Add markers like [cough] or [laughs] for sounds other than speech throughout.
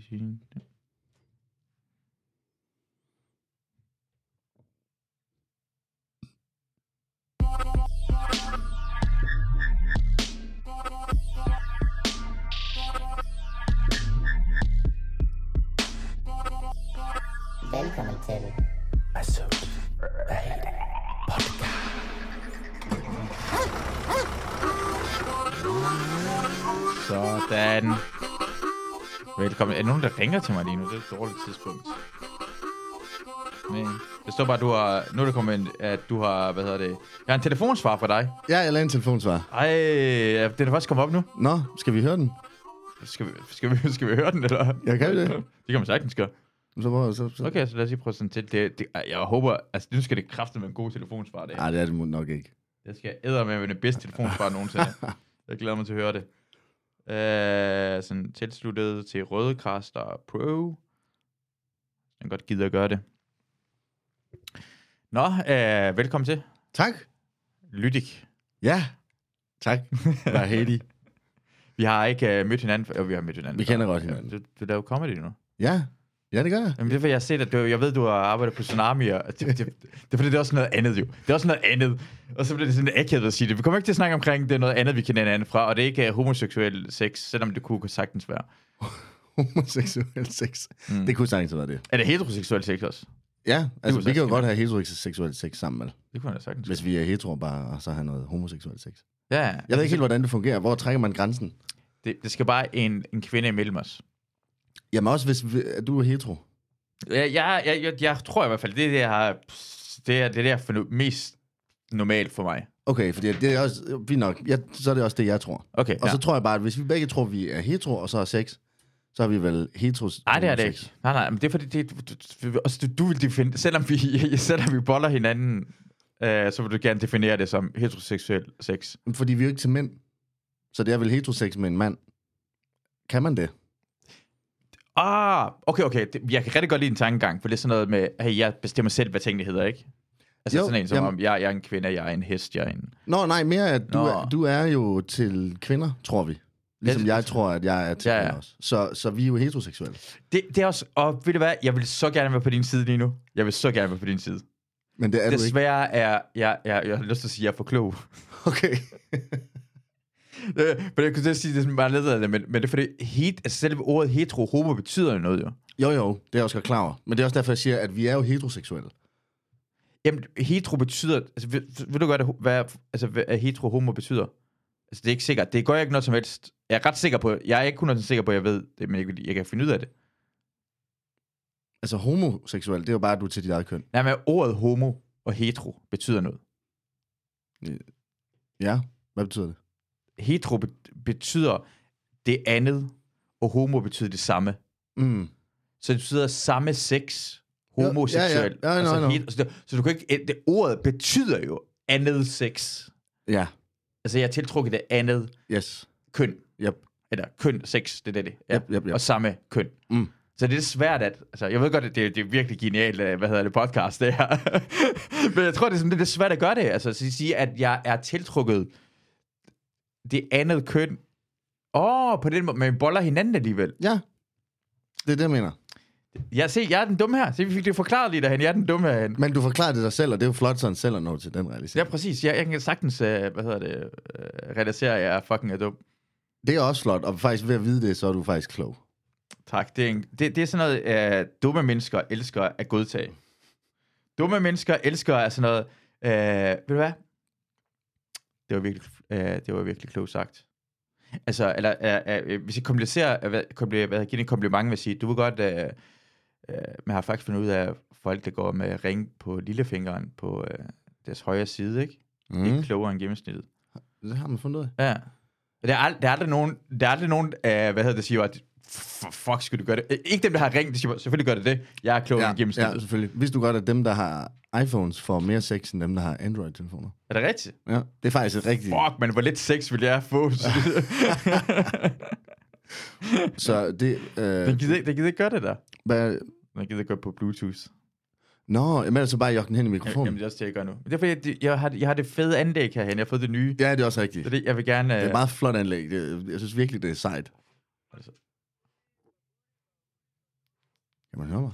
machine. Ja. Velkommen til Sådan. Velkommen. Er der nogen, der ringer til mig lige nu? Det er et dårligt tidspunkt. Nej. Det står bare, du har... Nu er det kommet ind, at du har... Hvad hedder det? Jeg har en telefonsvar fra dig. Ja, jeg lavede en telefonsvar. Ej, er det er da først kommet op nu. Nå, skal vi høre den? Skal vi, skal vi, skal vi høre den, eller? Ja, kan vi det? Det kan man sagtens gøre. Så prøver så, så. Okay, så lad os lige prøve sådan til. Det, det, ej, jeg håber... Altså, nu skal det kræfte med en god telefonsvar, det her. Nej, det er det nok ikke. Jeg skal æder med den bedste telefonsvar [laughs] nogensinde. Jeg glæder mig til at høre det. Øh, sådan tilsluttet til Røde Kræster Pro. Den godt gider at gøre det. Nå, øh, velkommen til. Tak. Lydik. Ja. Tak. Var Heidi. [laughs] Vi har ikke øh, mødt hinanden. før- Jo, vi har mødt hinanden. Vi før. kender godt hinanden. Du, du laver comedy nu. Ja. Ja, det gør jeg. [laughs] Jamen, det er, fordi jeg har set, at du, jeg ved, du har arbejdet på Tsunami, og det, det, det, det er fordi, det er også noget andet jo. Det er også noget andet. Og så bliver det sådan akavet at sige det. Vi kommer ikke til at snakke omkring, det er noget andet, vi kender hinanden fra, og det er ikke uh, homoseksuel sex, selvom det kunne sagtens være. Homoseksuel sex. Mm. Det kunne sagtens være det. Er det heteroseksuel sex også? Ja, altså kunne vi kan sagtens jo godt have heteroseksuel sex sammen, vel? Det kunne jeg da sagtens. Hvis vi er hetero bare, og så har noget homoseksuel sex. Ja, Jeg ved ikke helt, hvordan det fungerer. Hvor trækker man grænsen? det, det skal bare en, en kvinde imellem os. Jamen også, hvis vi, at du er hetero. Jeg, jeg, jeg, jeg, jeg tror i hvert fald, det er det, jeg har, det er det, er det, jeg finder mest normalt for mig. Okay, fordi det er også, fint nok, jeg, så er det også det, jeg tror. Okay, Og ja. så tror jeg bare, at hvis vi begge tror, vi er hetero, og så er sex, så er vi vel heteros. Nej, det er det ikke. Nej, nej, men det er fordi, det, du, du, også du, du vil definere, selvom vi, [laughs] selvom vi boller hinanden, øh, så vil du gerne definere det som heteroseksuel sex. Fordi vi er jo ikke til mænd. Så det er vel heterosex med en mand. Kan man det? Ah, okay, okay, det, jeg kan rigtig godt lide en tankegang, for det er sådan noget med, hey, jeg bestemmer selv, hvad tingene hedder, ikke? Altså jo, Jo, sådan en som jamen- om, jeg, jeg er en kvinde, jeg er en hest, jeg er en... Nå, nej, mere at du, Nå. er, du er jo til kvinder, tror vi. Ligesom det- jeg tror, at jeg er til Ja, ja. ja, ja. også. Så, så vi er jo heteroseksuelle. Det, det er også... Og ved du hvad? Jeg vil så gerne være på din side lige nu. Jeg vil så gerne være på din side. Men det er du ikke. [laughs] Desværre er... Jeg, jeg, jeg har lyst til at sige, at jeg er for klog. [laughs] Okay. Øh, Men jeg kunne til at sige, det er sådan bare lidt af det, men, men det er fordi, het, altså selve ordet hetero-homo betyder jo noget, jo. Jo, jo, det er jeg også godt klar over. Men det er også derfor, jeg siger, at vi er jo heteroseksuelle. Jamen, hetero betyder... Altså, ved, ved du godt, hvad, altså, hvad hetero-homo betyder? Altså, det er ikke sikkert. Det gør jeg ikke noget som helst. Jeg er ret sikker på... Jeg er ikke 100% sikker på, at jeg ved det, men jeg, jeg kan finde ud af det. Altså homoseksuel, det er jo bare, at du er til dit eget køn. Nej, men ordet homo og hetero betyder noget. Ja, hvad betyder det? Hetero bet- betyder det andet, og homo betyder det samme. Mm. Så det betyder samme sex, homoseksuel. Ja, ja, ja, altså nå, nå. helt- så, det, så du kan ikke... Det, ordet betyder jo andet sex. Ja, Altså, jeg er tiltrukket af andet yes. køn. Yep. Eller køn, sex, det er det, det. Ja. Yep, yep, yep. Og samme køn. Mm. Så det er svært at... Altså, jeg ved godt, at det, det er virkelig genialt, øh, hvad hedder det, podcast, det her. [laughs] Men jeg tror, det er, sådan, det er svært at gøre det. Altså, at sige, at jeg er tiltrukket det andet køn. Åh, oh, på den måde, men vi boller hinanden alligevel. Ja, det er det, jeg mener. Jeg, se, jeg er den dumme her. Se, vi fik det forklaret lige derhen. Jeg er den dumme herhen. Men du forklarer det dig selv, og det er jo flot sådan selv at nå til den realisering. Ja, præcis. Jeg, jeg kan sagtens, øh, hvad hedder det, øh, realisere, at jeg fucking er dum. Det er også flot, og faktisk ved at vide det, så er du faktisk klog. Tak. Det er, en, det, det er sådan noget, øh, dumme mennesker elsker at godtage. Dumme mennesker elsker er sådan noget, øh, ved du hvad? Det var virkelig, øh, det var virkelig klogt sagt. Altså, eller, øh, øh, hvis jeg komplicerer, øh, hvad, kompli, hvad, giver det en kompliment, vil jeg sige, du vil godt, øh, øh, man har faktisk fundet ud af, folk, der går med ring på lillefingeren på øh, deres højre side, ikke? Mm. Ikke klogere end gennemsnittet. Det har man fundet ud af. Ja. Der er, ald- der er aldrig nogen, der er aldrig nogen øh, hvad hedder det, siger, at "F- fuck, skal du gøre det? Øh, Ikke dem, der har ringet, de siger, selvfølgelig gør det det. Jeg er klogere ja, end ja, gennemsnittet. Ja. selvfølgelig. Vidste du godt, at dem, der har iPhones, får mere sex, end dem, der har Android-telefoner? Er det rigtigt? Ja, det er faktisk et rigtigt. Fuck, men hvor lidt sex vil jeg få? Så det... Øh, [laughs] den, gider, ikke- den gider ikke gøre det der. hvad, Den gider ikke gøre det på Bluetooth. Nå, jamen ellers så bare jokke den hen i mikrofonen. Jamen, det er også det, jeg gør nu. Men Det er fordi, jeg, det- jeg, har, jeg har det fede anlæg herhen. Jeg har fået det nye. ja, det er også rigtigt. Så det, jeg vil gerne... Øh, Det er Altså. et meget flot anlæg. Det, jeg synes virkelig, det er sejt. høre mig?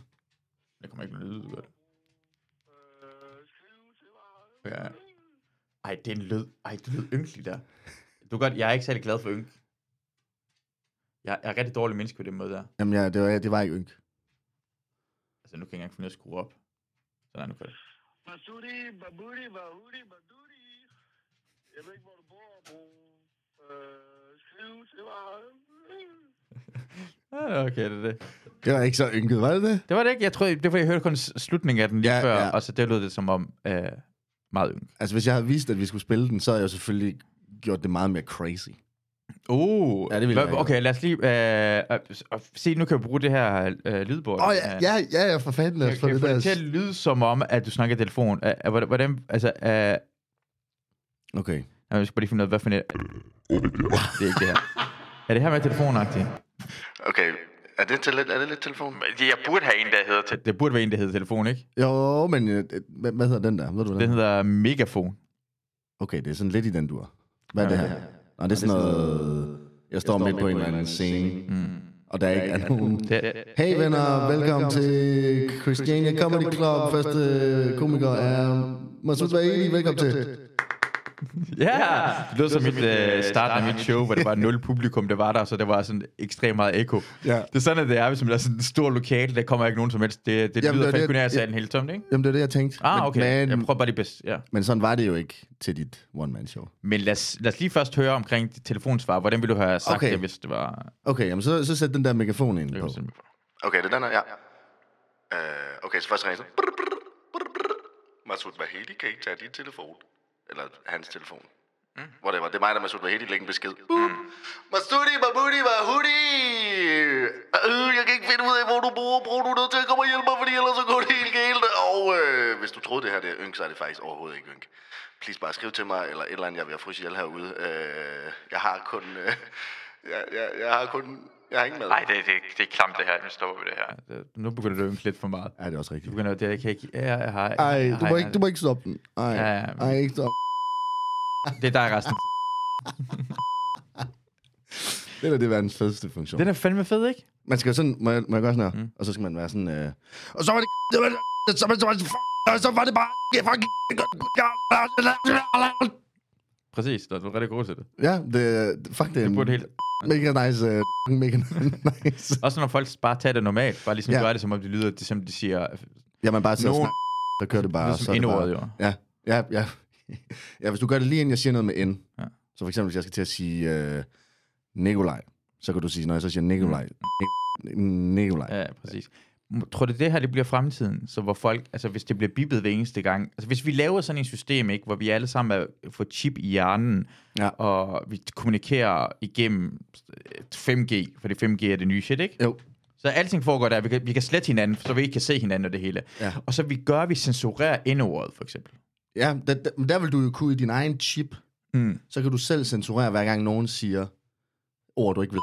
Det kommer ikke noget lyd ud af det. Ja. Ej, det er en lyd. Ej, det lyder ynkelig der. Du kan godt, jeg er ikke særlig glad for ynk. Jeg, jeg er rigtig dårlig menneske på den måde der. Jamen, ja, det, var, det var ikke ynk. Altså, nu kan jeg ikke engang finde ud af at skrue op. Sådan, nu kan det. Masuri, Baburi, Bahuri, Baduri. Jeg ved ikke, hvor du bor, bro. Øh, skriv til mig. Ja, det er okay, det er det. Det var ikke så ynket, var det det? Det var det ikke. Jeg tror, det var, fordi jeg hørte kun s- slutningen af den lige Ja, ja, før, ja. ja. og så det lød det som om øh, meget ynk. Altså, hvis jeg havde vidst, at vi skulle spille den, så havde jeg jo selvfølgelig gjort det meget mere crazy. Uh, Ja, det ville jeg ikke. Okay, lad os lige... Øh, øh, s- og se, nu kan vi bruge det her øh, lydbord. Åh, oh, ja, ja, ja, ja, for fanden, lad os Kan, få kan det det, der. det til at lyde som om, at du snakker i telefon? Øh, øh, hvordan- Hvordan... Altså, øh, Okay. Jeg skal bare lige finde ud af, hvad for en... Det er ikke det her. Er det her med telefonagtigt? Okay, er det, til, er det lidt telefon? Jeg burde have en, der hedder... Te- det burde være en, der hedder telefon, ikke? Jo, men øh, øh, hvad, hvad hedder den der? Ved du, hvad Den hedder megafon. Okay, det er sådan lidt i den dur. Hvad er det her? Nå, det er sådan noget... Jeg står midt på en eller anden scene, og der ikke er nogen... Mm. Det, det, Hey venner, velkommen til Christiania Comedy Club. Første øh, komiker er Masud Vahedi. Velkommen til. ja, det lød som mit, øh, starten af mit show, hvor [laughs] det var nul publikum, der var der, så der var sådan ekstremt meget ekko. Ja. Det er sådan, at det er, hvis man er sådan en stor lokal, der kommer ikke nogen som helst. Det, det Jamen, Jamen, lyder det er det, fandt kun af, at jeg- salen helt tomt, ikke? Jamen, det er det, jeg tænkte. Ah, okay. Men, Jeg men, prøver bare det bedste, ja. men sådan var det jo ikke til dit one-man-show. Men lad os, lad os lige først høre omkring dit telefonsvar. Hvordan ville du have sagt Okay. det, hvis det var... Okay, jamen, så, så sæt den der megafon ind på. Okay, det er den her, ja. Øh, okay, så først ringer jeg så. Brr, brr, brr, brr. Masud Vahedi kan ikke tage din telefon. Eller hans telefon. Mm. Whatever, det er mig, der er Masud Vahedi. Læg en besked. Mm. Masudi, Babudi, Vahudi! Øh, jeg kan ikke finde ud af, hvor du bor. Bror, du er nødt til at komme og hjælpe mig, fordi ellers så går det helt galt. Og øh, hvis du troede, det her det er ynk, så er det faktisk overhovedet ikke ynk. Please bare skriv til mig, eller et eller andet, jeg er ved at fryse ihjel herude. Øh, jeg har kun... Øh, jeg, jeg, jeg har kun... Jeg har ingen mad. det, det, det er klamt det her. Nu stopper vi det her. Nu begynder det at ynke lidt for meget. Ja, det er også Du rigtigt. begynder, det jeg kan ikke... Ja, jeg har, Ej, jeg du har- må ikke, du må ikke stoppe den. Ej, Ja, ja. ej ikke stoppe. Det er dig resten. Det er da det verdens fedeste funktion. Den er fandme fed, ikke? Man skal jo sådan, må jeg, må jeg gøre sådan her? Mm. Og så skal man være sådan, øh, og så var det, det var det, så var det, så var det, og så var det bare, Præcis, du er rigtig god til det. ja, det, fuck, det er Det burde en helt... mega nice, øh, [laughs] mega nice. Også når folk bare tager det normalt, bare ligesom Ja. ja. gør det, som om det lyder, det, som de siger, Ja, man bare sidder og Nogen- snakker, så kører det bare. bare, og så ligesom er det indordet bare- jo. Ja, ja, ja. Ja, hvis du gør det lige inden jeg siger noget med N. Ja. Så for eksempel, hvis jeg skal til at sige øh, Nikolaj, så kan du sige, når jeg så siger Nikolaj, Nik- Nikolaj. Mm. Ja, præcis. M- Tror du, det her det bliver fremtiden? Så hvor folk, altså hvis det bliver bippet hver eneste gang. Altså hvis vi laver sådan et system, ikke, hvor vi alle sammen er, får chip i hjernen, Ja. og vi kommunikerer igennem øh, 5G, for det 5G er det nye shit, ikke? Jo. Så alting foregår der, vi kan, vi kan slette hinanden, så vi ikke kan se hinanden og det hele. Ja. Og så vi gør, at vi censurerer endordet, for eksempel. Ja, der, der, men der vil du jo kunne i din egen chip, Mm. så kan du selv censurere, hver gang nogen siger ord, du ikke vil.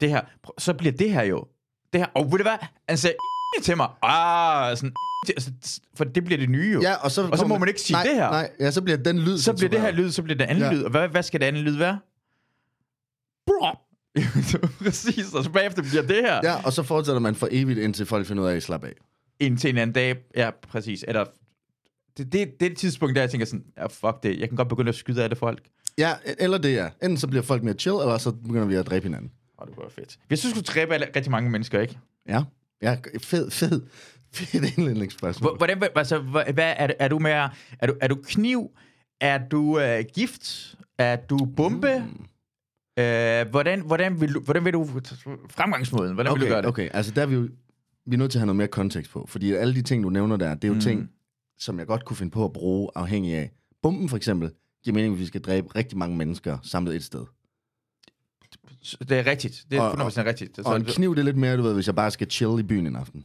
Det her, prøv- så bliver det her jo, det her, og ved du hvad, han sagde til mig, ah, sådan, altså, for det bliver det nye jo. Ja, og så, Og så kommer- må man ikke sige nej, det her. Nej, ja, så bliver den lyd Så bliver det her censureret. lyd, så bliver det andet Ja. ja. lyd. Og hvad, hvad skal det andet lyd være? [laughs] Bro. Præcis, og så bagefter bliver det her. Ja. Ja, og så fortsætter man for evigt, indtil folk finder ud af at slappe af. Indtil en anden dag. Ja, præcis. Eller, det, det, det er et tidspunkt, der jeg tænker sådan, ja, fuck det, jeg kan godt begynde at skyde af det folk. Ja, eller det er. Enten så bliver folk mere chill, eller så begynder vi at dræbe hinanden. Åh, det var fedt. Jeg synes, du dræbe alle- rigtig mange mennesker, ikke? Ja, ja fed, fed, fed indlægningsspørgsmål. Hvor- Hvordan, altså, hvor- hvad, er, er du mere, er du, er du kniv? Er du øh, gift? Er du bombe? Mm. Øh, hvordan, hvordan, vil du, hvordan vil du, fremgangsmåden, hvordan okay, vil du gøre Okay, det? Okay. okay, altså der er vi jo vi er nødt til at have noget mere kontekst på, fordi alle de ting, du nævner der, det er jo mm. Mm. ting, som jeg godt kunne finde på at bruge afhængig af. Bomben for eksempel giver mening, at vi skal dræbe rigtig mange mennesker samlet et sted. Det er rigtigt. Det Og- og- er 100% rigtigt. Og en Så- kniv, det er lidt mere, du ved, hvis jeg bare skal chill i byen en aften.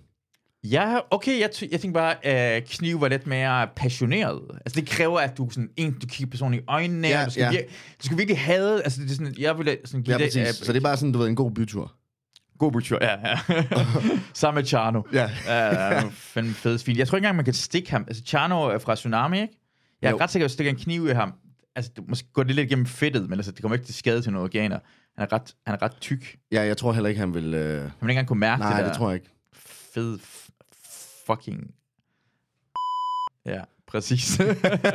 Ja, okay, jeg, t- jeg tænkte bare, at kniv var lidt mere passioneret. Altså, det kræver, at du sådan, en, du kigger personen i øjnene, Ja, ja, du, skal ja. ja. vir- du skal virkelig have, altså, det er sådan, jeg ville sådan give Ja, det, øh, præcis. Så det er bare sådan, du ved, en god bytur. god butcher, ja, ja. [laughs] Sammen med Charno. Ja. ja, uh, [laughs] fandme fed svin. Jeg tror ikke engang, man kan stikke ham. Altså, Charno er fra Tsunami, ikke? Jeg er Jo. ret sikker, at du stikker en kniv i ham. Altså, det, måske går det lidt gennem fedtet, men altså, det kommer ikke til skade til noget organer. Han er ret, han er ret tyk. Han Ja, jeg tror heller ikke, han vil... Øh... vil ikke engang kunne mærke Nej, Ah, det der. det tror jeg ikke. fed f- fucking... Ja, præcis.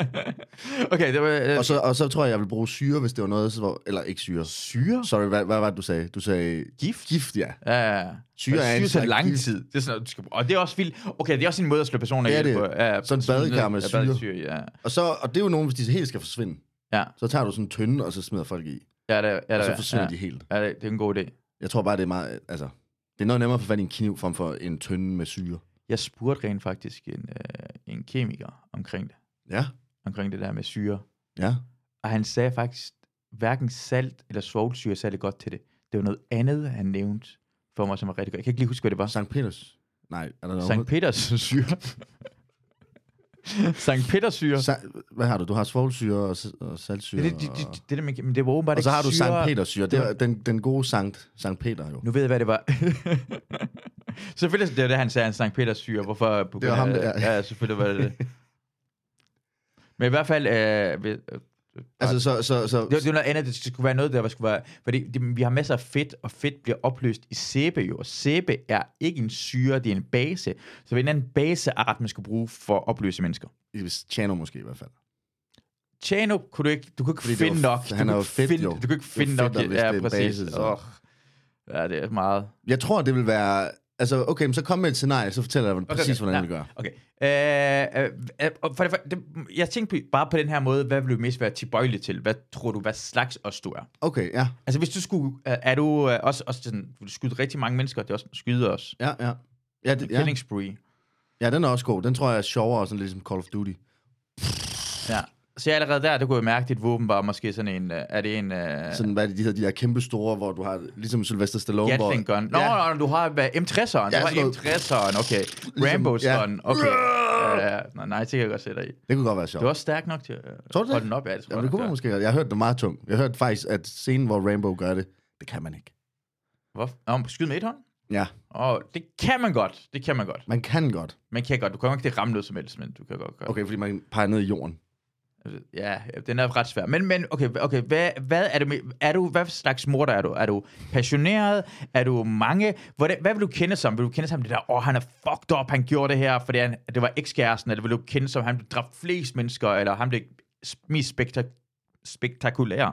[laughs] okay, det var... Øh, Og så, og så tror jeg, jeg vil bruge syre, hvis det var noget, så var, eller ikke syre. syre? Sorry, hvad, hvad var det, du sagde? Du sagde Gift? gift, ja. Ja, ja, ja. Syre er syre en tager slags lang gift. tid. Det er sådan, noget, du skal, og det er også vildt. Okay, det er også en måde at slå personer Det er ihjel det. på. Ja, Sådan en badekar med ja, syre. badesyre, Ja, Og, så, og det er jo nogen, hvis de helt skal forsvinde. Ja. Så tager du sådan en tønde, og så smider folk i. ja, det, er- ja, Og det, så er- forsvinder ja. de helt. Ja, det, det er en god idé. Jeg tror bare, det er meget... Altså, det er noget nemmere at få fat i en kniv, frem for en tønde med syre. Jeg spurgte rent faktisk en, øh, en kemiker omkring det, Ja. omkring det der med syre. Ja. Og han sagde faktisk, hverken salt eller svovlsyre er særlig godt til det. Det var noget andet, han nævnte for mig, som var rigtig godt. Jeg kan ikke lige huske, hvad det var. Sankt Peters. Nej, er der noget? Sankt Peters syre. Sankt Peters [laughs] syre. Sa- hvad har du? Du har svovlsyre og, s- og saltsyre. Det, det, det, det, det, det, der med- men det var åbenbart og, og så ikke har du syre. Sankt Peters syre. Det er den, den gode Sankt, Sankt Peter jo. Nu ved jeg, hvad det var. [laughs] selvfølgelig, det var det, han sagde, han Sankt Peters syre. Hvorfor? På Det var ham, det er. Ja, selvfølgelig var det [laughs] det. Men i hvert fald, øh, ved- øh, Altså, så... så, så det, var- det var noget andet, det skulle være noget, der skulle være... Fordi det, vi har masser af fedt, og fedt bliver opløst i sæbe jo. Og sæbe er ikke en syre, det er en base. Så det er en anden baseart, man skal bruge for at opløse mennesker. Chano måske i hvert fald. Chano kunne du ikke, du kunne ikke Fordi det finde var- nok. han du kunne er jo ikke fedt, finde, jo. Du kunne ikke Det er finde fedt, nok. og hvis det er en base, så- Åh. Ja, det er meget. Jeg tror, det vil være... Altså, okay, men så kom med et scenarie, så fortæller jeg dig præcis, okay. hvordan Nej. vi gør. Okay. Øh, øh, øh, og for det, for det, jeg tænkte på, bare på den her måde, hvad vil du mest være tilbøjelig til? Hvad tror du, hvad slags os du er? Okay, ja, Altså hvis du skulle, øh, er du øh, også, også sådan, du skyder rigtig mange mennesker, det er også skyder os. ja, ja. Ja, det, Ja. ja. Killing spree. ja, den er også god. Den tror jeg er sjovere, og sådan lidt ligesom Call of Duty. Ja. Så jeg allerede der, der kunne jeg mærke, at dit våben var måske sådan en, øh, er det en... Øh, Sådan, hvad er det, de hedder, de der kæmpe store, hvor du har, ligesom Sylvester Stallone, hvor... Gatling gun. Nå, Ja. ja. nå, du har hvad, M60'eren. Ja, Ja, du har sådan noget- Ligesom, M60'eren, okay. Rambo ja. sådan, okay. Ja, ja. Nå, nej, det kan jeg godt sætte dig i. Det kunne godt være sjovt. Du er også stærk nok til at øh, Tror du det? holde den op. Ja, det, tror Jamen, jeg nok, det kunne du man er. måske godt. Jeg hørte det meget tungt. Jeg hørte faktisk, at scenen, hvor Rainbow gør det, det kan man ikke. Hvorfor? Nå, skyd med et hånd? Ja, Og det kan man godt, det kan man godt. man kan godt. Man kan godt, du kan jo ikke det ramme noget som helst, men du kan godt gøre Okay, fordi man peger ned i jorden. det. Ja, den er ret svær. Men, men okay, okay hvad, hvad er, du, med- er du, hvad slags morder er du? Er du passioneret? Er du mange? Hvordan, hvad vil du kende som? Vil du kende som det der, åh, oh, han er fucked up, han gjorde det her, fordi han, det var ekskæresten, eller vil du kende som, han dræbte flest mennesker, eller ham det mest spektak- spektakulære?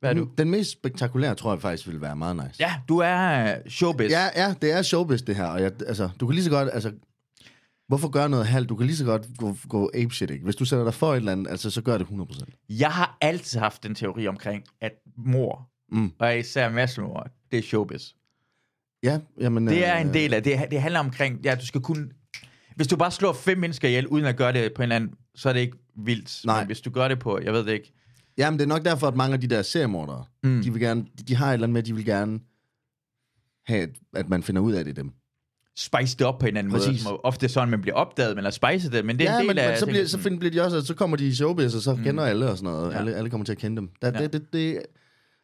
Hvad er du? Den mest spektakulære, tror jeg faktisk, ville være meget nice. Ja, du er øh, showbiz. Ja, ja, det er showbiz, det her. Og jeg, altså, du kan lige så godt, altså, hvorfor gøre noget halvt? Du kan lige så godt gå, gå apeshit, ikke? Hvis du sætter dig for et eller andet, altså, så gør det 100%. Jeg har altid haft den teori omkring, at mor, Mm. og især massemor, det er showbiz. Ja, jamen... Det er øh, en del af det. Det handler omkring, ja, du skal kunne... Hvis du bare slår fem mennesker ihjel, uden at gøre det på en eller anden, så er det ikke vildt. Nej. Men hvis du gør det på, jeg ved det ikke. Jamen, det er nok derfor, at mange af de der seriemordere, mm. Mm. de, vil gerne, de, de har et eller andet med, de vil gerne have, at, at man finder ud af det i dem. Spice det op på en anden måde. Præcis. Som ofte er sådan, man bliver opdaget, men at spice det, men det er ja, en del men, af... men så, bliver, så find, bliver de også, altså, så kommer de i showbiz, og så mm. kender alle og sådan noget. Ja. Ja. Alle, alle kommer til at kende dem. Der, ja. Ja. det, det, det,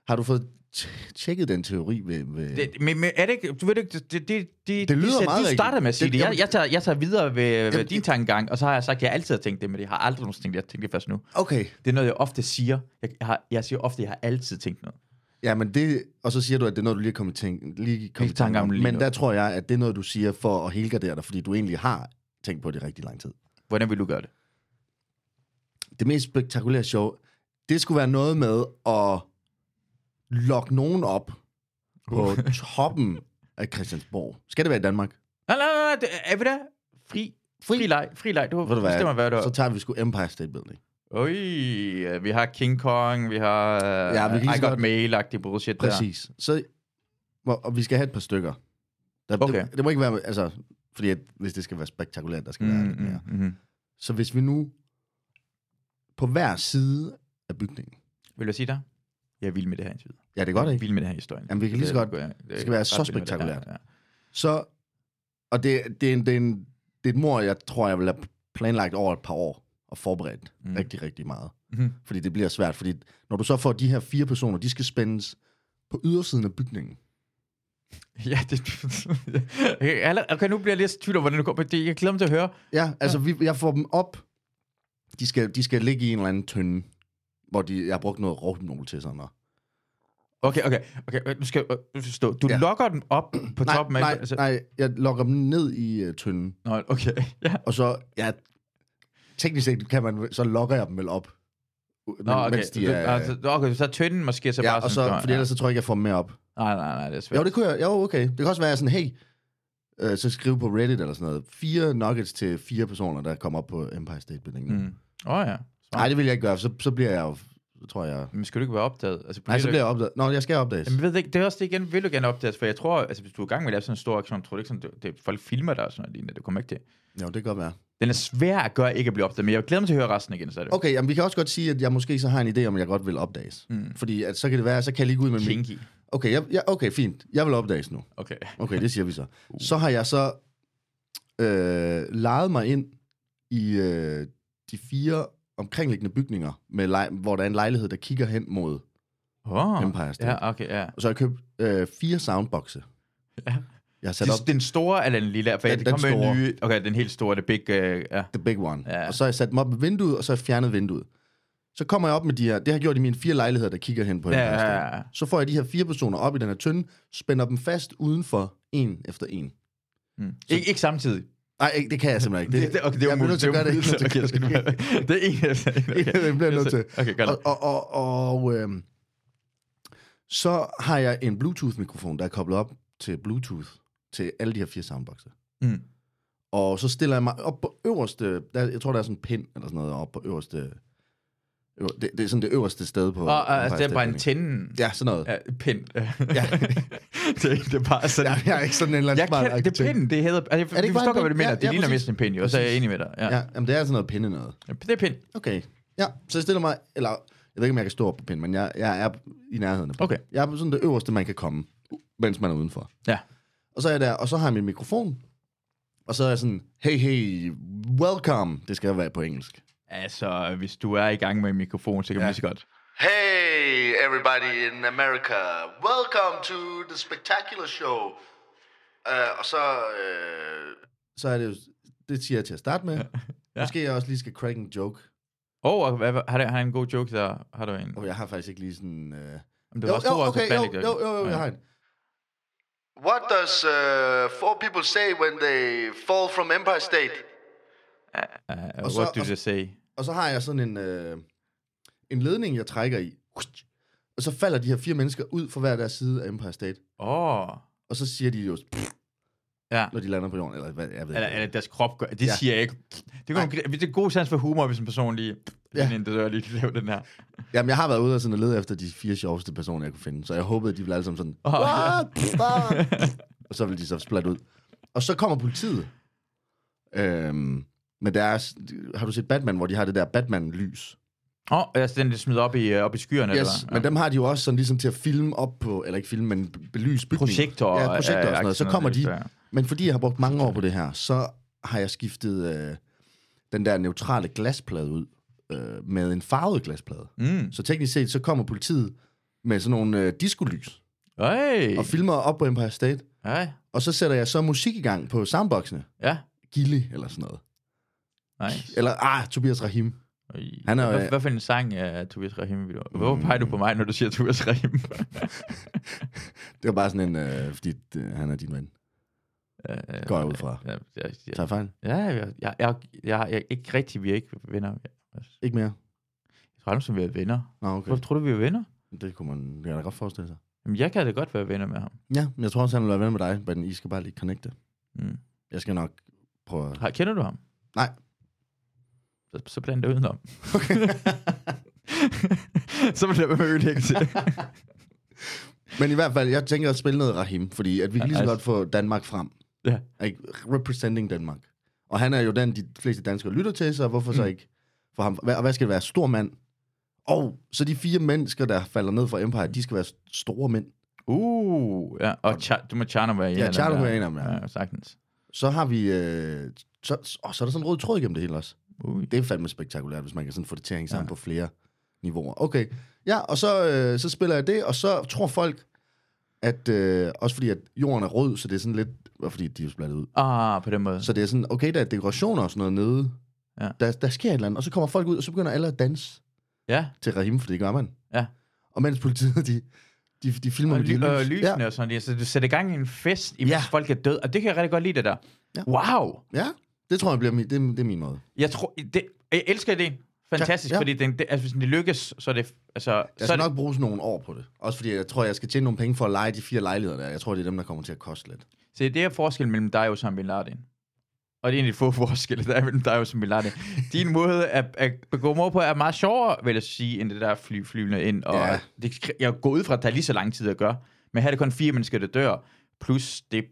har du fået t- tjekket den teori ved... ved... Det, det, men, men er det ikke, du ved det ikke, det, det, det, det, lyder de, meget de starter rigtigt. med at sige Det- det. Jeg, jamen- jeg, tager, jeg tager videre ved, ved Jamen, din det- tankegang, og så har jeg sagt, at jeg altid har tænkt det, men jeg har aldrig nogensinde tænkt det. Jeg tænkte det først nu. okay, Det er noget, jeg ofte siger. Jeg, jeg, har, jeg siger ofte, at jeg har altid tænkt noget. ja, men det... Og så siger du, at det er noget, du lige kommer tænke, lige kom i tanke tanke om. om lige Men nu. der tror jeg, at det er noget, du siger for at helgardere dig, fordi du egentlig har tænkt på det i rigtig lang tid. Hvordan vil du gøre det? Det mest spektakulære show, det skulle være noget med at lokke nogen op på toppen af Christiansborg. Skal det være i Danmark? Nej, nej, nej, nej, det- er vi der? Fri, fri, fri leg, fri leg. Du, Ved du hvad? bestemmer, hvad du Så tager vi sgu Empire State Building. Øj, vi har King Kong, vi har uh, Ja, ja, vi kan vi lige I så Got godt- Mail-agtig bullshit Præcis. Så, og, og vi skal have et par stykker. Der, Okay. det, det må ikke være, altså, fordi at, hvis det skal være spektakulært, der der. skal mm, være lidt Mm, mere. mm, mm. Så hvis vi nu på hver side af bygningen. Vil du sige der? Jeg er vild med det her indtil videre. Ja, det er godt, Jeg er ikke? vild med det her historie. Jamen, vi kan lige så godt- Det, det skal være så ret vild med det. spektakulært. Ja, [laughs] ja. Så, og det, det, er en, det, er en, det er et mor, jeg tror, jeg vil have planlagt over et par år og forberedt mm. Mm. rigtig, rigtig meget. Mhm. Fordi det bliver svært, fordi når du så får de her fire personer, de skal spændes på ydersiden af bygningen. Ja, det... okay, alle- okay, nu bliver jeg lidt i tvivl om, hvordan du går på det. Jeg glæder mig til at høre. Ja, altså vi, jeg får dem op. De skal, de skal ligge i en eller anden tønde, hvor de, jeg har brugt noget rovnol til sådan noget. Okay, okay, okay, okay, nu skal jeg øh, forstå. Du ja. Ja. lokker den op på Nej, toppen af... Altså, nej, nej, jeg lokker dem ned i øh, tynden. Nå, okay, [laughs] ja. Og så, ja, teknisk set kan man, så lokker jeg dem vel op. Men, Nå, okay. Mens de er, altså, okay, så er tynden måske så bare ja, og så, sådan... fordi ellers så tror jeg ikke, jeg får dem med op. Nej, nej, nej, det er svært. Jo, det kunne jeg, jo, okay. Det kan også være sådan, hey, øh, så skrive på Reddit eller sådan noget. Fire nuggets til fire personer, der kommer op på Empire State Building. Mm. Mm. Åh oh, ja. Nej, det vil jeg ikke gøre, for så, så bliver jeg jo, så tror jeg... Men skal du ikke være opdaget? Altså, Nej, så du- bliver jeg opdaget. Nå, jeg skal opdages. Jamen, jeg ved det ikke, det er også det igen, vil du gerne opdages, for jeg tror, altså, hvis du er i gang med at lave sådan en stor aktion, tror du ikke sådan, det, det folk filmer dig og sådan noget lignende, det kommer ikke til. Jo, det kan godt være. Den er svær at gøre ikke at blive opdaget, men jeg glæder mig til at høre resten igen, så er det. Okay, jamen vi kan også godt sige, at jeg måske så har en idé om, at jeg godt vil opdages. Mm. Mm. Fordi at, så kan det være, så kan jeg lige gå ud med min... Kinky. Okay, jeg, jeg, okay, fint. Jeg vil opdages nu. Okay. Okay, det siger [laughs] vi så. Uh. Så har jeg så øh, lejet mig ind i øh, de fire omkringliggende bygninger, med lej- hvor der er en lejlighed, der kigger hen mod. Oh. Empire State. Ja, okay, ja. Og så har jeg købt øh, fire soundboxe. [laughs] Ja. Jeg har sat op Det, den store eller den lille? For Den- det den kommer med en store. ny... Okay, den helt store, det big... Uh, ja. the big one. Ja. Ja. Og så har jeg sat dem op ved vinduet, og så har jeg fjernet vinduet. Så kommer jeg op med de her... Det har jeg gjort i mine fire lejligheder, der kigger hen på Ja, Empire State. ja, ja. Så får jeg de her fire personer op i den her tynde, spænder dem fast udenfor, en efter en. Mm. Ikke, ikke samtidig. Nej, ikke- det kan jeg simpelthen [laughs] ikke. Det, det, okay, det er jeg bliver nødt umuligt. til at gøre det. Jeg bliver [laughs] Okay, nødt til jeg at skal nu... [laughs] gøre det. Det er en efter en. [laughs] Okay. Det bliver jeg nødt til. Okay, godt. Og, og, og, og øhm, så har jeg en Bluetooth-mikrofon, der er koblet op til Bluetooth, til alle de her fire soundboxer. Mm. Og så stiller jeg mig op på øverste, der, jeg tror, der er sådan en pind eller sådan noget, op på øverste, øver, det, det er sådan det øverste sted på... Og altså, det er bare Empire State antennen. Building. Ja, sådan noget. Ja. Ja, pind. [laughs] Ja. det, er, det er bare sådan... Jeg, jeg er ikke sådan en eller anden Jeg smart kan, det er arkitekt. pinden, det hedder... Altså, Er jeg det vi ikke bare forstår en godt, hvad pind? du mener. Ja, det ja, ligner præcis. mest en pind, jo, og så er jeg Præcis. enig med dig. Ja. Ja, jamen det er sådan noget pinde noget. Ja. Det er pind. Okay. Ja, så jeg stiller mig, eller jeg ved ikke, om jeg kan stå op på pinden, men jeg, jeg er i nærheden af pinden. Okay. Jeg er på sådan det øverste, man kan komme, mens man er udenfor. Ja. Og så er jeg der, og så har jeg min mikrofon, og så er jeg sådan, hey, hey, welcome. Det skal være på engelsk. Altså, hvis du er i gang med en mikrofon, så kan ja. man Ja. lige så godt. Hey, everybody in America. Welcome to the spectacular show. Uh, og så... Uh, Så er det jo, det siger jeg til at starte med. Ja. Måske jeg også lige skal crack en joke. Åh, oh, hvad, har, der, har en god joke der? Har du en? Og jeg har faktisk ikke lige sådan... Øh... Om det Oh, Jo, var stor, jo, så okay, fandt jo, jeg jo, det. jo, jo, jeg har en. what does uh, four people say when they fall from Empire State? Uh, Og så- what do og- they say? Og så har jeg sådan en, øh, en ledning, jeg trækker i. Og så falder de her fire mennesker ud fra hver deres side af Empire State. Åh, oh, Og så siger de jo, "Pff," ja. når de lander på jorden, eller hvad, jeg ved Eller, ikke. eller deres krop gør. Det ja. Ja. siger jeg ikke. Det er, det er god sans for humor, hvis en person lige... Ja. Ja. Inden det dør, lige laver den her. Jamen, jeg har været ude og sådan og lede efter de fire sjoveste personer, jeg kunne finde. Så jeg håbede, at de ville alle sammen sådan, Åh, ja. "What? What?" og så ville de så splat ud. Og så kommer politiet. Øhm, men deres, har du set Batman, hvor de har det der Batman-lys? Åh, oh, altså den, der smider op i, øh, op i skyerne, Yes, eller men dem har de jo også sådan ligesom til at filme op på, eller ikke filme, men b- belyse bygningen. Projektorer, Ja, projektorer og øh, sådan noget. Så kommer de, aktioner, det er men fordi jeg har brugt mange år på det her, så har jeg skiftet øh, den der neutrale glasplade ud øh, med en farvet glasplade. Mm. Så teknisk set, så kommer politiet med sådan nogle øh, diskolys Øj. og filmer op på Empire State. Øj. Og så sætter jeg så musik i gang på soundboxene. Ja. Gilly eller sådan noget. Nice. Eller, ah, Tobias Rahim. Ej. Han er Mm. jo- hvad, hvad for en sang er uh, Tobias Rahim? Vil du? Hvorfor peger du på mig, når du siger Tobias Rahim? [laughs] Det var bare sådan en, øh, fordi øh, han er din ven. Øh, Går jeg ud fra. ja, ja, ja, Tager jeg fejl? ja, jeg, jeg, jeg, jeg, jeg, ikke rigtig, vi er ikke venner. Jeg Ikke mere? tror aldrig, som vi er venner. Nå, okay. Hvorfor tror du, vi er venner? Det kunne man det kan jeg da godt forestille sig. Jamen, jeg kan da godt være venner med ham. Ja, men jeg tror også, han vil være ven med dig, men I skal bare lige connecte. Mm. Jeg skal nok prøve at... Har, kender du ham? Nej. Så, så bland det udenom. Okay. [laughs] så bliver det med ødelægge til. Men i hvert fald, jeg tænker at spille noget Rahim, fordi at vi kan lige så nice. godt få Danmark frem. ja. Ikke? Representing Danmark. Og han er jo den, de fleste danskere lytter til, så hvorfor mm. så ikke for ham? Hvad- Og hvad skal det være? Stor mand? Og så de fire mennesker, der falder ned fra Empire, de skal være store mænd. Uh, ja. Og Cha- du må Charno være en Ja, af dem Tjarno der. må være en af dem, ja. ja. sagtens. Så har vi... Øh, så, og så er der sådan en rød tråd igennem det hele også. Ui. Det er fandme spektakulært, hvis man kan sådan få det til at hænge sammen ja. på flere niveauer. Okay, ja, og så, øh, så spiller jeg det, og så tror folk, at øh, også fordi at jorden er rød, så det er sådan lidt, og fordi de er jo splattet ud, Ah, på den måde. så det er sådan, okay, der er dekorationer og sådan noget nede, Ja. der, der sker et eller andet, og så kommer folk ud, og så begynder alle at danse Ja, til Rahim, for det gør man. Ja. Og mens politiet, de De, de filmer Og, med de ly- og lys. lysene ja. Ja. og sådan noget. Så du sætter i gang i en fest, imens ja. Ja. folk er døde. Og det kan jeg rigtig godt lide, det der. Ja. Ja. Wow! ja, det tror jeg bliver min, det, det er min måde. Jeg, tror, det, jeg elsker ideen. Fantastisk, ja. Ja, ja. fordi den, det, altså, hvis den lykkes, så er det... Altså, Jeg så er skal det, nok bruge sådan nogle år på det. Også fordi jeg tror, jeg skal tjene nogle penge for at lege de fire lejligheder der. Jeg tror, det er dem, der kommer til at koste lidt. Se, det er forskellen mellem dig og Osama Bin Laden. Og det er egentlig få [laughs] forskelle, der er mellem dig og Osama Bin Laden. Din måde at, at begå mor på er meget sjovere, vil jeg sige, end det der fly, flyvende ind. Og ja. Ja. det, skri- jeg går ud fra, at der er lige så lang tid at gøre. Men her er det kun fire mennesker, der dør. Plus det,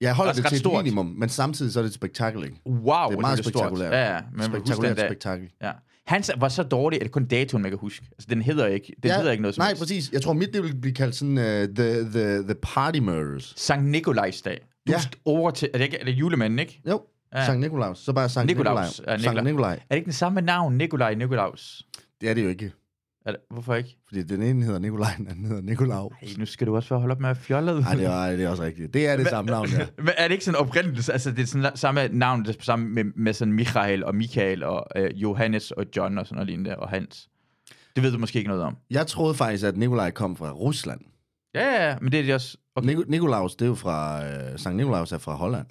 Jeg holder Også det ret til et stort. minimum, men samtidig så er det et spektakel, ikke? wow, Det er hvor meget stort. spektakulært. Ja, ja, men spektakulært spektakulært dag. spektakel. Ja. Hans var så dårlig, at det kun datoen, man kan huske. Altså, den hedder ikke, den ja, hedder ikke noget som Nej, helst. præcis. Jeg tror, mit det vil blive kaldt sådan uh, the, the, the Party Murders. Sankt Nikolajs dag. Du Ja. ja. over til, er det, ikke, er det julemanden, ikke? Jo, Ja. ja. Sankt Nikolaus. Så bare Sankt Nikolaus. Nikolaus. Ja, Nikolaj. Sankt Nikolaj. Nikolaj. Er det ikke den samme navn, Nikolaj Nikolaus? Det er det jo ikke. Er det, hvorfor ikke? Fordi den ene hedder Nikolaj, den anden hedder Nikolaus. Ej, nu skal du også være holde op med at fjolle. Nej, det, er, ej, det er også rigtigt. Det er det samme navn, ja. [laughs] Men er det ikke sådan oprindeligt? Altså, det er sådan samme navn, det er sammen med, med sådan Michael og Michael og øh, Johannes og John og sådan noget lignende, og Hans. Det ved du måske ikke noget om. Jeg troede faktisk, at Nikolaj kom fra Rusland. Ja, ja, ja, men det er det også... Okay. Nik- Nikolaus, det er jo fra... Øh, Sankt Nikolaus er fra Holland.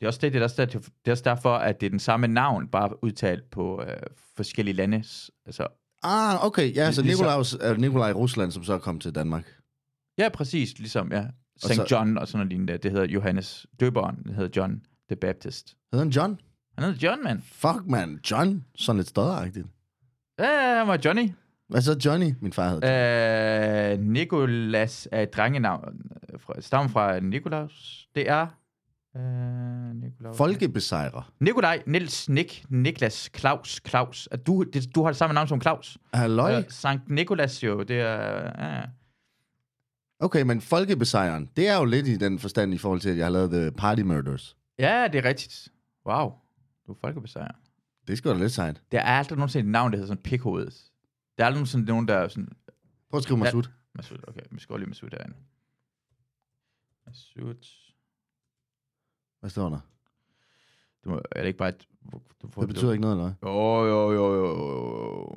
Det er også det, det er også, der, det er også derfor, at det er den samme navn, bare udtalt på øh, forskellige lande. Altså, Ah, okay. Ja, så Ligesom- Nikolaus er Nikolaj i Rusland, som så kom til Danmark. ja, præcis, ligesom, ja. St. så- John og sådan noget lignende. Det hedder Johannes Døberen, det hedder John the Baptist. Hedder han John? Han hedder John, mand. Fuck, man. John? Sådan lidt stodderagtigt. Ja, ja, han var Johnny. Hvad så Johnny? Min far hed John. Øh, Nikolas er et drengenavn. øh, Fra, stammer fra Nikolaus. Det er... Øh, Nikolaus. Folkebesejrer. Nikolaj, Nils, Nik, Niklas, Claus, Claus. At du, det, du har det samme navn som Claus. Halløj. Øh, Sankt Nikolas jo, det er... Ja. Okay, men folkebesejren, det er jo lidt i den forstand i forhold til, at jeg har lavet The Party Murders. ja, det er rigtigt. Wow, du er folkebesejrer. Det skal da lidt sejt. Der er aldrig nogensinde et navn, der hedder sådan pikhovedet. Der er aldrig nogensinde nogen, der er sådan... Prøv at skrive mig Ja. ja. sut. Masud, okay, vi skal lige Masud herinde. Masud... Hvad står der? Du må, er det ikke bare et... Du, du får, Det betyder ikke noget, eller hvad? Jo, jo, jo, jo, jo.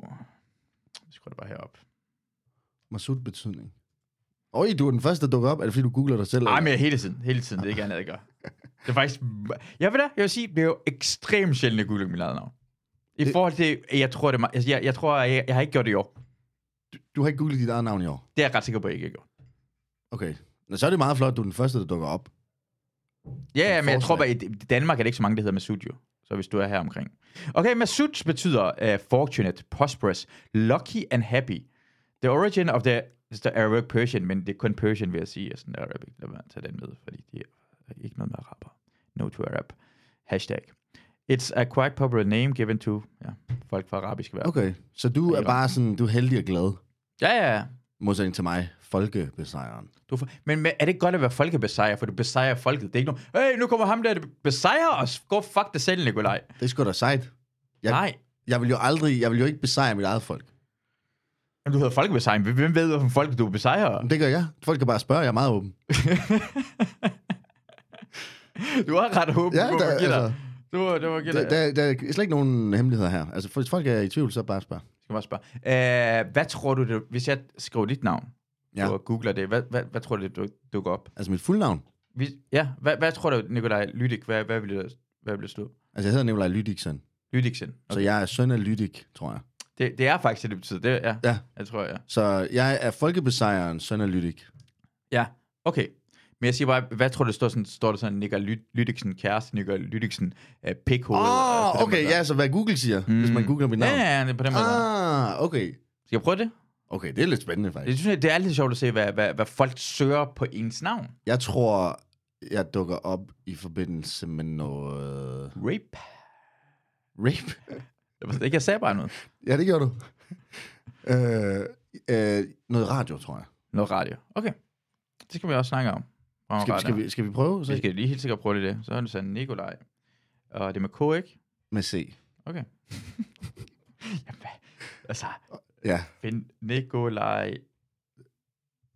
Vi skruer det bare herop. Masud betydning. Oj, du er den første, der dukker op. Er det fordi, du googler dig selv? Nej, eller? men hele tiden. Hele tiden. Det er ikke andet, jeg gør. Det er faktisk... Jeg ved det, jeg vil sige, det er jo ekstremt sjældent, at Gulag mit eget navn. I Det- forhold til, jeg tror, det er, me- altså, jeg, jeg, tror jeg, jeg, har ikke gjort det i år. Du har ikke googlet dit eget navn i år. Det er jeg ret sikker på, at jeg ikke har gjort. Okay. Nå, så er det meget flot, at du er den første, der dukker op. Ja, ja men jeg tror bare, forslag. i D- Danmark er det ikke så mange, der hedder Masud jo. Så hvis du er her omkring. Okay, Masud betyder uh, fortunate, prosperous, lucky and happy. The origin of the, the Arabic Persian, men det er kun Persian, vil jeg sige, er sådan Arabic. Lad mig tage den med, fordi det er ikke noget med araber. No to Arab. Hashtag. It's a quite popular name given to ja, folk fra arabiske verden. Okay. Så du Ja, er jo. bare sådan, du er heldig og glad. Ja, ja, ja. Modsætning til mig, folkebesejren. Du er for... men, men er det ikke godt at være folkebesejrer, for du besejrer folket? Det er ikke nogen, hey, nu kommer ham der, der besejrer os. Gå fuck dig selv, Nikolaj. Det er sgu da sejt. Ja. Ja. Nej. Jeg vil jo aldrig, jeg vil jo ikke besejre mit eget folk. Jamen, du hedder folkebesejring. Hvem ved, hvilken folk du besejrer? Men det gør jeg. Folk kan bare spørge, jeg er meget åben. Du har ret håb Ja, ja, på, der- at altså, altså, Du var, det var Der, gitter. Det, der, der er slet ikke nogen hemmeligheder her. Altså, hvis folk er i tvivl, så bare spørg. Skal man også spørge. Æh, hvad tror du, det, hvis jeg skriver dit navn, ja. Ja. og googler det, hvad, hvad, hvad tror du, det duk- dukker op? Altså, mit fulde navn. Hvis, ja, hvad, hvad tror du, Nikolaj Lydik, hvad, hvad vil det, hvad vil det stå? Altså, jeg hedder Nikolaj Lydiksen. Lydiksen. Okay. Okay. Så jeg er søn af Lydik, tror jeg. Det, det er faktisk det, det betyder. Det, ja, Ja. jeg tror, ja. Så jeg er folkebesejeren, søn af Lydik. Ja, okay. Men jeg siger bare, hvad tror du, det står sådan, står der sådan, Nikolaj Lyd- Lydiksen, kæreste, Nikolaj Lydiksen, øh, pikhoved. Åh, altså, oh, på den okay, måde der. ja, så hvad Google siger, mm. hvis man googler mit navn. Ja, ja, ja, det er på den måde. der. Ah, okay. Skal jeg prøve det? Okay, det er lidt spændende, Det faktisk. synes jeg, det er altid sjovt at se, hvad, hvad, hvad folk søger på ens navn. Jeg tror, jeg dukker op i forbindelse med noget... Rape. Rape? [laughs] Jeg ved ikke, jeg sagde bare noget. ja, det gjorde du. [laughs] øh, øh, noget radio, tror jeg. Noget radio. Okay. Det skal vi også snakke om. Om Skal, skal, vi, skal vi prøve? Så? vi skal lige helt sikkert prøve det. Så er det sådan Nikolaj. Og det er med K, ikke? [laughs] Med C. Okay. Jamen, hvad? altså, Ja. find Nikolaj.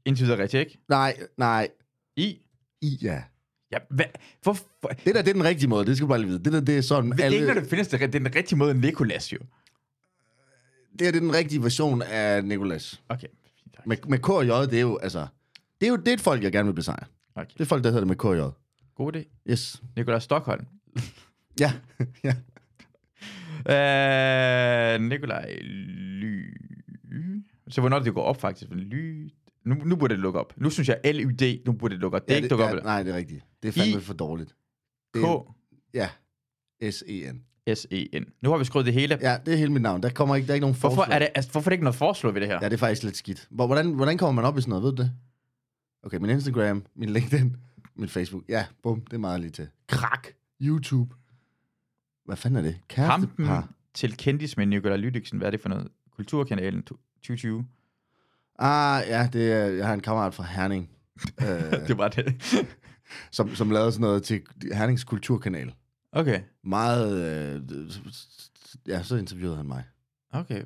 Indtil videre rigtigt, ikke? Nej, nej. I. I, ja. Ja, hvad? Hvor, for, Det der, det er den rigtige måde. Det skal du bare lige vide. Det der, det er sådan... det er ikke, når det findes. Det er den rigtige måde, Nikolas jo. det her, det er den rigtige version af Nicolas. Okay, fint. faktisk. Med, med K og J, det er jo, altså... Det er jo det er et folk, jeg gerne vil besejre. Okay. Det er folk, der hedder det med K og J. God idé. Yes. Nikolaj Stockholm. Ja. ja. Øh, Nikolaj Ly... Så hvornår det går op, faktisk? Men Ly... Nu, nu burde det lukke op. Nu synes jeg, LYD, nu burde det lukke op. Det er ja, ikke dukket op. ja, eller? Nej, det er rigtigt. Det er fandme I- for dårligt. Det K, er- Ja. S-E-N. S, E, N. Nu har vi skruet det hele. Ja, det er hele mit navn. Der, kommer ikke, der er ikke nogen Hvorfor forslag. er, det, altså, hvorfor er det ikke noget forslag ved det her? Ja, det er faktisk lidt skidt. Hvor- Hvordan, hvordan kommer man op i sådan noget, ved du det? Okay, min Instagram, min LinkedIn, min Facebook. Ja, bum, det er meget lige til. Krak. YouTube. Hvad fanden er det? Ah. Kampen Kærestepar. til kendis med Nikolaj Lydiksen, hvad er det for noget? Kulturkanalen to- 2020. Ah, ja, det er, jeg har en kammerat fra Herning, øh, [laughs] Det var det. som, som lavede sådan noget til Hernings kulturkanal. Okay, Meget, øh, ja, så interviewede han mig. okay. Og Okay,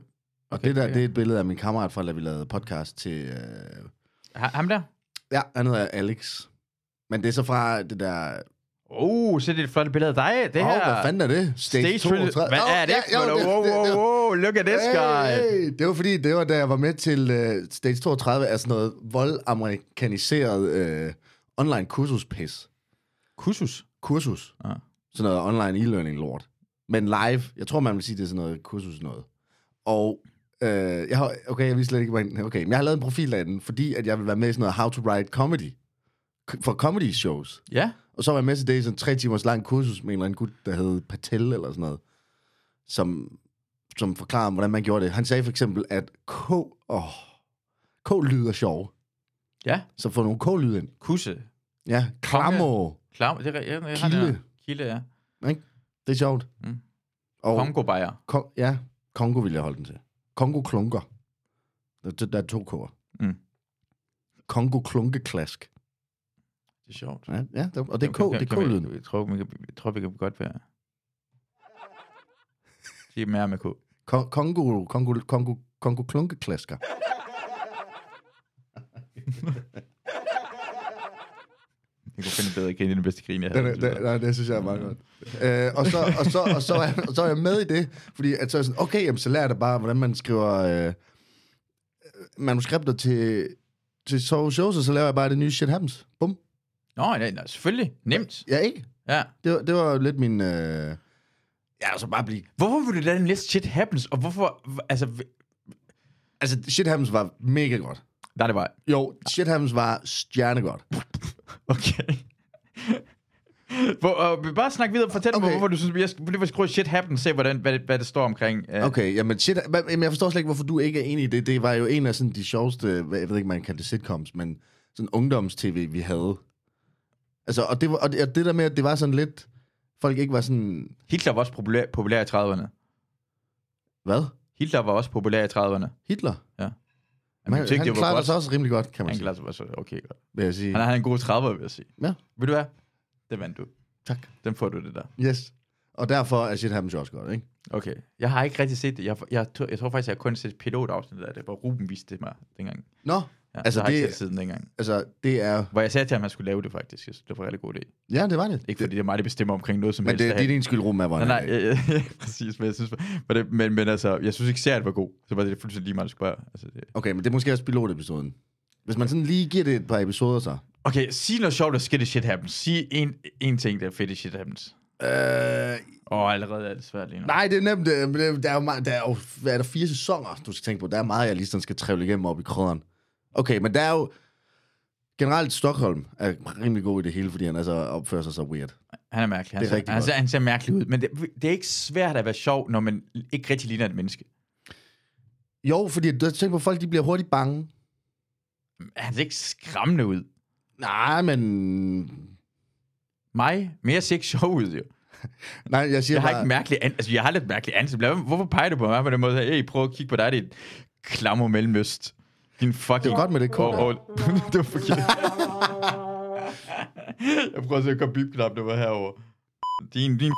okay, det der, okay. det er et billede af min kammerat fra, da vi lavede podcast til, øh, Ha- ham der? ja, han hedder Alex. Men det er så fra det der Oh, se det er et flot billede af dig. Det Åh, her. hvad fanden er det? Stage 32. Hvad er det? for noget? Wow, wow, wow, look at this guy. Hey, det var fordi, det var da jeg var med til uh, Stage 32, altså noget voldamerikaniseret uh, online kursuspis. Kursus. Ah. Kursus. Ja. Sådan noget online e-learning lort. Men live, jeg tror, man vil sige, det er sådan noget kursus noget. Og uh, jeg har, okay, jeg ved slet ikke, hvordan, okay, men jeg har lavet en profil af den, fordi at jeg vil være med i sådan noget How to Write Comedy. K- For comedy shows. Ja. Og så var jeg med til det i sådan en tre timers lang kursus med en eller anden gut, der hed Patel eller sådan noget, som, som forklarede, hvordan man gjorde det. Han sagde for eksempel, at K, oh, K-lyd er sjov. Ja. Så få nogle K-lyd ind. Kusse. Ja, klamo. Klam. Det er, jeg, jeg, jeg har Kilde. det her. Kilde, ja. Det er sjovt. Mm. Og, Kongo bajer. Kon- ja, Kongo vil jeg holde den til. Kongo klunker. Der, der, der er to K'er. Mm. Kongo klunkeklask. Det er sjovt. Ja, ja der, og det er K, Kan- kan- det er kan vi- K-lyden. Jeg tror, vi kan, jeg tror, vi kan godt være... Det er mere med K. Kon- Kongo, Kongo, Kongo, Kongo klunkeklasker. Jeg kunne finde bedre kende den bedste grin, jeg Den, havde. er- den, nej, det synes jeg er meget godt. Øh, og, så, og, så, og, så er, og så er jeg med i det, fordi at så er jeg sådan, okay, jamen, så lærer jeg dig bare, hvordan man skriver øh, manuskripter til, til så shows, og så laver jeg bare det nye Shit Happens. Bum. Nå, nej, nej, selvfølgelig. Nemt. Ja, ikke? Ja. Det, var- det var jo lidt min... Øh, ja, altså bare blive... Hvorfor vil du lade den liste shit happens, og hvorfor... Altså, vi- Altså, Shit Happens var mega godt. nej, det var... Jo, Shit Happens var stjernegodt. Okay. [laughs] Hvor, og vi bare snakke videre. Fortæl okay. mig, Okay. hvorfor du synes, jeg skal, lige vil skrive shit happens, se, hvordan, hvad, det- hvad det står omkring. øh, Okay, jamen shit, hva- jamen, jeg forstår slet ikke, hvorfor du ikke er enig i det. Det var jo en af sådan de sjoveste, hvad- jeg ved ikke, man kalder det sitcoms, men sådan ungdoms-tv, vi havde. Altså, og det, var, og det, og det der med, at det var sådan lidt, folk ikke var sådan, Hitler var også populær, populær i 30'erne. hvad? Hitler var også populær i 30'erne. Hitler? Men, Men, jeg synes han, ikke, han det var klarede godt. sig også rimelig godt, kan man Han sige, klarede sig også okay godt. vil jeg sige. Han havde en god 30'er, vil jeg sige. Ja. Ved du hvad? Det vandt du. Tak. Den får du det der. Yes. Og derfor er shit happens jo også godt, ikke? Okay. Jeg har ikke rigtig set det. Jeg, jeg, jeg, jeg tror faktisk, jeg har kun set pilotafsnittet af det, hvor Ruben viste det mig dengang. Nå, Ja, Altså, altså, har det... det- ikke set det siden dengang. altså, det er, Hvor jeg sagde til ham, at han skulle lave det faktisk. Jeg synes, det var en rigtig god idé. ja, det var det. Ikke det fordi det er mig, der bestemmer omkring noget som men helst. det, det er din skyld, Ruben, er, hvor Nej, han nej, er. ja, [laughs] ja, præcis, men jeg synes, for det, men, men altså, jeg synes ikke, serien var god, så var det fuldstændig lige meget, at spørge. Altså, det... Okay, men det er måske også pilotepisoden. Hvis man sådan lige giver det et par episoder, så. Okay, sig noget sjovt, der skete shit happens. Sig en, en ting, der er fedt i shit happens. Øh, Åh, oh, allerede er det svært lige nu. Nej, det er nemt. øh, men det- Der er jo, meget, der er jo hvad er der fire sæsoner, du skal tænke på. Der er meget, jeg lige sådan skal trævle igennem op i krødderen. Okay, men der er jo... Generelt Stockholm er rimelig god i det hele, fordi han altså opfører sig så weird. Han er mærkelig. Han, Det er ser, rigtig han, godt. ser, han ser mærkelig ud, men det, det er ikke svært at være sjov, når man ikke rigtig ligner et menneske. Jo, fordi du tænker på, at folk de bliver hurtigt bange. Han ser ikke skræmmende ud. Nej, men... Mig? Men jeg ser ikke sjov ud, jo. Nej, jeg siger Jeg har bare... ikke mærkelig an... Altså, jeg har lidt mærkelig ansigt. Lad- Hvorfor peger du på mig på den måde her? Hey, prøv at kigge på dig, dit klammer mellemøst. Din fucking... Det er godt med det kort, Åh, [laughs] åh, det var forkert. jeg prøver at se, at komme bip-knap, det var herovre. Din, [laughs] din...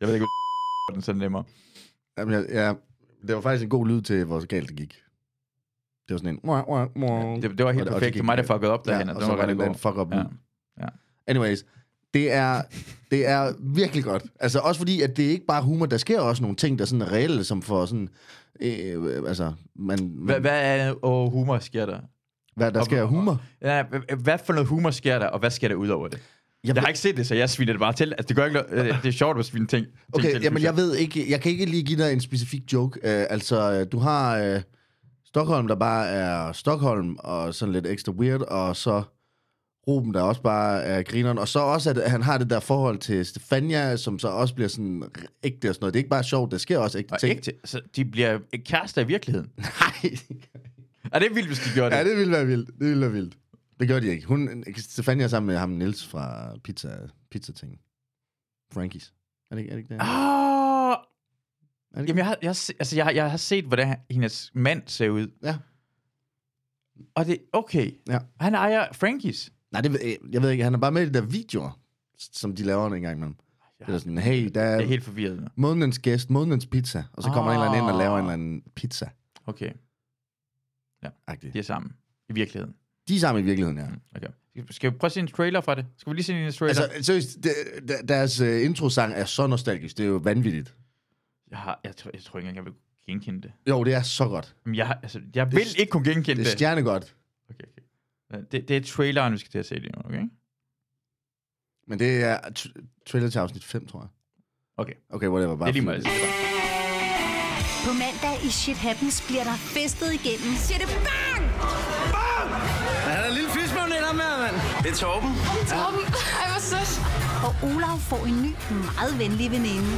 jeg ved ikke, hvor [laughs] den så nemmere. Jamen, jeg, jeg, det var faktisk en god lyd til, hvor galt det gik. Det var sådan en... Mwah, mwah, mwah. Det, det var helt Og- og det perfekt. gik Det var mig, der galt. fuckede op derhen, ja, og og det så var var det rigtig en god. fuck up Ja. ja. Anyways, Det er, det er virkelig godt. Altså også fordi, at det er ikke bare humor. Der sker også nogle ting, der sådan er reelle, som får sådan... Øh, øh, altså, man, man, Hvad, hvad er og humor sker der? hvad der og- sker af humor? Ja, h- h- hvad for noget humor sker der, og hvad sker der ud over det? Jeg Jeg, har ved- ikke set det, så jeg sviner det bare til. Altså, det, gør ikke, noget- øh, det er sjovt at svine ting. ting okay, til, jamen synes jeg ved ikke... Jeg kan ikke lige give dig en specifik joke. Øh, altså, øh, du har øh, Stockholm, der bare er Stockholm, og sådan lidt ekstra weird, og så Ruben, der også bare er grineren. Og så også, at han har det der forhold til Stefania, som så også bliver sådan ægte og sådan noget. Det er ikke bare sjovt, der sker også ægte Og ting. ægte, så de bliver kærester i virkeligheden. [laughs] Nej, Er det er vildt, hvis de gjorde det? Ja, det ville være vildt. Det ville være vildt. Det gør de ikke. Hun, Stefania er sammen med ham Nils fra pizza, pizza ting. Frankies. Er det, ikke- er det ikke det? Ah, det ikke- Jamen, jeg har, jeg, har se, altså, jeg, har, jeg har set, hvordan hendes mand ser ud. Ja. Og det okay. Ja. Han ejer Frankies. Nej, det, ved jeg- jeg ved ikke. Han er bare med i de der videoer, s- som de laver en gang imellem. Det er sådan, hey, der Jeg er er helt forvirret nu. månedens gæst, månedens pizza. Og så kommer ah. en eller anden ind og laver en Ah. eller anden pizza. Okay, -agtig. de er sammen. I virkeligheden. De er sammen i virkeligheden, ja. Mm, Okay. Skal vi prøve at se en trailer fra det? Skal vi lige se en trailer? Altså, Altså, seriøst, de- de- deres øh, introsang er så nostalgisk. Det er jo vanvittigt. jeg, har, jeg, tror, jeg tror ikke engang, jeg vil genkende det. Jo, det er så godt. Men jeg, har- altså, jeg vil ikke kunne genkende Det er det. Det. stjernegodt. Okay, okay. Ja, det, det er traileren, vi skal til at se lige nu, okay? Men det er t- trailer til afsnit 5, tror jeg. Okay, Okay, whatever. Bare det er lige meget. fordi- På mandag i Shit Happens bliver der festet igennem. Siger det bang! Han er en lille fismål ind ham her, mand. Det er Torben. Torben, ej hvor sødt. Og Olav får en ny, meget venlig veninde.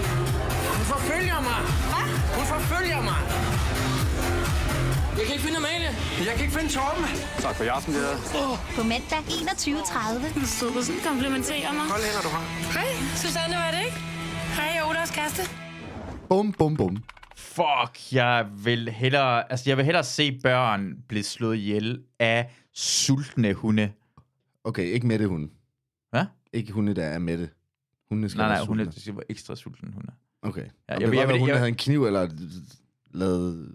Hun forfølger mig. Hvad? Hun forfølger mig. Jeg kan ikke finde Amalie. Jeg kan ikke finde Torben. Tak for i aften, det På mandag 21.30. Sødelsen komplimenterer mig. Hold hænder, du har. Hej, Susanne var det ikke? Hej, jeg er Olavs kæreste. Bum, bum, bum. Fuck, jeg vil hellere, altså jeg vil hellere se børn blive slået ihjel af sultne hunde. Okay, ikke Mette hunde. Hvad? Ikke hunde, der er Mette. Hunde skal Nej, være nej, hunde, sultne. det skal være ekstra sultne hunde. Okay. Ja, jeg jeg, vil- jeg jeg, jeg, vil- hun jeg- havde en kniv, eller lavet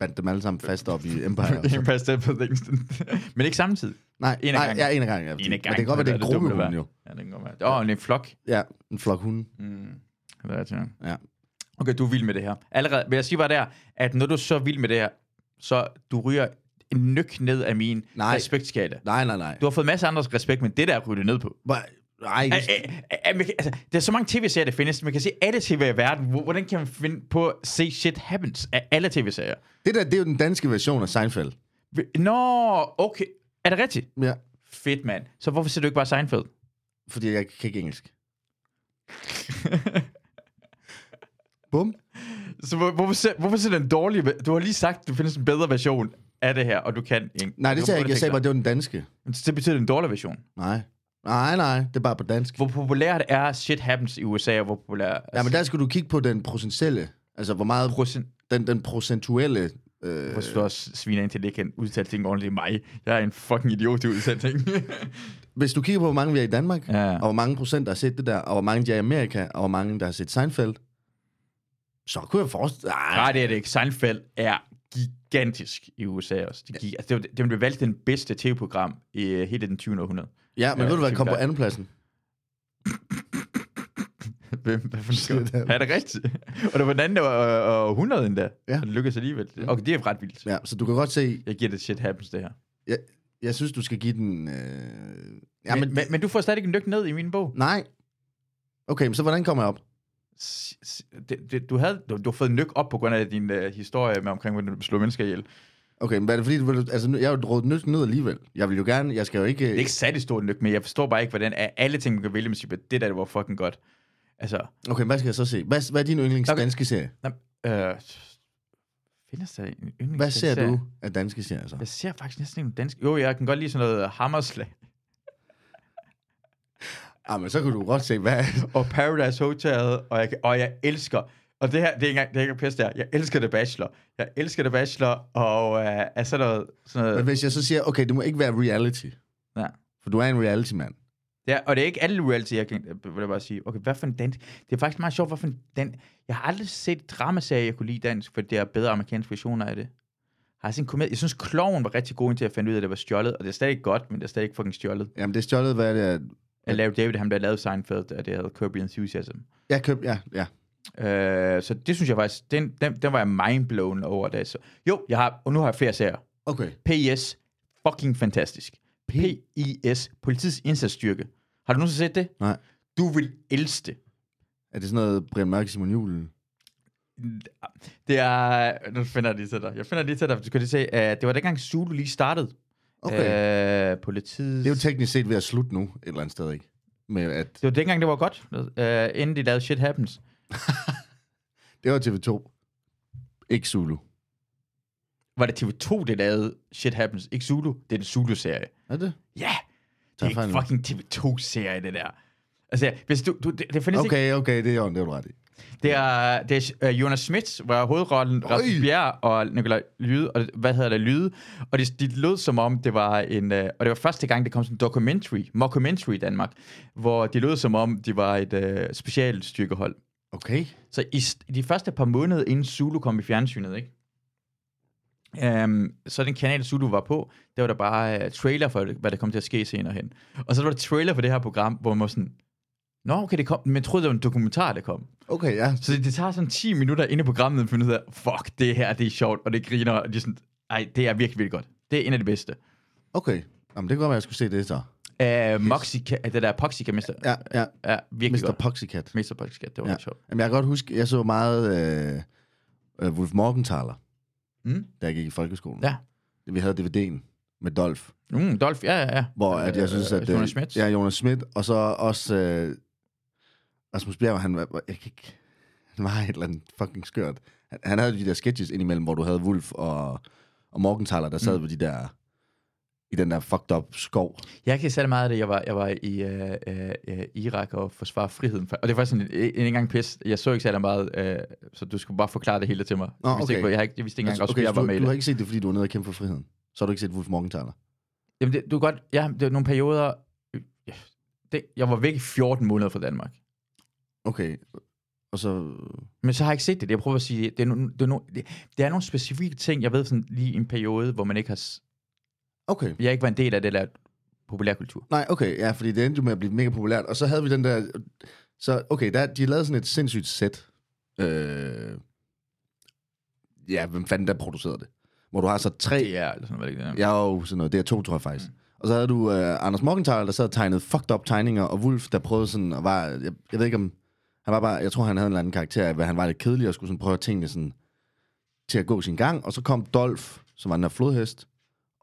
bandt dem alle sammen fast op [laughs] i Empire. og Det er så- bare stedet på [laughs] Livingston. Men ikke samtidig. Nej, En ad en nej, gangen. ja, en af gangen. Ja, En af Men det kan godt være, det er en gruppe hunde, jo. Ja, det kan godt være. Åh, oh, en flok. Ja, en flok hunde. Mm. Det er rigtigt, Ja. Okay, du er vild med det her. Allerede, vil jeg sige bare der, at når du er så vild med det her, så du ryger en nyk ned af min Nej. respektskala. Nej, nej, nej. Du har fået masser af andres respekt, men det der ryger du ned på. Hva- Nej, Al- al- al- al- man kan- Altså, der er så mange tv-serier, der findes. Man kan se alle tv-serier i verden. Hvor- Hvordan kan man finde på at se shit happens af alle tv-serier? det der, det er jo den danske version af Seinfeld. Vi- Nå, okay. Er det rigtigt? Ja, Fedt, mand. Så hvorfor ser du ikke bare Seinfeld? fordi jeg kan ikke engelsk. [laughs] Bum. Så hvor- hvorfor ser, hvorfor ser den dårlige... ver- Du har lige sagt, at du findes en bedre version af det her, og du kan ikke. Nej, det Du sagde jeg får ikke. Jeg sagde bare, til det var den danske. at- Så betyder det en dårlig version. Nej. Nej, nej, det er bare på dansk. Hvor populært er shit happens i USA, og hvor populær... Ja, men der skal du kigge på den procentuelle, altså hvor meget Procent, den, den procentuelle... Øh, Hvorfor skal du også sviner ind til, at det ikke kan udtale ting ordentligt i mig? Jeg er en fucking idiot til at udtale ting. hvis du kigger på, hvor mange vi er i Danmark, Ja. [laughs] ja. og hvor mange procent, der har set det der, og hvor mange de er i Amerika, og hvor mange, der har set Seinfeld, så kunne jeg forestille... Ej, Nej, det er det ikke. Seinfeld er gigantisk i USA også. De, gik, altså, det, var- det blev valgt den bedste tv-program i øh, hele den 20. århundrede. ja, men Ja, ja, ved du hvad, det kom på er- andenpladsen. [laughs] Hvem, hvad for Shit, noget? Er det rigtigt? [laughs] Og det var den anden øh, århundrede endda. Ja. Og det lykkedes alligevel. Okay, det er ret vildt. Ja, så du kan godt se, Jeg giver det shit happens, det her. jeg, jeg synes, du skal give den... Øh, ja, men, men, men, men, du får stadig en lykke ned i min bog. Nej. Okay, men så hvordan kommer jeg op? S- s- Det, det, du, havde, du, du har fået en lykke op på grund af din uh, historie med omkring, hvordan du slog mennesker ihjel. Det Okay, men er det fordi, du, vil- altså, nu- jeg er jo rådet nødt ned alligevel. Jeg vil jo gerne, jeg skal jo ikke... er ikke særlig stor lykke, men jeg forstår bare ikke, hvordan af alle ting, man kan vælge, man siger, det der, det var fucking godt. Altså, Okay, hvad skal jeg så se? Hvad, hvad er din yndlings Okay. okay. danske serie? Nå, øh, findes der en yndlings Hvad ser du af danske serier så? Jeg ser faktisk næsten ikke nogen dansk. Jo, jeg kan godt lide sådan noget Hammerslag Ah, men så kunne du godt se, hvad... [laughs] og Paradise Hotel, og jeg, kan- og jeg elsker... Og det her, det er ikke engang, det er ikke engang pisse der. Jeg elsker The Bachelor. Jeg elsker The Bachelor, og øh, er sådan noget... Sådan Men noget hvis jeg så siger, okay, det må ikke være reality, ja. for du er en reality-mand. Det er, og det er ikke alle reality, jeg kan, øh, vil jeg bare sige. Okay, hvad for en dansk... Det er faktisk meget sjovt, hvad for en dansk... Jeg har aldrig set dramaserie, jeg kunne lide dansk, for det er bedre amerikanske versioner af det. Har jeg set en komedie? Jeg synes, Kloven var rigtig god til at finde ud af, at det var stjålet, og det er stadig godt, men det er stadig ikke fucking stjålet. Jamen, det er stjålet, hvad er det er. Ja. Larry David, ham der lavede Seinfeld, og det hedder Kirby Enthusiasm. Jeg køb, ja, ja. Øh, så det synes jeg faktisk, den, den, den var jeg mindblown over. Da jeg så. Jo, jeg har, og nu har jeg flere serier. Okay. PIS, fucking fantastisk. PIS, politiets indsatsstyrke. Har du nogensinde set det? Nej. Du vil elske det. Er det sådan noget Brian Mørk Simon Juhl? Det er... Nu finder jeg det lige til dig. Jeg finder det lige til dig, for du kan lige se, at det var dengang Zulu lige startede. Okay. Øh, Øh, politiet... det er jo teknisk set ved at slutte nu, et eller andet sted, ikke? Med at, det var dengang, det var godt, øh, inden de lavede Shit Happens. det var TV2. Ikke Zulu. Var det TV2, det lavede Shit Happens? Ikke Zulu? Det er en Zulu-serie. Er det? Ja! Det er Tag ikke fejl nu. fucking TV2-serie, det der. Altså, hvis du, du, det, det findes okay. Okay, okay, det er jo det er du ret i. ikke. Det er, det er uh, Jonas Schmidt, var hovedrollen, Øj. Rasmus Bjerg og Nikolaj Lyde, og det- hvad hedder det, Lyde. Og det, det lød som om, det var en, uh, og det var første gang, det kom sådan en documentary, mockumentary i Danmark, hvor det lød som om, det var et uh, specielt styrkehold. Okay. Så i s- i de første par måneder, inden Zulu kom i fjernsynet, ikke? Um, så den kanal, Zulu var på, der var der bare uh, trailer for, hvad der kom til at ske senere hen. Og så var der trailer for det her program, hvor man var sådan, Nå, okay, det kom, men jeg troede, det var en dokumentar, der kom. Okay, ja. Så det, det tager sådan 10 minutter inde i programmet, at finde ud af, fuck, det her, det er sjovt, og det griner, og det er sådan, ej, det er virkelig, virkelig godt. Det er en af de bedste. Okay. Jamen, det kan godt være, jeg skulle se det så. Uh, Moxica, det der Poxica, Mr. Ja, Ja, ja. ja virkelig Mr. Mr. godt. Poxycat. Mr. Poxica, det var Ja. ja. sjovt. Jamen, jeg kan godt huske, jeg så meget øh, øh, Wolf Morgenthaler, Mm. da jeg gik i folkeskolen. Ja. Vi havde DVD'en med Dolf, Mm, Dolph, ja, ja, ja. hvor at jeg synes, Øh, at... Jonas Schmidt. Ja, Jonas Schmidt, og så også... Øh, Rasmus Bjerg, han var... Jeg kan ikke, han var et eller andet fucking skørt. Han, han havde de der sketches indimellem, hvor du havde Wolf og, og Morgenthaler, der sad mm. ved de der... I den der fucked up skov. Jeg kan særlig meget af det. Jeg var, jeg var i øh, øh, øh, Irak og forsvare friheden. Og det var sådan en, en, en gang pis. Jeg så ikke særlig meget, øh, så du skulle bare forklare det hele til mig. Nå, jeg, vidste ikke, okay. hvor- jeg, har ikke, jeg vidste ikke engang, Altså, også, okay, jeg så var du, med i du har det. ikke set det, fordi du er nede og kæmpe for friheden. Så har du ikke set Wolf Morgenthaler. Jamen, det, du kan godt, ja, det var nogle perioder... øh, Ja, Det, jeg var væk i 14 måneder fra Danmark. Okay. Og så... Men så har jeg ikke set det. Det jeg prøver at sige, det er, no, det er, no, det, det er nogle specifikke ting, jeg ved sådan lige en periode, hvor man ikke har... s- Okay. Jeg ikke var en del af det der populærkultur. Nej, okay, ja, fordi det endte jo med at blive mega populært. Og så havde vi den der... Så, okay, der, de lavede sådan et sindssygt sæt. Øh, ja, hvem fanden der producerede det? Hvor du har så tre... Det er eller sådan noget. hvad det er. Jeg er jo sådan noget, det er to, tror jeg faktisk. Mm. Og så havde du øh, Anders Morgenthaler, der sad og tegnede fucked up tegninger, og Wolf, der prøvede sådan at var... Jeg, jeg ved ikke om... Han var bare... Jeg tror, han havde en eller anden karakter, hvor han var lidt kedelig og skulle sådan prøve at tingene sådan til at gå sin gang. Og så kom Dolf, som var den der flodhest,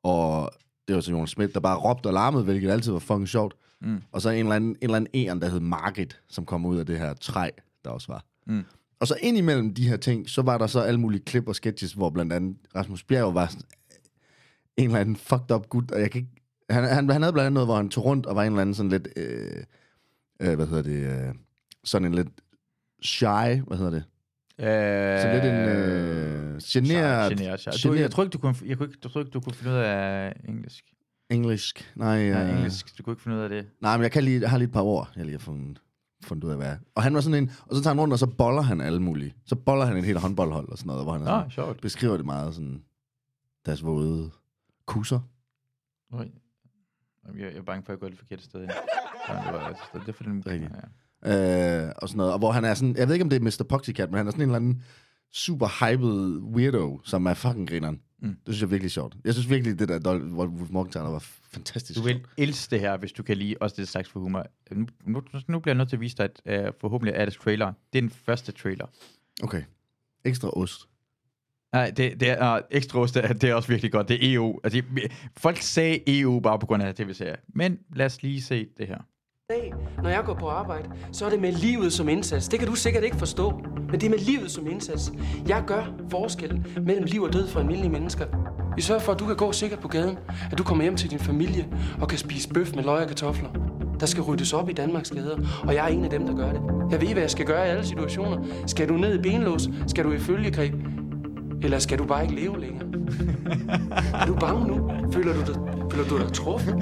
og det var så Jonas Schmidt, der bare råbte og larmede, hvilket altid var fucking sjovt. Mm. Og så en eller anden, en eller anden æren, der hed Margit, som kom ud af det her træ, der også var. Mm. Og så ind imellem de her ting, så var der så alle mulige klip og sketches, hvor blandt andet Rasmus Bjerg var sådan- en eller anden fucked up gut, og jeg kan ikke... Han, han, han havde blandt andet noget, hvor han tog rundt og var en eller anden sådan lidt... Øh, øh, hvad hedder det? Øh, sådan en lidt shy, hvad hedder det? Øh, Så lidt en øh, Generet, generet, generet. Du, jeg, generet tror ikke, du kunne, jeg, kunne ikke, jeg tror ikke, du kunne finde ud af engelsk. engelsk. Nej, Ja. øh, engelsk. Du kunne ikke finde ud af det. nej, men jeg kan lige, har lige et par ord, jeg lige har fundet, fundet ud af, hvad er. Og han var sådan en, og så tager han rundt, og så boller han alle mulige. Så boller han et helt håndboldhold og sådan noget, hvor han er Nå, sådan, sjovt. beskriver det meget sådan, deres våde kusser. Oj. Jamen, Jeg, jeg er bange for, at jeg går det forkerte sted. [laughs] hen. Ja, det, var, altså, det er for den... Rigtigt. Ja. øh, og sådan noget. Og hvor han er sådan, jeg ved ikke om det er Mr. Poxycat, men han er sådan en eller anden super hyped weirdo, som er fucking grineren. Mm. Mm. Det synes jeg er virkelig sjovt. Jeg synes virkelig, det der Dol- hvor Wolf Morgenthaler var fantastisk Du vil elske det her, hvis du kan lide også det slags for humor. Nu, nu, nu bliver jeg nødt til at vise dig, at uh, forhåbentlig er det trailer. Det er den første trailer. sjovt. Okay. Ekstra ost. Nej, det, det er uh, ekstra ost, det er- det er også virkelig godt. Det er EU. Altså, det- folk sagde EU bare på grund af tv-serier. Men lad os lige se det her. dag, når jeg går på arbejde, så er det med livet som indsats. Det kan du sikkert ikke forstå, men det er med livet som indsats. Jeg gør forskellen mellem liv og død for almindelige mennesker. Vi sørger for, at du kan gå sikkert på gaden, at du kommer hjem til din familie og kan spise bøf med løg og kartofler. Der skal ryddes op i Danmarks gader, og jeg er en af dem, der gør det. Jeg ved, hvad jeg skal gøre i alle situationer. Skal du ned i benlås? Skal du i følgegreb? Eller skal du bare ikke leve længere? Er du bange nu? Føler du dig, føler du dig truffet?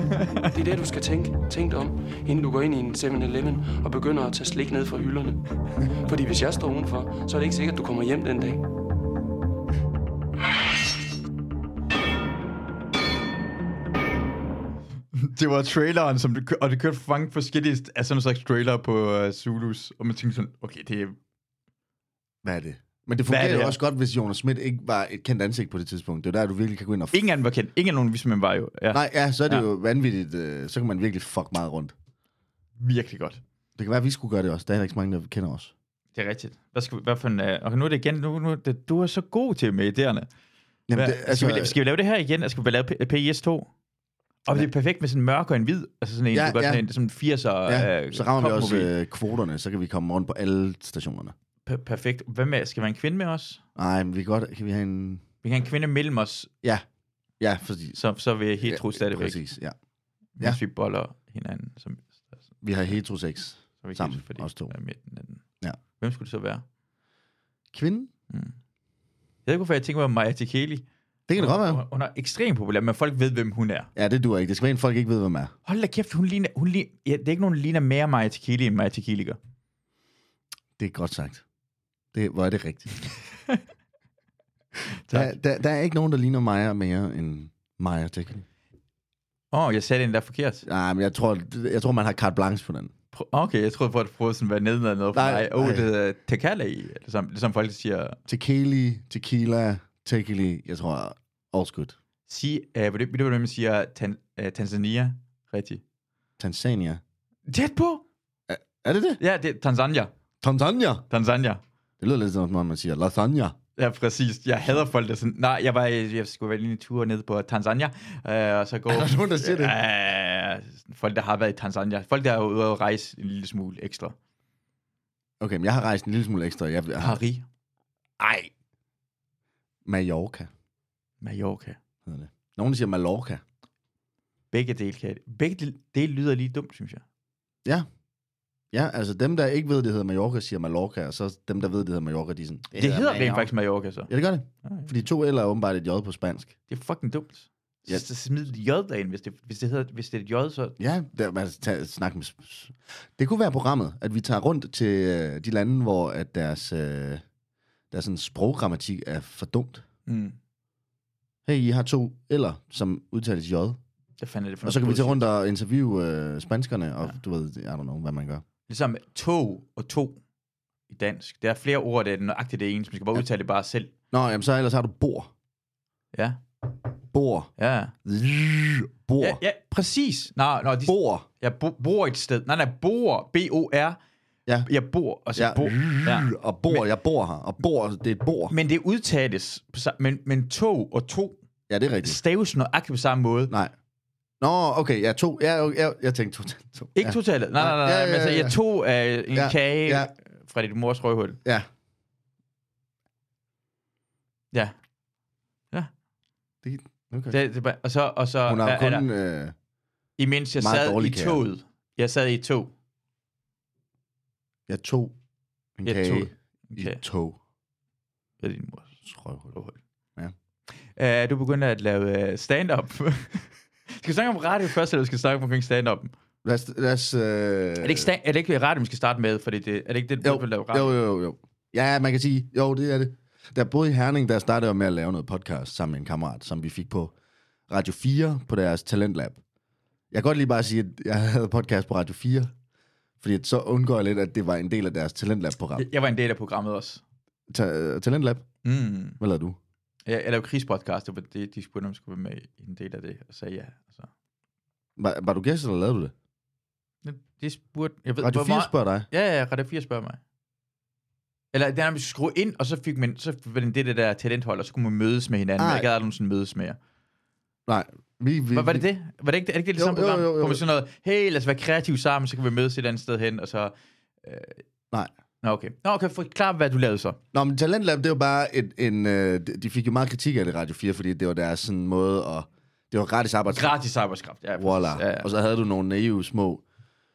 Det er det, du skal tænke, tænke dig om, inden du går ind i en 7-Eleven og begynder at tage slik ned fra hylderne. Fordi hvis jeg står udenfor, så er det ikke sikkert, at du kommer hjem den dag. det var traileren, som det, kø- og det kørte for mange forskellige st- af sådan en slags trailer på uh, Zulus, og man tænkte sådan, okay, det er... Hvad er det? Men det Hvad er fungerer det jo her? også godt, hvis Jonas Schmidt ikke var et kendt ansigt på det tidspunkt. Det er jo der, du virkelig kan gå ind og... Ingen af dem var kendt. Ingen af nogen vidste, hvem han var jo. Ja, Nej. Nej, ja, så er det Ja. jo vanvittigt. øh, Så kan man virkelig fuck meget rundt. virkelig godt. Det kan være, at vi skulle gøre det også. Der er heller ikke så mange, der kender os. Det er rigtigt. Hvad skal vi, hvad for en, uh, okay, nu er det igen, nu, nu, det, du er så god til med idéerne. Jamen, Hvad, det, altså, skal, vi, skal vi lave det her igen? Altså, Skal vi lave P- PS2? Og det er perfekt med sådan en mørk og en hvid. Altså sådan en, Ja, ja, du gør ja. sådan en sådan en 80'er ja, øh, så rammer vi også popmobil. øh, kvoterne, så kan vi komme rundt på alle stationerne. Per- perfekt. Hvad med, skal vi have en kvinde med os? Nej, men vi kan godt... Kan vi have en... Vi kan have en kvinde mellem os, Ja, ja, fordi... så, så vil jeg helt tro stadigvæk, hvis Præcis, ja. ja. vi boller hinanden. Som, så Vi har heterosex. er vi Sammen, gift, fordi os to. vi er midt i hinanden. Ja. Hvem skulle det så være? Kvinde? Jeg ved ikke, hvorfor jeg tænker mig Maja Tikeli. Det kan det godt være. Hun, hun er ekstremt populær, men folk ved, hvem hun er. Ja, det duer ikke. Det skal være en, folk ikke ved, hvem er. Hold da kæft, hun ligner... Hun ligner ja, det er ikke nogen, der ligner mere Maja Tikeli, end Maja Tikeli gør. Det er godt sagt. Det, hvor er [laughs] det rigtigt. der, Tak. der, der, er ikke nogen, der ligner Maja mere end Maja Tekken. Åh, oh, jeg sagde den der forkert. Nej, men jeg tror, det- jeg tror, man har carte blanche på den. Prøv- Okay, jeg troede på, at prøve sådan at være nede og noget for Nej, mig. Åh, oh, nej. det er Tekala i, ligesom, ligesom folk siger. Tequila, tequila, tequila, jeg tror, all's good. Sige, uh, ved du, ved du, hvad man siger tan, uh, Tanzania? Rigtigt. Tanzania. Tæt på! Er det det? Ja, det er Tanzania. Tanzania. Tanzania. Det lyder lidt som om, man siger lasagna. Ja, præcis. Jeg hader folk, der sådan... Nej, jeg, var, jeg skulle være lige en tur ned på Tanzania, øh, og så gå... Er der nogen, der siger det? Øh, folk, der har været i Tanzania. Folk, der er ude og rejse en lille smule ekstra. Okay, men jeg har rejst en lille smule ekstra. Jeg, jeg har... Paris, Ej. Mallorca Mallorca. hedder det. Nogen siger Mallorca. Begge dele, kan Begge dele, dele lyder lige dumt, synes jeg. Ja, altså dem, der ikke ved, det hedder Mallorca, siger Mallorca, og så dem, der ved, det hedder Mallorca, de er sådan... Det, det hedder rent faktisk Ah, Mallorca, så. Ja, det gør det. Okay. Fordi to L'er er åbenbart et J på spansk. Det er fucking dumt. Ja. Ja. Så smid et J derind, hvis det, hvis det, hedder, hvis det er et J, så... Ja, der, man tager, snak med... Det kunne være programmet, at vi tager rundt til øh, de lande, hvor at deres, øh, deres sådan, sproggrammatik er for dumt. Mm. Hey, I har to eller som udtales J. Hvad fanden er det for Og så kan vi noget tage bullshit? rundt og interviewe øh, spanskerne, og ja. du ved, I don't know, hvad man gør. Ligesom tog og to i dansk. Der er flere ord, der er nøjagtigt det ene, så man skal bare udtale det bare selv. Nå, jamen så ellers har du bor. Ja, Bor. ja. Zzz, Bor. Ja, ja præcis. Nå, nå, de, Bor. jeg bo, bor et sted. Nej, nej, bor. B-O-R. Ja. Jeg bor, og så Ja. ja. bo. Ja. Og bor, jeg bor her. Og bor, det er et bor. Men det udtales, på, sa- men, men tog og to Ja, det er rigtigt. staves nøjagtigt på samme måde. Nej. Nå, okay, ja, to. Ja, okay, ja, jeg tænkte to. to. Ikke ja. totalet. Nej, nej, nej. nej. Ja, ja, ja. Ja, ja, Men altså, ja, ja. jeg tog øh, en Ja, ja, kage ja. ja. fra dit mors røvhul. Ja, Ja. det, okay. Det, det, er bare- og så, og så Hun har er, jo er kun... der, Øh, imens jeg meget sad i dårlig kage. toget. Jeg sad i et tog. jeg tog en Jeg kage tog en i kage. et tog. Ved din mors Røvhul. røvhul. Ja. Uh, du begynder at lave øh, stand-up. [laughs] skal vi snakke om radio først, eller skal vi snakke omkring stand-up? Øh. Lad os... Lad os øh, Er det ikke, sta- er det ikke radio, man skal starte med? Fordi det, er det ikke det, jo, du vil lave radio? jo, jo, jo, jo. Ja, man kan sige, jo, det er det. Der boede i Herning, der startede jeg med at lave noget podcast sammen med en kammerat, som vi fik på Radio 4 på deres Talentlab. Jeg kan godt lige bare sige, at jeg havde podcast på Radio 4, fordi at så undgår jeg lidt, at det var en del af deres Talentlab-program. Jeg, jeg var en del af programmet også. Ta- øh, Talentlab, Mm. hvad lavede du? Jeg, jeg lavede krigspodcast, det var det, de spurgte, om jeg skulle være med i en del af det, og sagde altså, ja. Så. Var, var du gæst, eller lavede du det? De spurgte... Jeg ved, Radio hvor 4 meget- spørger dig. Ja, ja, Radio 4 spørger mig. Eller det er, når man skulle ind, og så fik man, så var det det der talenthold, og så kunne man mødes med hinanden. Ej. Ej. Jeg gad aldrig nogensinde mødes med jer. Nej, vi... vi Var, var det det? Var det ikke, er det ikke det, det Mm-hmm. samme Jo, jo, program? jo, jo. Hvor man sådan noget, hey, lad os være kreative sammen, så kan vi mødes et eller andet sted hen, og så... Øh, Nej. Nå, okay. Nå, okay, forklar, hvad du lavede så. Nå, men Talentlab, det var bare en... en øh, de- de fik jo meget kritik af det Radio 4, fordi det var deres sådan måde at... Det var gratis arbejdskraft. Gratis arbejdskraft. Ja, præcis. Voilà. Ja, ja. Og så havde du nogle naive små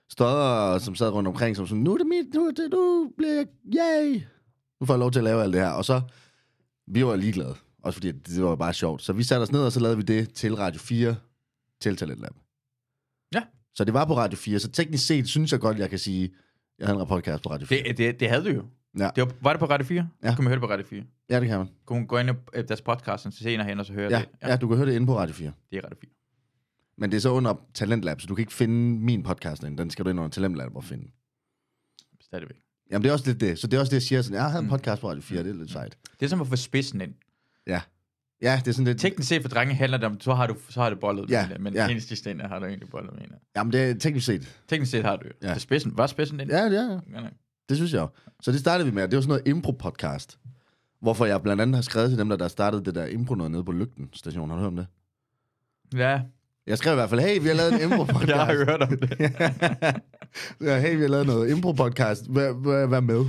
støder, som sad rundt omkring, som sådan, nu er det mit, nu er det, nu bliver jeg, yay! Nu får jeg lov til at lave alt det her. Og så, vi var ligeglade, også fordi at det var bare sjovt. Så vi satte os ned, og så lavede vi det til Radio 4, til Talentlab. Ja. Så det var på Radio 4, så teknisk set synes jeg godt, jeg kan sige, jeg havde en podcast på Radio 4. Det, det, det havde du jo. Ja. Det var, var det på Radio 4? Ja. Kunne man høre det på Radio 4? Ja, det kan man. Kunne man gå ind i øh, deres podcast, og så senere hen, og så høre Ja, det? ja, du kan høre det inde på Radio 4. Det er Radio 4. Men det er så under Talentlab, så du kan ikke finde min podcast derinde. Den skal du ind under Talentlab og finde. Stadigvæk. Jamen, det er også lidt det. Så det er også det, jeg siger. Sådan, jeg havde Mm. en podcast på Radio 4, det er lidt sejt. Det er som at få spidsen ind. Ja. Ja, det er sådan lidt... Teknisk set for drenge handler det om, så har du, så har du bollet Ja, med en, men ja. ja. eneste ender har du egentlig bollet med en. af. Jamen, det er teknisk set. Teknisk set har du jo. Ja. Ja. Så spidsen, var spidsen ind? Ja, ja, ja. Ja, nej. Det synes jeg jo. Så det startede vi med, og det var sådan noget impro-podcast. Hvorfor jeg blandt andet har skrevet til dem, der, der startede det der impro noget nede på Lygten station. Har du hørt om det? ja Jeg skrev i hvert fald, hey, vi har [laughs] lavet en impro-podcast. jeg har hørt om [laughs] det. ja, hey, vi har lavet noget impro-podcast. Vær, vær, vær med.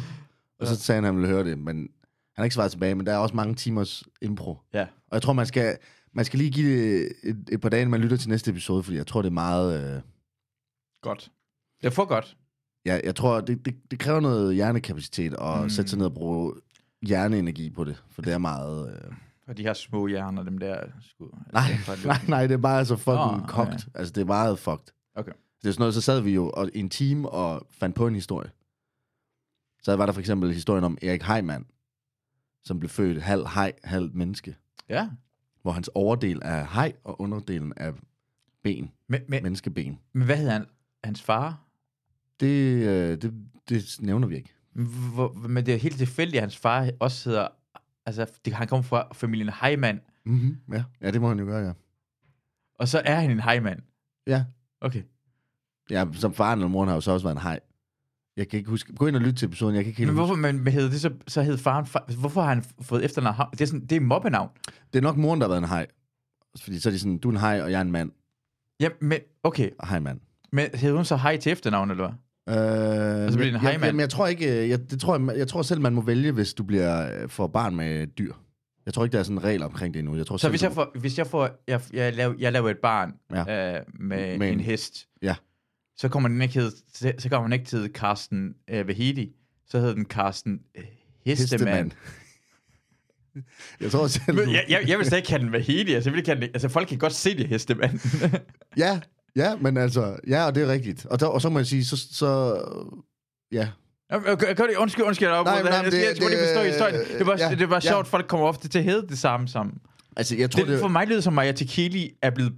Og så sagde han, at han ville høre det, men han har ikke svaret tilbage, men der er også mange timers impro. ja. Og jeg tror, man skal, man skal lige give det et, et par dage, når man lytter til næste episode, fordi jeg tror, det er meget... Øh, Godt. Det er for godt. ja, jeg tror, det, det, det kræver noget hjernekapacitet at mm. sætte sig ned og bruge hjerneenergi på det, for det er meget... Øh, For de her små hjerner, dem der skud. Altså, Nej, [laughs] nej, nej, det er bare så fucking oh, Nå, kogt. Altså, det er meget fucked. Okay. Det er sådan noget, så sad vi jo og, i en time og fandt på en historie. Så var der for eksempel historien om Erik Heimann, som blev født halv hej, halv menneske. Ja. Hvor hans overdel er hej, og underdelen er ben, Men, men, menneskeben. men hvad hedder han? hans far? Det, øh, det, det nævner vi ikke. Hvor, men det er helt tilfældigt, at hans far også hedder... Altså, det, han kommer fra familien Heimann, Mm-hmm. Ja. ja, det må han jo gøre, ja. og så er han en Heimann. Ja, Okay. ja som faren eller moren har jo så også været en hej. Jeg kan ikke huske. Gå ind og lyt til episoden, jeg kan ikke helt Men huske. hvorfor men, men hedder det så, så hed faren... fa- Hvorfor har han fået efternavn? Hej- Det er, sådan, det er mobbenavn. Det er nok moren, der har været en hej. Fordi så er de sådan, du er en hej, og jeg er en mand. Ja, men okay. Og Hej, mand. Men hed hun så hej til efternavn, eller hvad? Øh, altså, bliver det en hej, jeg, mand? jamen, jeg tror ikke, øh, jeg, det tror, jeg, jeg tror selv, man må vælge, hvis du bliver øh, får barn med et dyr. Jeg tror ikke, der er sådan en regel omkring det endnu. Jeg tror Så selv, hvis du- jeg får, hvis jeg, får jeg, jeg, laver, jeg laver et barn Ja. ja. øh, med Med Men, en- en hest, Ja. så kommer den ikke hed, så, så kommer den ikke til Carsten øh, Vahidi, så hedder den Carsten øh, Hestemand. [laughs] jeg tror selv, Men du- Jeg, jeg, jeg vil slet ikke kalde den Vahidi, altså, jeg vil ikke kalde den, altså folk kan godt se det [laughs] Hestemand. Ja, ja, men altså, ja, og det er rigtigt. Og, der, og så må jeg sige, så, så ja. Nå, men, okay, okay, undskyld, undskyld, jeg, nej, Nej, nej, men jeg, det- jeg, jeg, skulle lige forstå det- historien. Det var, ja, ja, det var ja. sjovt, folk kommer ofte til at hedde det samme sammen. Altså, jeg tror, Det, det, det, for mig lyder som Maja Tequili er blevet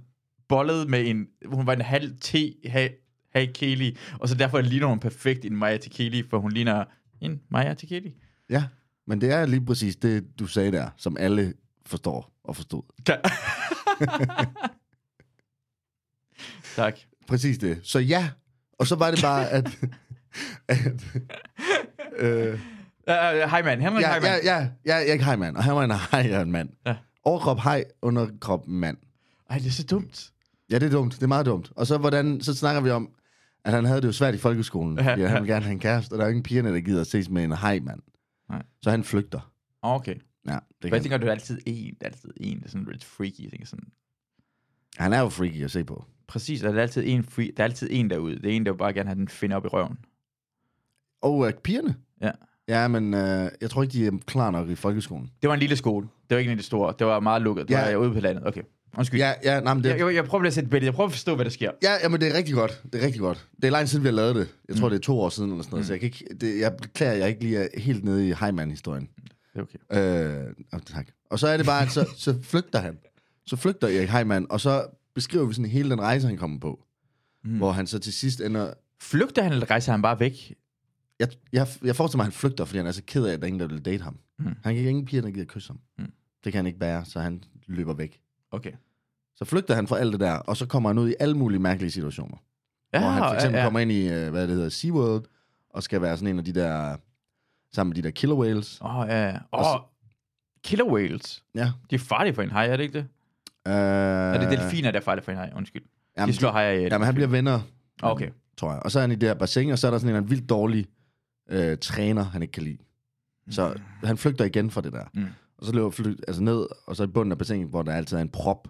bollet med en... Hun var en halv T halv Kelly, og så derfor ligner hun perfekt en Maja Tequili, for hun ligner en Maja Tequili. ja, men det er lige præcis det, du sagde der, som alle forstår og forstod. Tak. [laughs] tak. Præcis det. Så ja, og så var det bare, at... [laughs] at øh, Øh, Hej, mand. Henrik, ja, hej, ja, mand. ja, ja, jeg er ikke hejmand, og han var en hejmand. Ja. Ja. Overkrop hej, underkrop mand. Ej, det er så dumt. Ja, det er dumt. Det er meget dumt. Og så, hvordan, så snakker vi om, at han havde det jo svært i folkeskolen, Ja, fordi han ja. vil gerne have en kæreste, og der er jo ingen pigerne, der gider at ses med en hejmand. Nej. Så han flygter. Åh, Ah, Okay. Ja, det Men jeg kan. tænker, du er altid en. Det er altid en. Det er sådan lidt freaky. Jeg tænker sådan. Han er jo freaky at se på. Præcis, og der er altid en free, der er altid en derude. Det er en, der bare gerne have den finde op i røven. Og øh, pigerne? Ja. Ja, men øh, jeg tror ikke, de er klar nok i folkeskolen. Det var en lille skole. Det var ikke en af de store. Det var meget lukket. Det Ja. ja. var ude på landet. Okay. Undskyld. Ja, ja, nej, men det, Jeg, jeg, jeg prøver lige at sætte et billede. Jeg prøver at forstå, hvad der sker. ja, ja, men det er rigtig godt. Det er rigtig godt. Det er lang tid siden, vi har lavet det. Jeg tror, det er to år siden eller sådan noget, så jeg, kan ikke, det, jeg beklager, jeg ikke lige er helt nede i hejmand-historien. Det er okay. Øh, oh, tak. Og så er det bare, at så, så flygter han. Så flygter Erik Heimann, og så beskriver vi sådan hele den rejse, han kommer på. Mm. Hvor han så til sidst ender... Flygter han, eller rejser han bare væk? Jeg, jeg, jeg forestiller mig, at han flygter, fordi han er så ked af, at der er ingen, der vil date ham. Mm. Han kan ingen piger, der gider kysse ham. Mm. Det kan han ikke bære, så han løber væk. Okay. Så flygter han fra alt det der, og så kommer han ud i alle mulige mærkelige situationer. Ja, hvor han for eksempel ja, ja. kommer ind i, øh, hvad det hedder, SeaWorld, og skal være sådan en af de der... Sammen med de der killer whales. Åh, oh, ja, ja. Og så- Oh, killer whales. Ja. De er farlige for en haj, er det ikke det? Øh, Øh, er det delfiner, der er farlige for en haj? Undskyld. Jamen, de slår hajer ihjel. Ah, Jamen, han bliver venner Okay. [laughs] tror jeg. Og så er han i det her bassin, og så er der sådan en eller anden vildt dårlig øh, træner, han ikke kan lide. Så Mm. han flygter igen fra det der. Mm. Og så løber fly, altså ned, og så i bunden af bassinet, hvor der altid er en prop.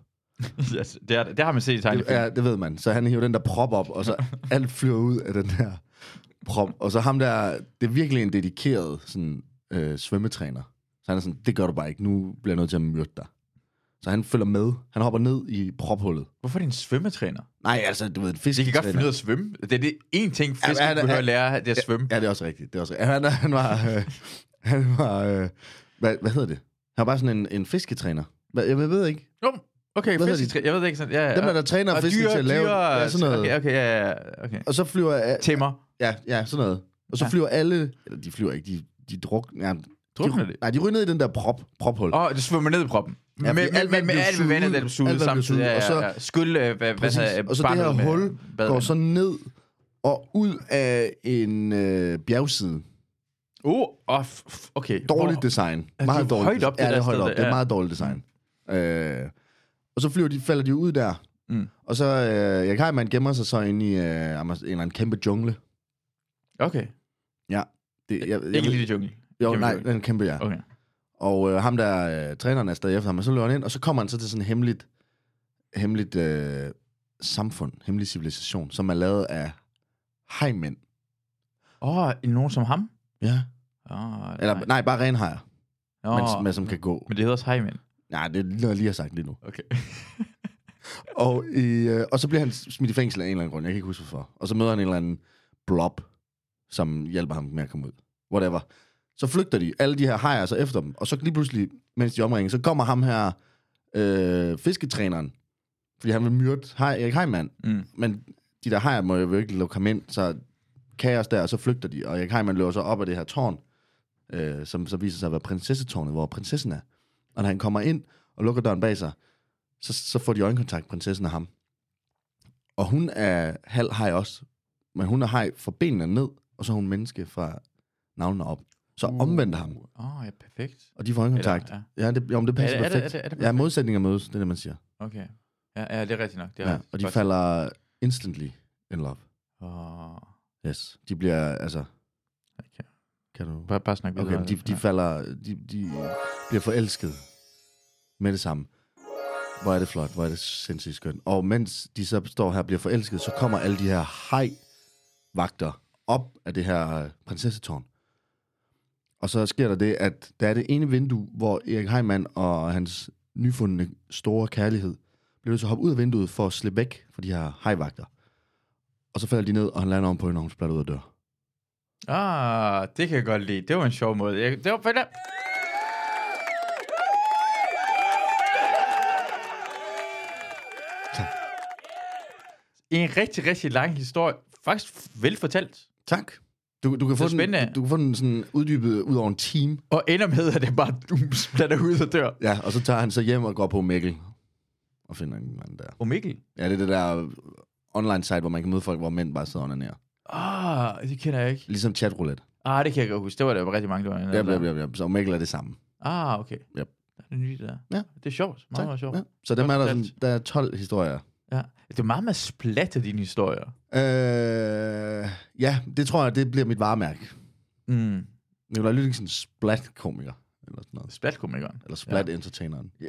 yes, det, er, det har man set i Det, tegnefilm. ja, det ved man. Så han hiver den der prop op, [laughs] og så alt flyver ud af den der prop. Og så ham der, det er virkelig en dedikeret sådan, øh, svømmetræner. Så han er sådan, det gør du bare ikke, nu bliver jeg nødt til at myrde dig. Så han følger med. Han hopper ned i prophullet. Hvorfor er det en svømmetræner? Nej, altså, du ved, en fisk. De kan godt finde ud af at svømme. Det er det en ting, fisk Ja, men han er- behøver at lære, det er at svømme. Ja, det er også rigtigt. Det er også rigtigt. Han, han var... Øh, han var øh, hvad, hvad hedder det? Han var bare sådan en, en fisketræner. Hvad, jeg ved ikke. Nå, Okay, Hvad hedder fisk, jeg ved det ikke sådan. Ja, ja. Dem, der, der træner Og fiskene dyre- til at lave- dyre- ja, sådan noget. Okay, okay, ja, ja, ja, okay. Og så flyver... a- Timmer. Ja, ja, sådan noget. Og så Ja. flyver alle... Eller de flyver ikke, de, de drukner... Ja, Drukner de, de? Nej, de ryger ned i den der prop, prophul. Åh, oh, det svømmer ned i proppen. Ja, Ja, med, fordi med, alt med, vand med, blev alt med vandet, suget. der blev suget Alt vand blev samtidig. suget, Ja, ja, og så- ja. Skyld, øh, hvad, hvad Præcis. hedder, øh, og så det barnet her med hul går badevand. så ned og ud af en øh, bjergside. Uh, oh, f- f- okay. Dårligt Hvor- design. er Meget jo dårligt. højt design. op, det ja, der det er højt sted op. der, Det er ja. meget dårligt design. Øh, og så flyver de, falder de ud der. Mm. Og så, øh, jeg kan man gemmer sig så inde i øh, Amaz- en eller anden kæmpe jungle. Okay. Det, jeg, jeg, Ikke lige det jungle. Jo, Kæmpe nej, jungle. den kæmpe, ja. Okay. Og øh, ham der, øh, træneren er stadig efter ham, og så løber han ind, og så kommer han så til sådan en hemmeligt, hemmeligt øh, samfund, hemmelig civilisation, som er lavet af hejmænd. Åh, oh, nogen som ham? Ja. Oh, Eller, nej. nej, bare renhejer, Nå, oh. men, men, som kan gå. men det hedder også hejmænd. Nej, det er noget, jeg lige har sagt lige nu. Okay. Og, i, øh, og så bliver han smidt i fængsel af en eller anden grund, jeg kan ikke huske hvorfor. Og så møder han en eller anden blob, som hjælper ham med at komme ud. Whatever. Så flygter de, alle de her hajer så efter dem. Og så lige pludselig, mens de omringer, så kommer ham her, øh, fisketræneren. Fordi han vil myrde hej, Erik Heimann. Mm. Men de der hajer må jo ikke lukke ham ind, så kaos der, og så flygter de. Og Erik Heimann løber så op af det her tårn, øh, som så viser sig at være prinsessetårnet, hvor prinsessen er. Og da han kommer ind og lukker døren bag sig, så, så får de øjenkontakt, prinsessen og ham. Og hun er halv hej også, men hun er hej fra benene ned, og så er hun menneske fra navnene op. Så uh. omvendt ham, Åh, oh, ja, perfekt. og de får øjenkontakt. Eller- ja. ja, det, jo, men det passer Er det- er det- perfekt. er det- er det Ja, perfekt? modsætninger mødes, det er det, man siger. Okay. Ja, ja det er rigtigt nok. Det er Ja, rigtigt. og de Godt. falder instantly in love. Åh, Yes. De bliver, altså... okay. Kan du... Bare, bare snak Okay, videre. men de, de Ja. falder... De, de bliver forelsket med det samme. Hvor er det flot, hvor er det sindssygt skønt. Og mens de så står her og bliver forelsket, så kommer alle de her hej-vagter op af det her øh, prinsessetårn. Og så sker der det, at der er det ene vindue, hvor Erik Heimann og hans nyfundne store kærlighed bliver nødt til at hoppe ud af vinduet for at slippe væk fra de her hejvagter. Og så falder de ned, og han lander om på hende, og hun splatter ud og dør. Ah, det kan jeg godt lide. Det var en sjov måde. Jeg, det var fedt. En rigtig, rigtig lang historie. Faktisk velfortalt. Tak. Du, du, kan, få Det er spændende. den, du, du kan få den sådan uddybet ud over en time. Og ender med, at det bare [laughs] splatter ud og dør. Ja, og så tager han så hjem og går på Mikkel. Og finder en mand der. Og Mikkel. Ja, det er det der online site, hvor man kan møde folk, hvor mænd bare sidder under Ah, det kender jeg ikke. Ligesom chatroulette. Ah, det kan jeg godt huske. Det var der jo rigtig mange, der var inde Ja, der. ja, ja, ja. Så Mikkel er det samme. Ah, okay. Yep. Det er det nye, det der. Ja. Det er sjovt. Meget, meget sjovt. Ja. Så dem er der, sådan, fortalt. der er 12 historier. Ja. Det er meget med splatte, dine historier. Øh, ja, det tror jeg, det bliver mit varemærke. Mm. Nikolaj Lydingsen splat-komiker. Eller sådan noget. Splatkomikeren. Eller splat-entertaineren. Ja,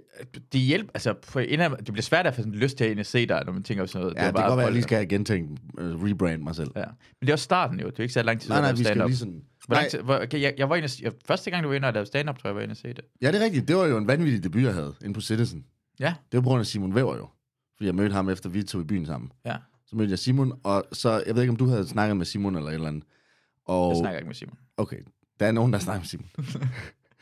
det hjælper, altså på en eller anden- det bliver svært at få sådan lyst til at ind og se dig, når man tænker på sådan noget. ja var det kan bare godt være, at jeg lige folk, skal have gentænkt, øh, rebrand mig selv. der- Ja. Men det er også starten jo, det er jo ikke så lang tid Nej, at nej, lave vi skal stand-up. lige sådan... Hvor lang Nej. tid, hvor, okay, jeg, jeg var inde, og- jeg, første gang du var inde og lavede stand-up, tror jeg, jeg var inde og se det. Ja, det er rigtigt. Det var jo en vanvittig debut, jeg havde inde på Citizen. Ja. Det var på grund af Simon Væver jo. Fordi jeg mødte ham efter vi tog i byen sammen. Ja. Så mødte jeg Simon, og så, jeg ved ikke, om du havde snakket med Simon eller et eller andet. Og, Jeg snakker ikke med Simon. Okay, der er nogen, der snakker med Simon.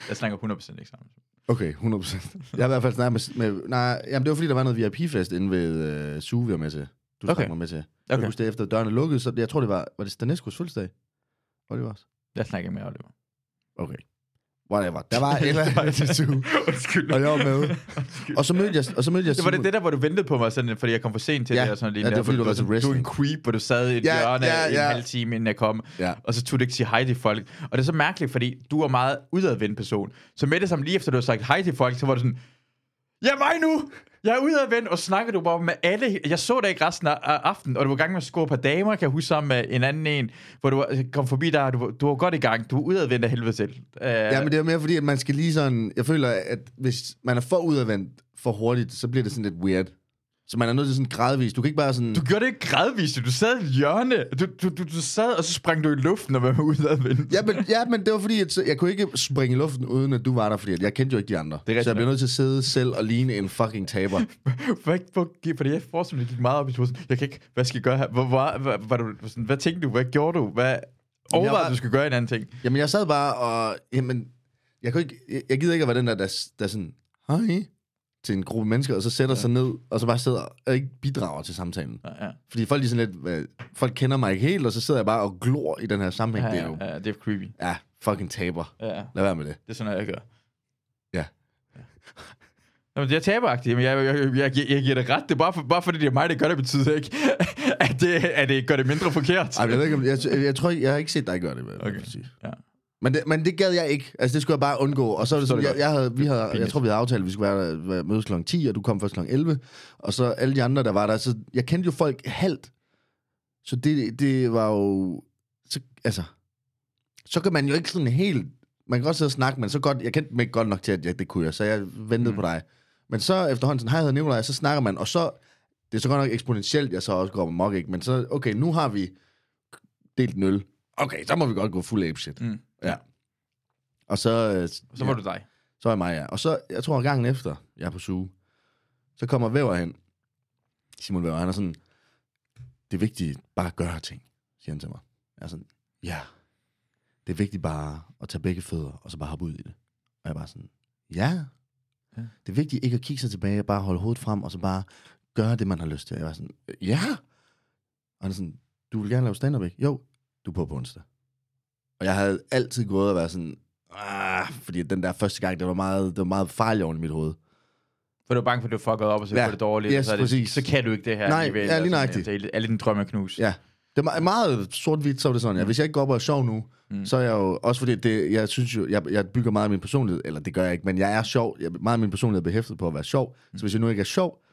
Jeg snakker 100% ikke sammen. med Simon. Okay, 100%. jeg har i hvert fald snakket med, med nej, jamen det var fordi, der var noget VIP-fest inde ved øh, Suge, vi var med til. Du snakkede Okay. mig med til. Okay. Jeg Okay, husker det, efter dørene lukkede, så det- jeg tror, det var, var det Staneskos fødselsdag? Var det også? jeg snakker ikke med [laughs] Oliver. Okay. Whatever. Der var et eller andet til Suge, Undskyld. og jeg var [laughs] med. og så mødte jeg, og så mødte jeg Det var det, det der, hvor du ventede på mig, sådan, fordi jeg kom for sent til Ja. det. Og sådan, lige Ja, det der, var, fordi hvor du var til sådan, Du er en wrestling. creep, hvor du sad i et Ja, hjørne ja, ja, ja. ja. en halv time, inden jeg kom. Ja. Og så turde du ikke sige hej til folk. Og det er så mærkeligt, fordi du er meget udadvendt person. Så med det samme, lige efter du har sagt hej til folk, så var du sådan, ja mig nu! Jeg er udadvendt, og snakker du bare med alle. Jeg så dig ikke resten af af aftenen, og du var i gang med at score på damer, kan jeg huske sammen med en anden en, hvor du var- øh, kom forbi der, og du, var- du var godt i gang. Du er udadvendt af helvede til. Uh, Ja, men det er mere fordi, at man skal lige sådan... Jeg føler, at hvis man er for udadvendt for hurtigt, så bliver det sådan lidt weird. Så man er nødt til sådan gradvist. Du kan ikke bare sådan... Du gjorde det ikke gradvist, du sad i et hjørne. Du, du, du, du sad, og så sprang du i luften og var udadvendt. Ja, men, ja, men det var fordi, at så- jeg kunne ikke springe i luften, uden at du var der, fordi at jeg kendte jo ikke de andre. rigtigt så jeg blev nok. nødt til at sidde selv og ligne en fucking [laughs] taber. For ikke for, fordi jeg forestiller mig, det gik meget op i sådan, jeg kan ikke, hvad skal jeg gøre her? Hvor, hvor, hvor, var du, sådan, hvad tænkte du? Hvad gjorde du? Hvad overvejede var- du skulle gøre en anden ting? Jamen, jeg sad bare og... Jamen, jeg, kunne ikke, jeg, jeg gider ikke at være den der, der, der sådan... Hej. til en gruppe mennesker, og så sætter ja. sig ned, og så bare sidder og ikke bidrager til samtalen. Ja, ja. Fordi folk, de er sådan lidt, hvad, folk kender mig ikke helt, og så sidder jeg bare og glor i den her sammenhæng. Ja, det er jo, ja, ja, det er creepy. ja, fucking taber. Ja, ja. Lad være med det. Det er sådan noget, jeg gør. Ja. Jamen, jeg er taberagtig. Jamen, jeg, jeg, jeg, jeg, gi- jeg giver det ret. Det er bare, for, bare fordi det er mig, der gør det, betyder ikke, [laughs] at det, at det gør det mindre forkert. Ej, men jeg, ved ikke, om- jeg, jeg, jeg, tror ikke, jeg har ikke set dig gøre det. Okay. Okay. Jeg sige. Ja. Men det, men det gad jeg ikke. Altså, det skulle jeg bare undgå. Og så er det sådan, det jeg, godt. jeg, havde, vi havde, jeg Pinligt. tror, vi havde aftalt, at vi skulle være, være mødes kl. 10, og du kom først kl. 11. Og så alle de andre, der var der. Så jeg kendte jo folk halvt. Så det, det var jo... Så, altså, så kan man jo ikke sådan helt... Man kan godt sidde og snakke, men så godt... Jeg kendte dem ikke godt nok til, at jeg, det kunne jeg, så jeg ventede mm. på dig. Men så efterhånden sådan, hej, jeg hedder Nikolaj, så snakker man, og så... Det er så godt nok eksponentielt, jeg så også går mok, ikke? Men så, okay, nu har vi delt en øl. Okay, så må vi godt gå fuld apeshit. Mm. Ja. Og så... øh, Så var du dig. så er mig, ja. Og så, jeg tror, gangen efter, jeg er på suge, så kommer Væver hen. Simon Væver, han er sådan, det er vigtigt bare at gøre ting, siger han til mig. Jeg er sådan, ja, det er vigtigt bare at tage begge fødder, og så bare hoppe ud i det. Og jeg er bare sådan, ja. Ja. Det er vigtigt ikke at kigge sig tilbage, bare holde hovedet frem, og så bare gøre det, man har lyst til. Jeg var sådan, ja. Og han er sådan, du vil gerne lave stand-up, ikke? Jo, du er på på onsdag. Og jeg havde altid gået og været sådan, ah, fordi den der første gang, det var meget, det var meget farlig oven i mit hoved. For du er bange for, at du er fucket op, og så Ja. ja. det dårligt. Yes, og så, er det, præcis. så kan du ikke det her. Nej, alligevel, ja, lige og sådan, nøjagtigt. ja, Det er alle dine drømme er knus. Ja. Det er me- meget sort-hvidt, så er det sådan, ja. Hvis jeg ikke går op og er sjov nu, mm. så er jeg jo... Også fordi, det, jeg synes jo, jeg, jeg bygger meget af min personlighed, eller det gør jeg ikke, men jeg er sjov. Jeg, meget af min personlighed er behæftet på at være sjov. Mm. Så hvis jeg nu ikke er sjov,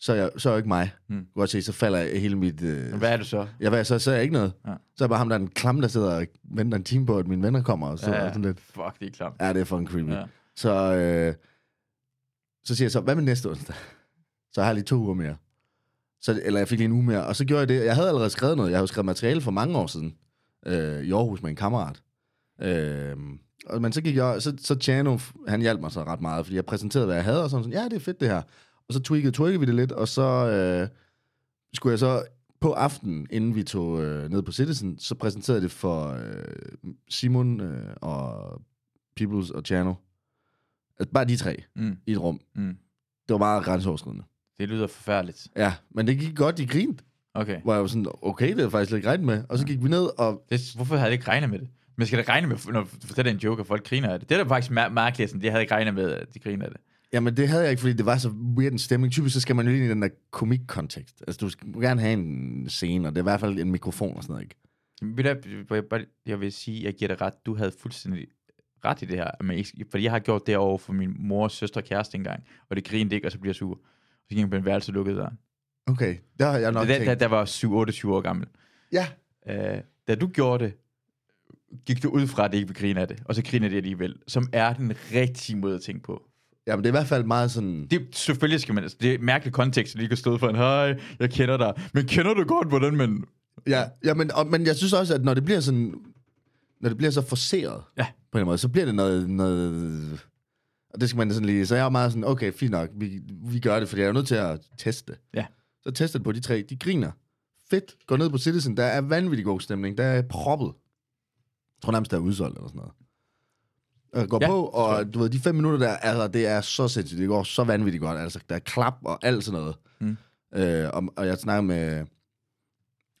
så er jeg, så er jeg ikke mig. Mm. Godt se, så falder jeg hele mit... Øh, Hvad er du så? Ja, hvad, så, så er jeg ikke noget. Ja. Ja. Så er jeg bare ham, der er en klam, der sidder og venter en time på, at mine venner kommer. Og så ja. sådan lidt, Fuck, det er klamt. ja, det er fucking creepy. Ja. Ja. Så, øh, så siger jeg så, hvad med næste onsdag? Så jeg har lige to uger mere. Så, eller jeg fik lige en uge mere, og så gjorde jeg det. Jeg havde allerede skrevet noget. Jeg havde jo skrevet materiale for mange år siden øh, i Aarhus med en kammerat. Øh, og, men så gik jeg, så, så Chano, han hjalp mig så ret meget, fordi jeg præsenterede, hvad jeg havde, og sådan, sådan ja, det er fedt det her. Og så tweakede, tweakede vi det lidt, og så øh, skulle jeg så på aftenen, inden vi tog øh, ned på Citizen, så præsenterede jeg det for øh, Simon øh, og Peoples og Chano. Altså, bare de tre Mm. i et rum. Mm. Det var meget grænseoverskridende. Det lyder forfærdeligt. Ja, men det gik godt, de grinte. Okay. Hvor jeg var sådan, okay, det er jeg faktisk lidt grint med. Og så gik vi ned, og Det, hvorfor havde jeg ikke regnet med det? Men skal da regne med, når du fortæller en joke, at folk griner af det. Det er da faktisk mær- mærkeligt, sådan, det havde jeg ikke regnet med, at de griner af det. jamen det havde jeg ikke, fordi det var så weird en stemning. Typisk så skal man jo lige ind i den der komik-kontekst. Altså, du skal gerne have en scene, og det er i hvert fald en mikrofon og sådan noget, ikke? Jamen, ved du hvad, jeg, bare- jeg vil sige, at jeg giver dig ret. Du havde fuldstændig ret i det her. Men ikke, fordi jeg har gjort det over for min mors søster og kæreste engang, og det grinede ikke, og så bliver jeg sur. Så gik jeg på en værelse lukket der. Okay, der har jeg nok Da, da, tænkt. da var 7-28 år gammel. Ja, Øh, da du gjorde det, gik du ud fra, at det ikke ville grine af det, og så griner det alligevel, som er den rigtige måde at tænke på. jamen det er i hvert fald meget sådan... Det, selvfølgelig skal man, altså, det er et mærkeligt kontekst, at lige kan stå for en, hej, jeg kender dig, men kender du godt, hvordan man... Ja, ja men, og, men jeg synes også, at når det bliver sådan... Når det bliver så forceret, Ja. på en måde, så bliver det noget... noget og det skal man sådan lige... Så jeg er meget sådan, okay, fint nok, vi, vi gør det, for jeg er jo nødt til at teste. Ja. Så tester det på de tre, de griner. Fedt, går ned på Citizen, der er vanvittig god stemning, der er proppet. Jeg tror nærmest, der er udsolgt eller sådan noget. Og går Ja, ja, på, tror og du ved, de fem minutter der, altså, det er så sindssygt, det går så vanvittigt godt, altså, der er klap og alt sådan noget. Mm. Øh, og, og jeg snakker med,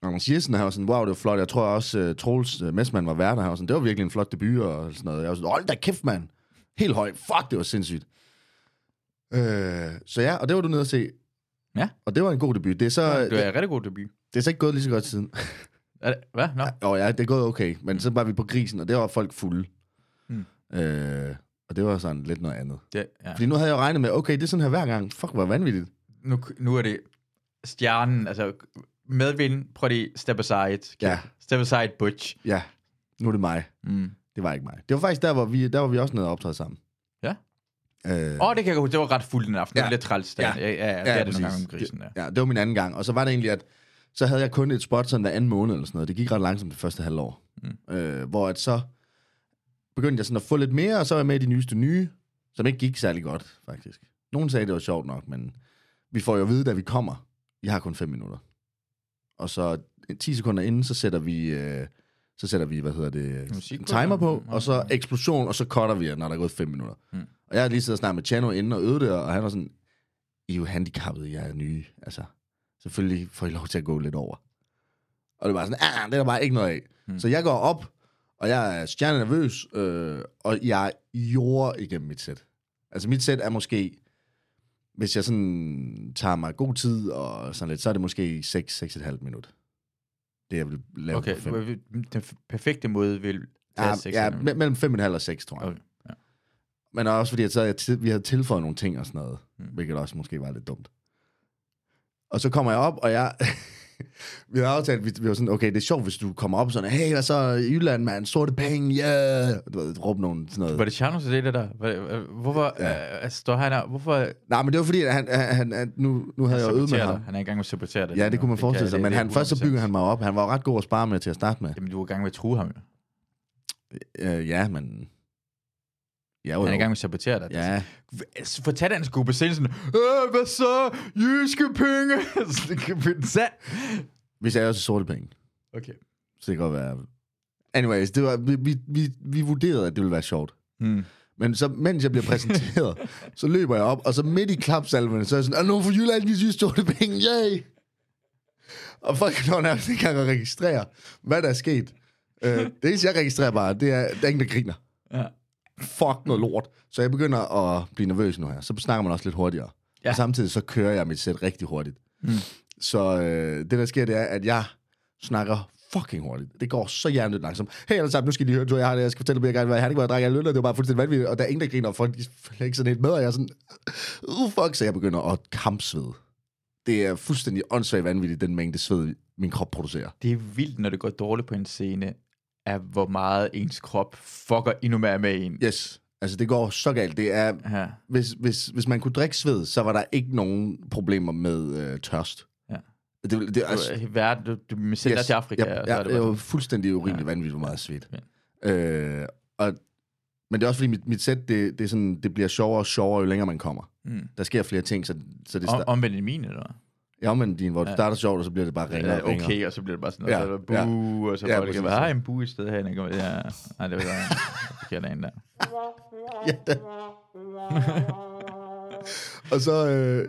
Anders Jessen, han var sådan, wow, det var flot. Jeg tror også, uh, Troels uh, Messmann var værd, og han var sådan, det var virkelig en flot debut, og sådan noget. Jeg var sådan, hold da kæft, mand. Helt høj. Fuck, det var sindssygt. Øh, så ja, og det var du nede at se. Ja. Og det var en god debut. Det er så, Det det, er en rigtig god debut. det er så ikke gået lige så godt siden. Er det, hvad? Nå. Åh ja, det er gået okay, men så var vi på grisen, og det var folk fulde. Mm. Øh, og det var sådan lidt noget andet. Det, ja. Fordi nu havde jeg jo regnet med, okay, det er sådan her hver gang. Fuck, hvor vanvittigt. nu, nu er det stjernen, altså medvind, prøv lige step aside. Ja. Step aside, butch. Ja, nu er det mig. Mm. Det var ikke mig. Det var faktisk der, hvor vi, der var vi også nede og optræde sammen. Ja. Øh, Åh, det kan jeg godt huske, det var ret fuld den aften. Ja. Det Ja. var lidt træls. Ja. Ja. Ja, ja, ja, det Ja, er det præcis. nogle gange om grisen, ja. Det, ja, det var min anden gang. Og så var det egentlig, at så havde jeg kun et spot sådan hver anden måned eller sådan noget. Det gik ret langsomt det første halvår. Mm. Øh, hvor at så begyndte jeg sådan at få lidt mere, og så var jeg med i de nyeste nye, som ikke gik særlig godt, faktisk. Nogen sagde, det var sjovt nok, men vi får jo at vide, da vi kommer, I har kun 5 minutter. Og så 10 sekunder inden, så sætter vi, øh, så sætter vi hvad hedder det, Musik en på. timer på, Mm. og så eksplosion, og så cutter vi, når der er gået 5 minutter. Mm. Og jeg har lige siddet og snakket med Chano inden og øvet det, og han var sådan, I er jo handicappede, jeg er nye. Altså, selvfølgelig får I lov til at gå lidt over. Og det var sådan, ah, det er der bare ikke noget af. Hmm. Så jeg går op, og jeg er stjerne nervøs, øh, og jeg jorder igennem mit sæt. Altså mit sæt er måske, hvis jeg sådan tager mig god tid og sådan lidt, så er det måske 6-6,5 minut. Det jeg vil lave Okay, på fem. den f- perfekte måde vil tage Ja, seks ja minutter. me- mellem 5,5 og 6, tror jeg. Okay, ja. Men også fordi, at så havde jeg til, vi havde tilføjet nogle ting og sådan noget, mm. hvilket også måske var lidt dumt. Og så kommer jeg op, og jeg... [laughs] vi havde aftalt, vi, vi var sådan, okay, det er sjovt, hvis du kommer op sådan, hey, hvad så, Jylland, mand, sorte penge, ja! Yeah! Du ved, råb nogen sådan noget. Var det Tjerno, der det der? Var- Hvorfor ja. øh, står han her? Hvorfor Nej, men det var fordi, at han, han, han, han nu, nu havde jeg jo øvet med saboterer ham. dig? Han er i gang med at sabotere dig. Ja, det kunne man forestille kan- sig, det- men det er han, først så 100%. bygger han mig op. Han var jo ret god at spare med til at starte med. Jamen, du er i gang med at true ham. jo. Øh, ja, men... Ja, jo, Han er i gang jo. med at sabotere dig. Ja, Altså, Fortæl hans gruppe selv sådan, Øh, hvad så? Jyske penge! [laughs] Så det kan vi tage. hvis jeg er også sorte penge. Okay. Så det kan godt være... Anyways, det var, vi, vi, vi, vi vurderede, at det ville være sjovt. Mm. Men så, mens jeg bliver [laughs] præsenteret, så løber jeg op, og så midt i klapsalverne, så er jeg sådan, "Og nu for Jylland, de synes, det penge, yay! Og folk når nærmest ikke engang at registrere, hvad der er sket. Øh, det eneste, jeg registrerer bare, det er, at der er ingen, der griner. Ja. Fuck noget lort. Så jeg begynder at blive nervøs nu her. Så snakker man også lidt hurtigere. Ja. Ja. Og samtidig så kører jeg mit sæt rigtig hurtigt. Mm. Så øh, det, der sker, det er, at jeg snakker fucking hurtigt. Det går så hjernedødt langsomt. Hey alle sammen, nu skal I lige høre, du jeg har det, jeg skal fortælle dig, hvad jeg har det, hvor jeg drikker jeg øl, og det var bare fuldstændig vanvittigt, og der er ingen, der griner, og folk de følger ikke sådan helt med, og jeg er sådan, uh, fuck, så jeg begynder at kampsvede. Det er fuldstændig åndssvagt vanvittigt, den mængde sved, min krop producerer. Det er vildt, når det går dårligt på en scene, af hvor meget ens krop fucker endnu mere med en. Yes, altså det går så galt. Det er, Ja. hvis, hvis, hvis man kunne drikke sved, så var der ikke nogen problemer med øh, tørst. Ja. Det, det, det, Altså, altså, verden, du, du med sender til Afrika. Ja, og så ja, er det, bare var sådan- jo fuldstændig urimeligt ja. vanvittigt, hvor meget svedt. Ja. Øh, og, men det er også fordi, mit, mit sæt, det, det, er sådan, det bliver sjovere og sjovere, jo længere man kommer. Mm. Der sker flere ting, så, så det Om, starter... omvendt end min, eller hvad? Ja, men din, hvor det starter sjovt, og så bliver det bare ringere Eller og ringere. okay, og så bliver det bare sådan noget, ja, så Ja, er der bu, ja. og så Ja, ja, det kan præcis. være, "Ah, en bu i stedet her. Ja, nej, det var der [laughs] en forkert en der. Og så... Øh,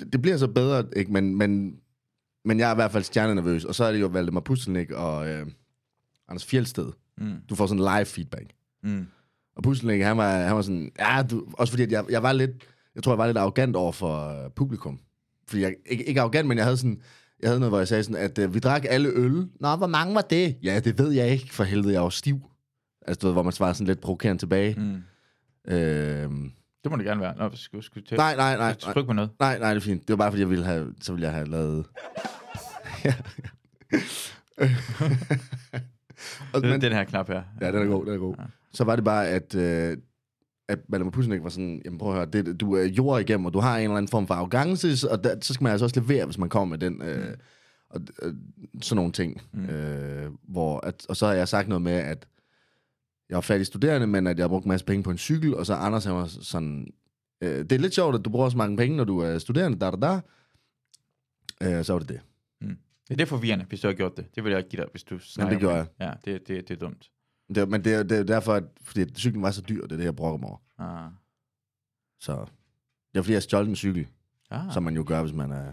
det, det bliver så bedre, ikke? Men, men, men jeg er i hvert fald stjernenervøs. Og så er det jo Valdemar Pustelnik og øh, Anders Fjeldsted. Mm. Du får sådan live feedback. Mm. Og Pustelnik, han var, han var sådan... Ja, du, også fordi at jeg, jeg var lidt... Jeg tror, jeg var lidt arrogant over for øh, publikum. Fordi jeg... Ikke, ikke arrogant, men jeg havde sådan... Jeg havde noget, hvor jeg sagde sådan, at øh, vi drak alle øl. Nå, hvor mange var det? Ja, det ved jeg ikke, for helvede, jeg var stiv. Altså, du ved, hvor man svarer sådan lidt provokerende tilbage. Mm. Mm. Øh, Det må det gerne være. Nå, skal, skal til. nej, nej, nej. nej. Tryk på noget. Nej, nej, det er fint. Det var bare, fordi jeg ville have, så ville jeg have lavet... Ja. Og, Men, men, den her knap her. ja, den er god, den er god. Så var det bare, at, øh, at Valdemar Pusnik var sådan, jamen prøv at høre, det, du er jord igennem, og du har en eller anden form for arrogance, og der, så skal man altså også levere, hvis man kommer med den, øh, og, øh, sådan nogle ting. Mm. Øh, hvor at, og så har jeg sagt noget med, at jeg var fattig studerende, men at jeg har brugt en masse penge på en cykel, og så Anders han var sådan, øh, det er lidt sjovt, at du bruger så mange penge, når du er studerende, da da da. Øh, så var det det. Ja, det er forvirrende, hvis du har gjort det. Det vil jeg ikke give dig, hvis du snakker om gjorde jeg. Ja, det, det, det er dumt. det var- men det er, det er derfor, at, fordi at cyklen var så dyr, det er det, jeg brokker mig over. Ah. Så det er fordi, jeg stjal en cykel, Ah, ah. som man jo gør, hvis man er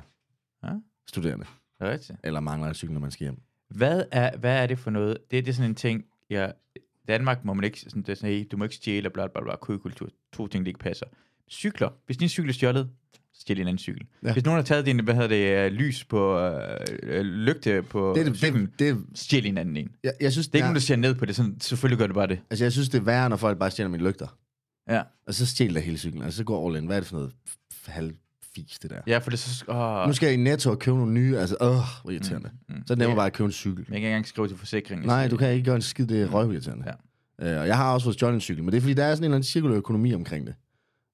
Ah. ah. studerende, det er rigtigt. eller mangler en cykel, når man skal hjem. Hvad er, hvad er det for noget? Det, det er sådan en ting, jeg... Danmark må man ikke... Sådan, det er sådan, hey, du må ikke stjæle, bla bla bla, køkultur. To ting, der ikke passer. Cykler. Hvis din cykel er stjålet, stjæl en anden cykel. Ja. Ja. Hvis nogen har taget din, hvad hedder det, øh, lys på, øh, øh, lygte på Det, er det, cyklen, det, det, stjæl en anden en. Det jeg, jeg synes, er ikke ja. ja, nogen, der ser ned på det. Sådan, selvfølgelig gør det bare det. altså, jeg synes, det er værre, når folk bare stjæler mine lygter. Ja. Og så stjæler jeg hele cyklen, og så går all in. Hvad er det for noget f- f- halvfis, det der? Ja, for det er så... Åh, Nu skal jeg i Netto og købe nogle nye, altså, åh, hvor irriterende. Mm, mm. Så er det nemmere Ja. bare at købe en cykel. man kan ikke engang skrive til forsikringen. Nej, du kan ikke gøre en skid, det er røvirriterende. Mm. Ja. Øh, og jeg har også fået stjålet en cykel, men det er fordi, der er sådan en eller anden cirkulær økonomi omkring det.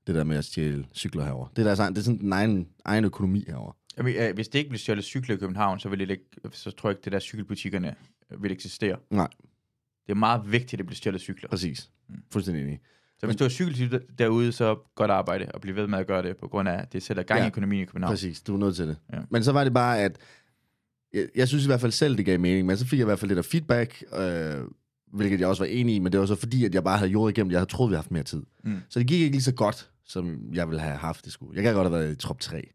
Det der med at stjæle cykler herover. Det, er deres egen, det er sådan den egen, egen økonomi herover. Jamen, øh, hvis det ikke blev stjålet cykler i København, så, ville det ikke, så tror jeg ikke, det der cykelbutikkerne øh, ville eksistere. Nej, Det er meget vigtigt, at det bliver stjålet cykler. præcis. Fuldstændig enig. Så hvis du har cykeltyp derude, så godt arbejde og blive ved med at gøre det, på grund af, at det sætter gang i Ja, økonomien i København. Præcis, du er nødt til det. Ja. Ja. Men så var det bare, at jeg, jeg synes i hvert fald selv, det gav mening, men så fik jeg i hvert fald lidt af feedback, øh, hvilket jeg også var enig i, men det var så fordi, at jeg bare havde jordet igennem, jeg havde troet, vi havde haft mere tid. Mm. Så det gik ikke lige så godt, som jeg ville have haft det skulle. Jeg kan godt have været i top 3.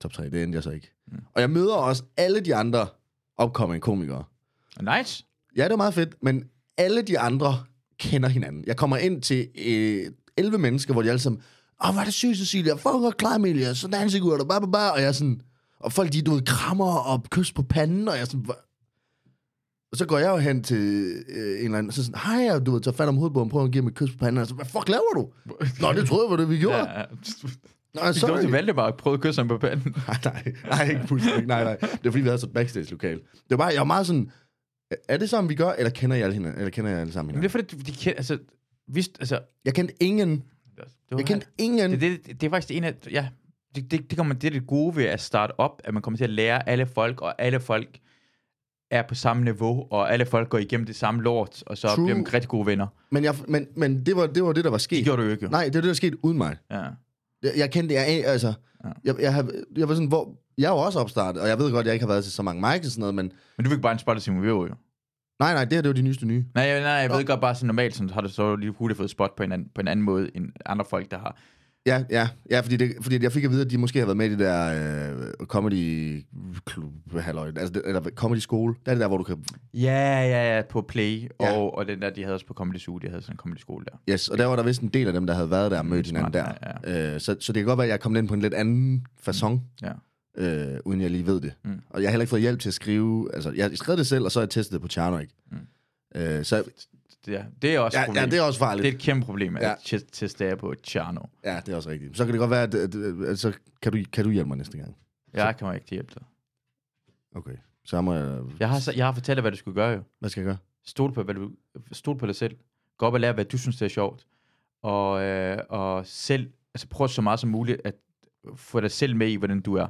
Top 3, det endte jeg så ikke. Mm. Og jeg møder også alle de andre opkommende komikere. Nice. Ja, det var meget fedt, men alle de andre kender hinanden. Jeg kommer ind til øh, 11 mennesker, hvor de alle sammen, åh, hvor er det sygt, Cecilia, fuck, hvor klar, Emilia, sådan en sigur, og bare, bare, bare, og jeg er sådan, og folk, de, du ved, krammer og kys på panden, og jeg er sådan, "Hva?" og så går jeg jo hen til øh, en eller anden, og så sådan, hej, og du ved, tager fat om hovedet på ham, prøver at give mig et kys på panden, og så, hvad fuck laver du? Nå, det troede jeg, var det, vi [laughs] gjorde. Ja. Ja. Nå, Så sorry. du valgte bare at prøve at kysse ham på panden. Nej, [laughs] nej, nej, ikke fuldstændig. Nej, nej. Det var fordi, vi havde sådan et backstage-lokal. Det var bare, jeg var meget sådan, er det sådan, vi gør, eller kender jeg alle hinanden? Eller kender jeg alle sammen Men det hinanden? er fordi, de kendte, altså, vi, altså, Jeg kendte ingen. det var, Jeg kendte ingen. det, det, det, det, er faktisk en af, ja, det, det, det, kommer, det er det gode ved at starte op, at man kommer til at lære alle folk, og alle folk er på samme niveau, og alle folk går igennem det samme lort, og så True. True. bliver man rigtig gode venner. Men, jeg, men, men det, var, det var det, der var sket. Det gjorde du jo ikke, jo. Nej, det var det, der skete uden mig. Ja. Jeg, jeg kendte, jeg, altså, Ja. jeg, jeg, har- jeg var sådan, hvor, jeg er jo også opstartet, og jeg ved godt, at jeg ikke har været til så mange mics og sådan noget, men Men du fik bare en spot af Simon Væver, jo. nej, nej, det her, det var de nyeste nye. Nej, jeg- nej, jeg Nå. ved godt bare sådan normalt, sådan, har du så lige hurtigt fået spot på en, anden, på en anden måde, end andre folk, der har. Ja, ja, ja fordi, det, fordi jeg fik at vide, at de måske har været med i det der øh, comedy club, halløj, altså, det, eller comedy skole. Der er det der, hvor du kan... Ja, ja, ja, på Play, Ja. ja. og, og den der, de havde også på Comedy Zoo, de havde sådan en comedy skole der. Yes, og der var der vist en del af dem, der havde været der og mødt hinanden der. Smart, Øh, så, så det kan godt være, at jeg er kommet ind på en lidt anden façon. Ja. øh, uden jeg lige ved det. Mm. Mm. Og jeg har heller ikke fået hjælp til at skrive. Altså, jeg skrev det selv, og så har jeg testet det på Tjernoik. Mm. Mm. Øh, så Det er, det er også et ja, problem. ja, det er også farligt. det er et kæmpe problem, at Ja. ja. test, teste er på Tjerno. Ja, det er også rigtigt. Så kan det godt være, at, at, at så kan du, kan du hjælpe mig næste gang. Jeg kan jo ikke hjælpe dig. Okay. Så må jeg... Jeg har, så- jeg har fortalt dig, hvad du skulle gøre jo. Hvad skal jeg gøre? Stol på, hvad du, stol på dig selv. Gå op og lære, hvad du synes, det er sjovt. Og, øh, og selv, altså prøv så meget som muligt at få dig selv med i, hvordan du er.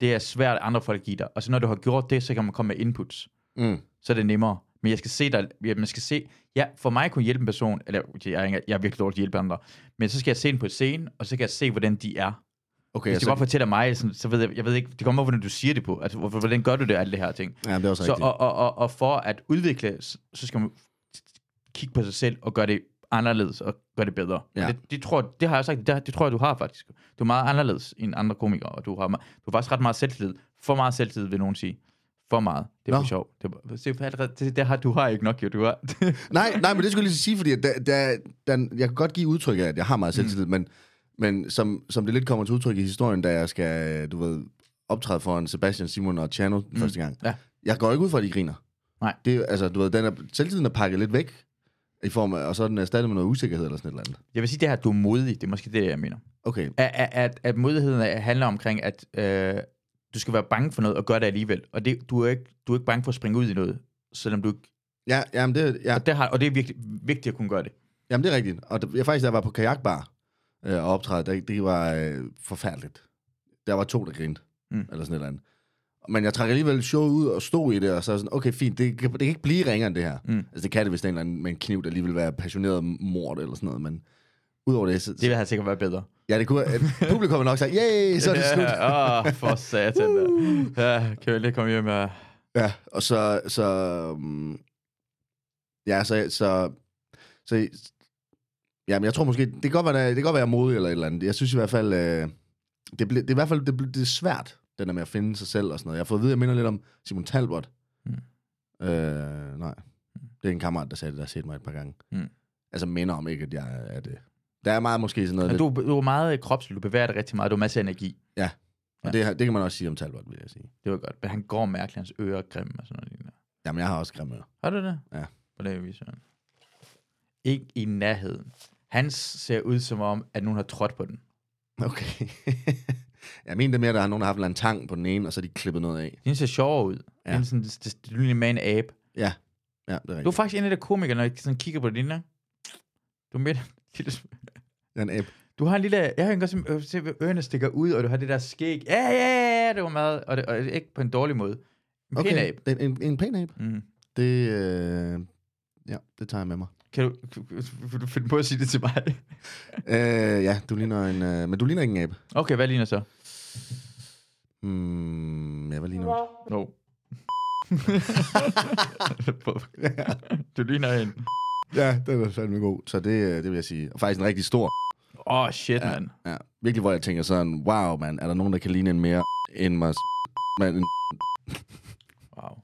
Det er svært, at andre folk giver dig. Og så når du har gjort det, så kan man komme med inputs. Mm. så er det nemmere. Men jeg skal se dig, ja, man skal se, ja, for mig kunne hjælpe en person, eller okay, jeg er, ikke- jeg er virkelig dårlig til at hjælpe andre, men så skal jeg se dem på scenen, og så kan jeg se, hvordan de er. Okay, Hvis jeg de så, bare fortæller mig, sådan, så ved jeg, jeg ved ikke, det kommer an på, hvordan du siger det på, altså hvorfor, hvordan gør du det, alle det her ting. ja, det er også Så, rigtigt. og, og, og, og for at udvikle, så så skal man kigge på sig selv, og gøre det anderledes, og gøre det bedre. Ja. Ja. Det, det, tror, det har jeg sagt, det, det tror jeg, du har faktisk. Du er meget anderledes end andre komikere, og du har, me- du har faktisk ret meget selvtillid. For meget selvtillid, vil nogen sige. For meget. Det er Nå. for sjov. Det, er- se, for allerede- det, det har, du har ikke nok, jo. Du har. [laughs] Nej, nej, men det skulle jeg lige sige, fordi at der, der, der, jeg kan godt give udtryk af, at jeg har meget selvtillid, mm. men, men som, som det lidt kommer til udtryk i historien, da jeg skal, du ved, optræde foran Sebastian, Simon og Chano mm. første gang. Ja. Jeg går ikke ud fra, at de griner. Nej. Det, er- altså, du ved, den er, selvtilliden er pakket lidt væk, i form af, og så er den erstattet med noget usikkerhed eller sådan et eller andet. jeg vil sige det her, at du er modig. Det er måske det, jeg mener. Okay, At, at, at, at modigheden er- handler omkring, at øh, du skal være bange for noget, og gøre det alligevel. Og det, du, er ikke, du er ikke bange for at springe ud i noget, selvom du ikke ja, jamen det, ja, Og det, har, og det er virkelig vigtigt at kunne gøre det. jamen det er rigtigt. Og der, jeg faktisk, da jeg var på kajakbar øh, og optræde, der, det var øh, forfærdeligt. Der var to, der grinte, mm. Mm. eller sådan et eller andet. Men jeg trak alligevel showet ud og stod i det, og så er jeg sådan, okay, fint, det, kan- det kan ikke blive ringere end det her. Mm. Mm. Altså det kan det, hvis det er en eller anden med en kniv, der lige vil være passioneret mord eller sådan noget, men udover det, så, Det ville have sikkert været bedre. ja, det kunne, at publikum har nok sagt, yay, [laughs] så er det slut. Åh, oh, for satan. da. Ja, kan vi lige komme hjem med... Ja, og så... så mm, ja, så... så, så ja, men jeg tror måske... Det kan godt være, det kan godt være jeg er modig eller et eller andet. Jeg synes i hvert fald... Øh, det, ble, det er i hvert fald det, ble, det er svært, den der med at finde sig selv og sådan noget. Jeg har fået at vide, at jeg minder lidt om Simon Talbot. Mm. Øh, nej. Det er en kammerat, der sagde det, der har set mig et par gange. Mm. Altså minder om ikke, at jeg er det. Der er meget måske sådan noget... Men lidt- du, du er meget kropslig, du bevæger dig rigtig meget, du har masser af energi. og det, har- det kan man også sige om Talbot, vil jeg sige. Det var godt, men han går mærkeligt, hans ører er grimme og sådan noget. lignende. Jamen, jeg har også grimme ører. Har du det? Ja. Hvordan er vi så? Ikke i nærheden. Hans ser ud som om, at nogen har trådt på den. Okay. [laughs] jeg mener det mere, at der har nogen, der har haft en tang på den ene, og så har de klippet noget af. Den ser sjovere ud. Ja. Ja. Den er sådan, det, det, det ligner en man abe. Ja, ja det er rigtigt. Du er faktisk en af de komikere, når jeg sådan kigger på din, Du er midt. Jeg er en abe. Du har en lille... Jeg kan godt se, øh, se hvor ørerne stikker ud, og du har det der skæg. Ja, ja, ja, det var meget... Og, det, og ikke på en dårlig måde. En okay. Okay, det er En, en pæn abe. Mm. Det, øh, ja, det tager jeg med [laughs] mig. Kan du, kan- vil du finde på at sige det til mig? øh, ja, du ligner en... Øh, men du ligner ikke en abe. Okay, hvad ligner så? Hmm, Mm, ja, hvad ligner du? No. [laughs] du ligner en. Ja, den er fandme god. Så det, øh, det vil jeg sige. Og faktisk en rigtig stor. Åh, oh, shit, ja. mand. Ja. Virkelig, hvor jeg tænker sådan, wow, mand, er der nogen, der kan ligne en mere end mig? Man, en Wow.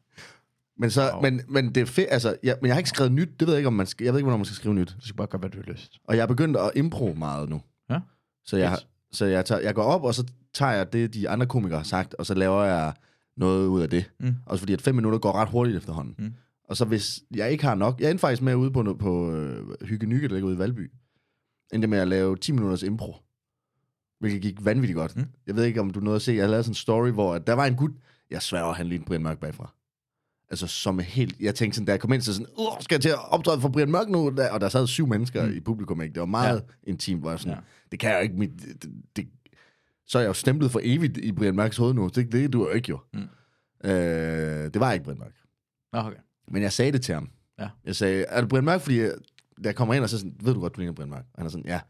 Men, så, Wow. men, men det er fedt, altså, jeg, men jeg har ikke skrevet nyt, det ved jeg ikke, om man skal, jeg ved ikke, hvornår man skal skrive nyt. Du skal bare gøre, hvad du har lyst. Og jeg er begyndt at impro meget nu. Ja. Så, jeg, Fedt. så jeg, tager, jeg går op, og så tager jeg det, de andre komikere har sagt, og så laver jeg noget ud af det. Mm. Også fordi, at fem minutter går ret hurtigt efterhånden. Mm. Og så hvis jeg ikke har nok, jeg endte faktisk med at ude på, noget- på øh, Hygge Nykke, der ligger ude i Valby, endte med at lave 10 minutters impro. Hvilket gik vanvittigt godt. Mm. Jeg ved ikke, om du nåede at se, jeg lavede sådan en story, hvor at der var en gut, jeg sværger, han lignede Brian Mørk bagfra. Altså, som er helt... Jeg tænkte sådan, da jeg kom ind, så sådan, Åh, skal jeg til at optræde for Brian Mørk nu? Og der sad syv mennesker mm. i publikum, ikke? Det var meget ja. intimt, hvor jeg sådan, Ja. ja. det kan jeg jo ikke... Mit, det, det, så er jeg jo stemplet for evigt i Brian Mørks hoved nu. Det, det du jo ikke, jo. Mm. Øh, det var ikke Brian Mørk. Nå, okay. Men jeg sagde det til ham. Ja. Jeg sagde, er det Brian Mørk? Fordi øh, da jeg kommer ind, og så er jeg sådan, ved du godt, du ligner Brian Mørk? Og han er sådan, ja.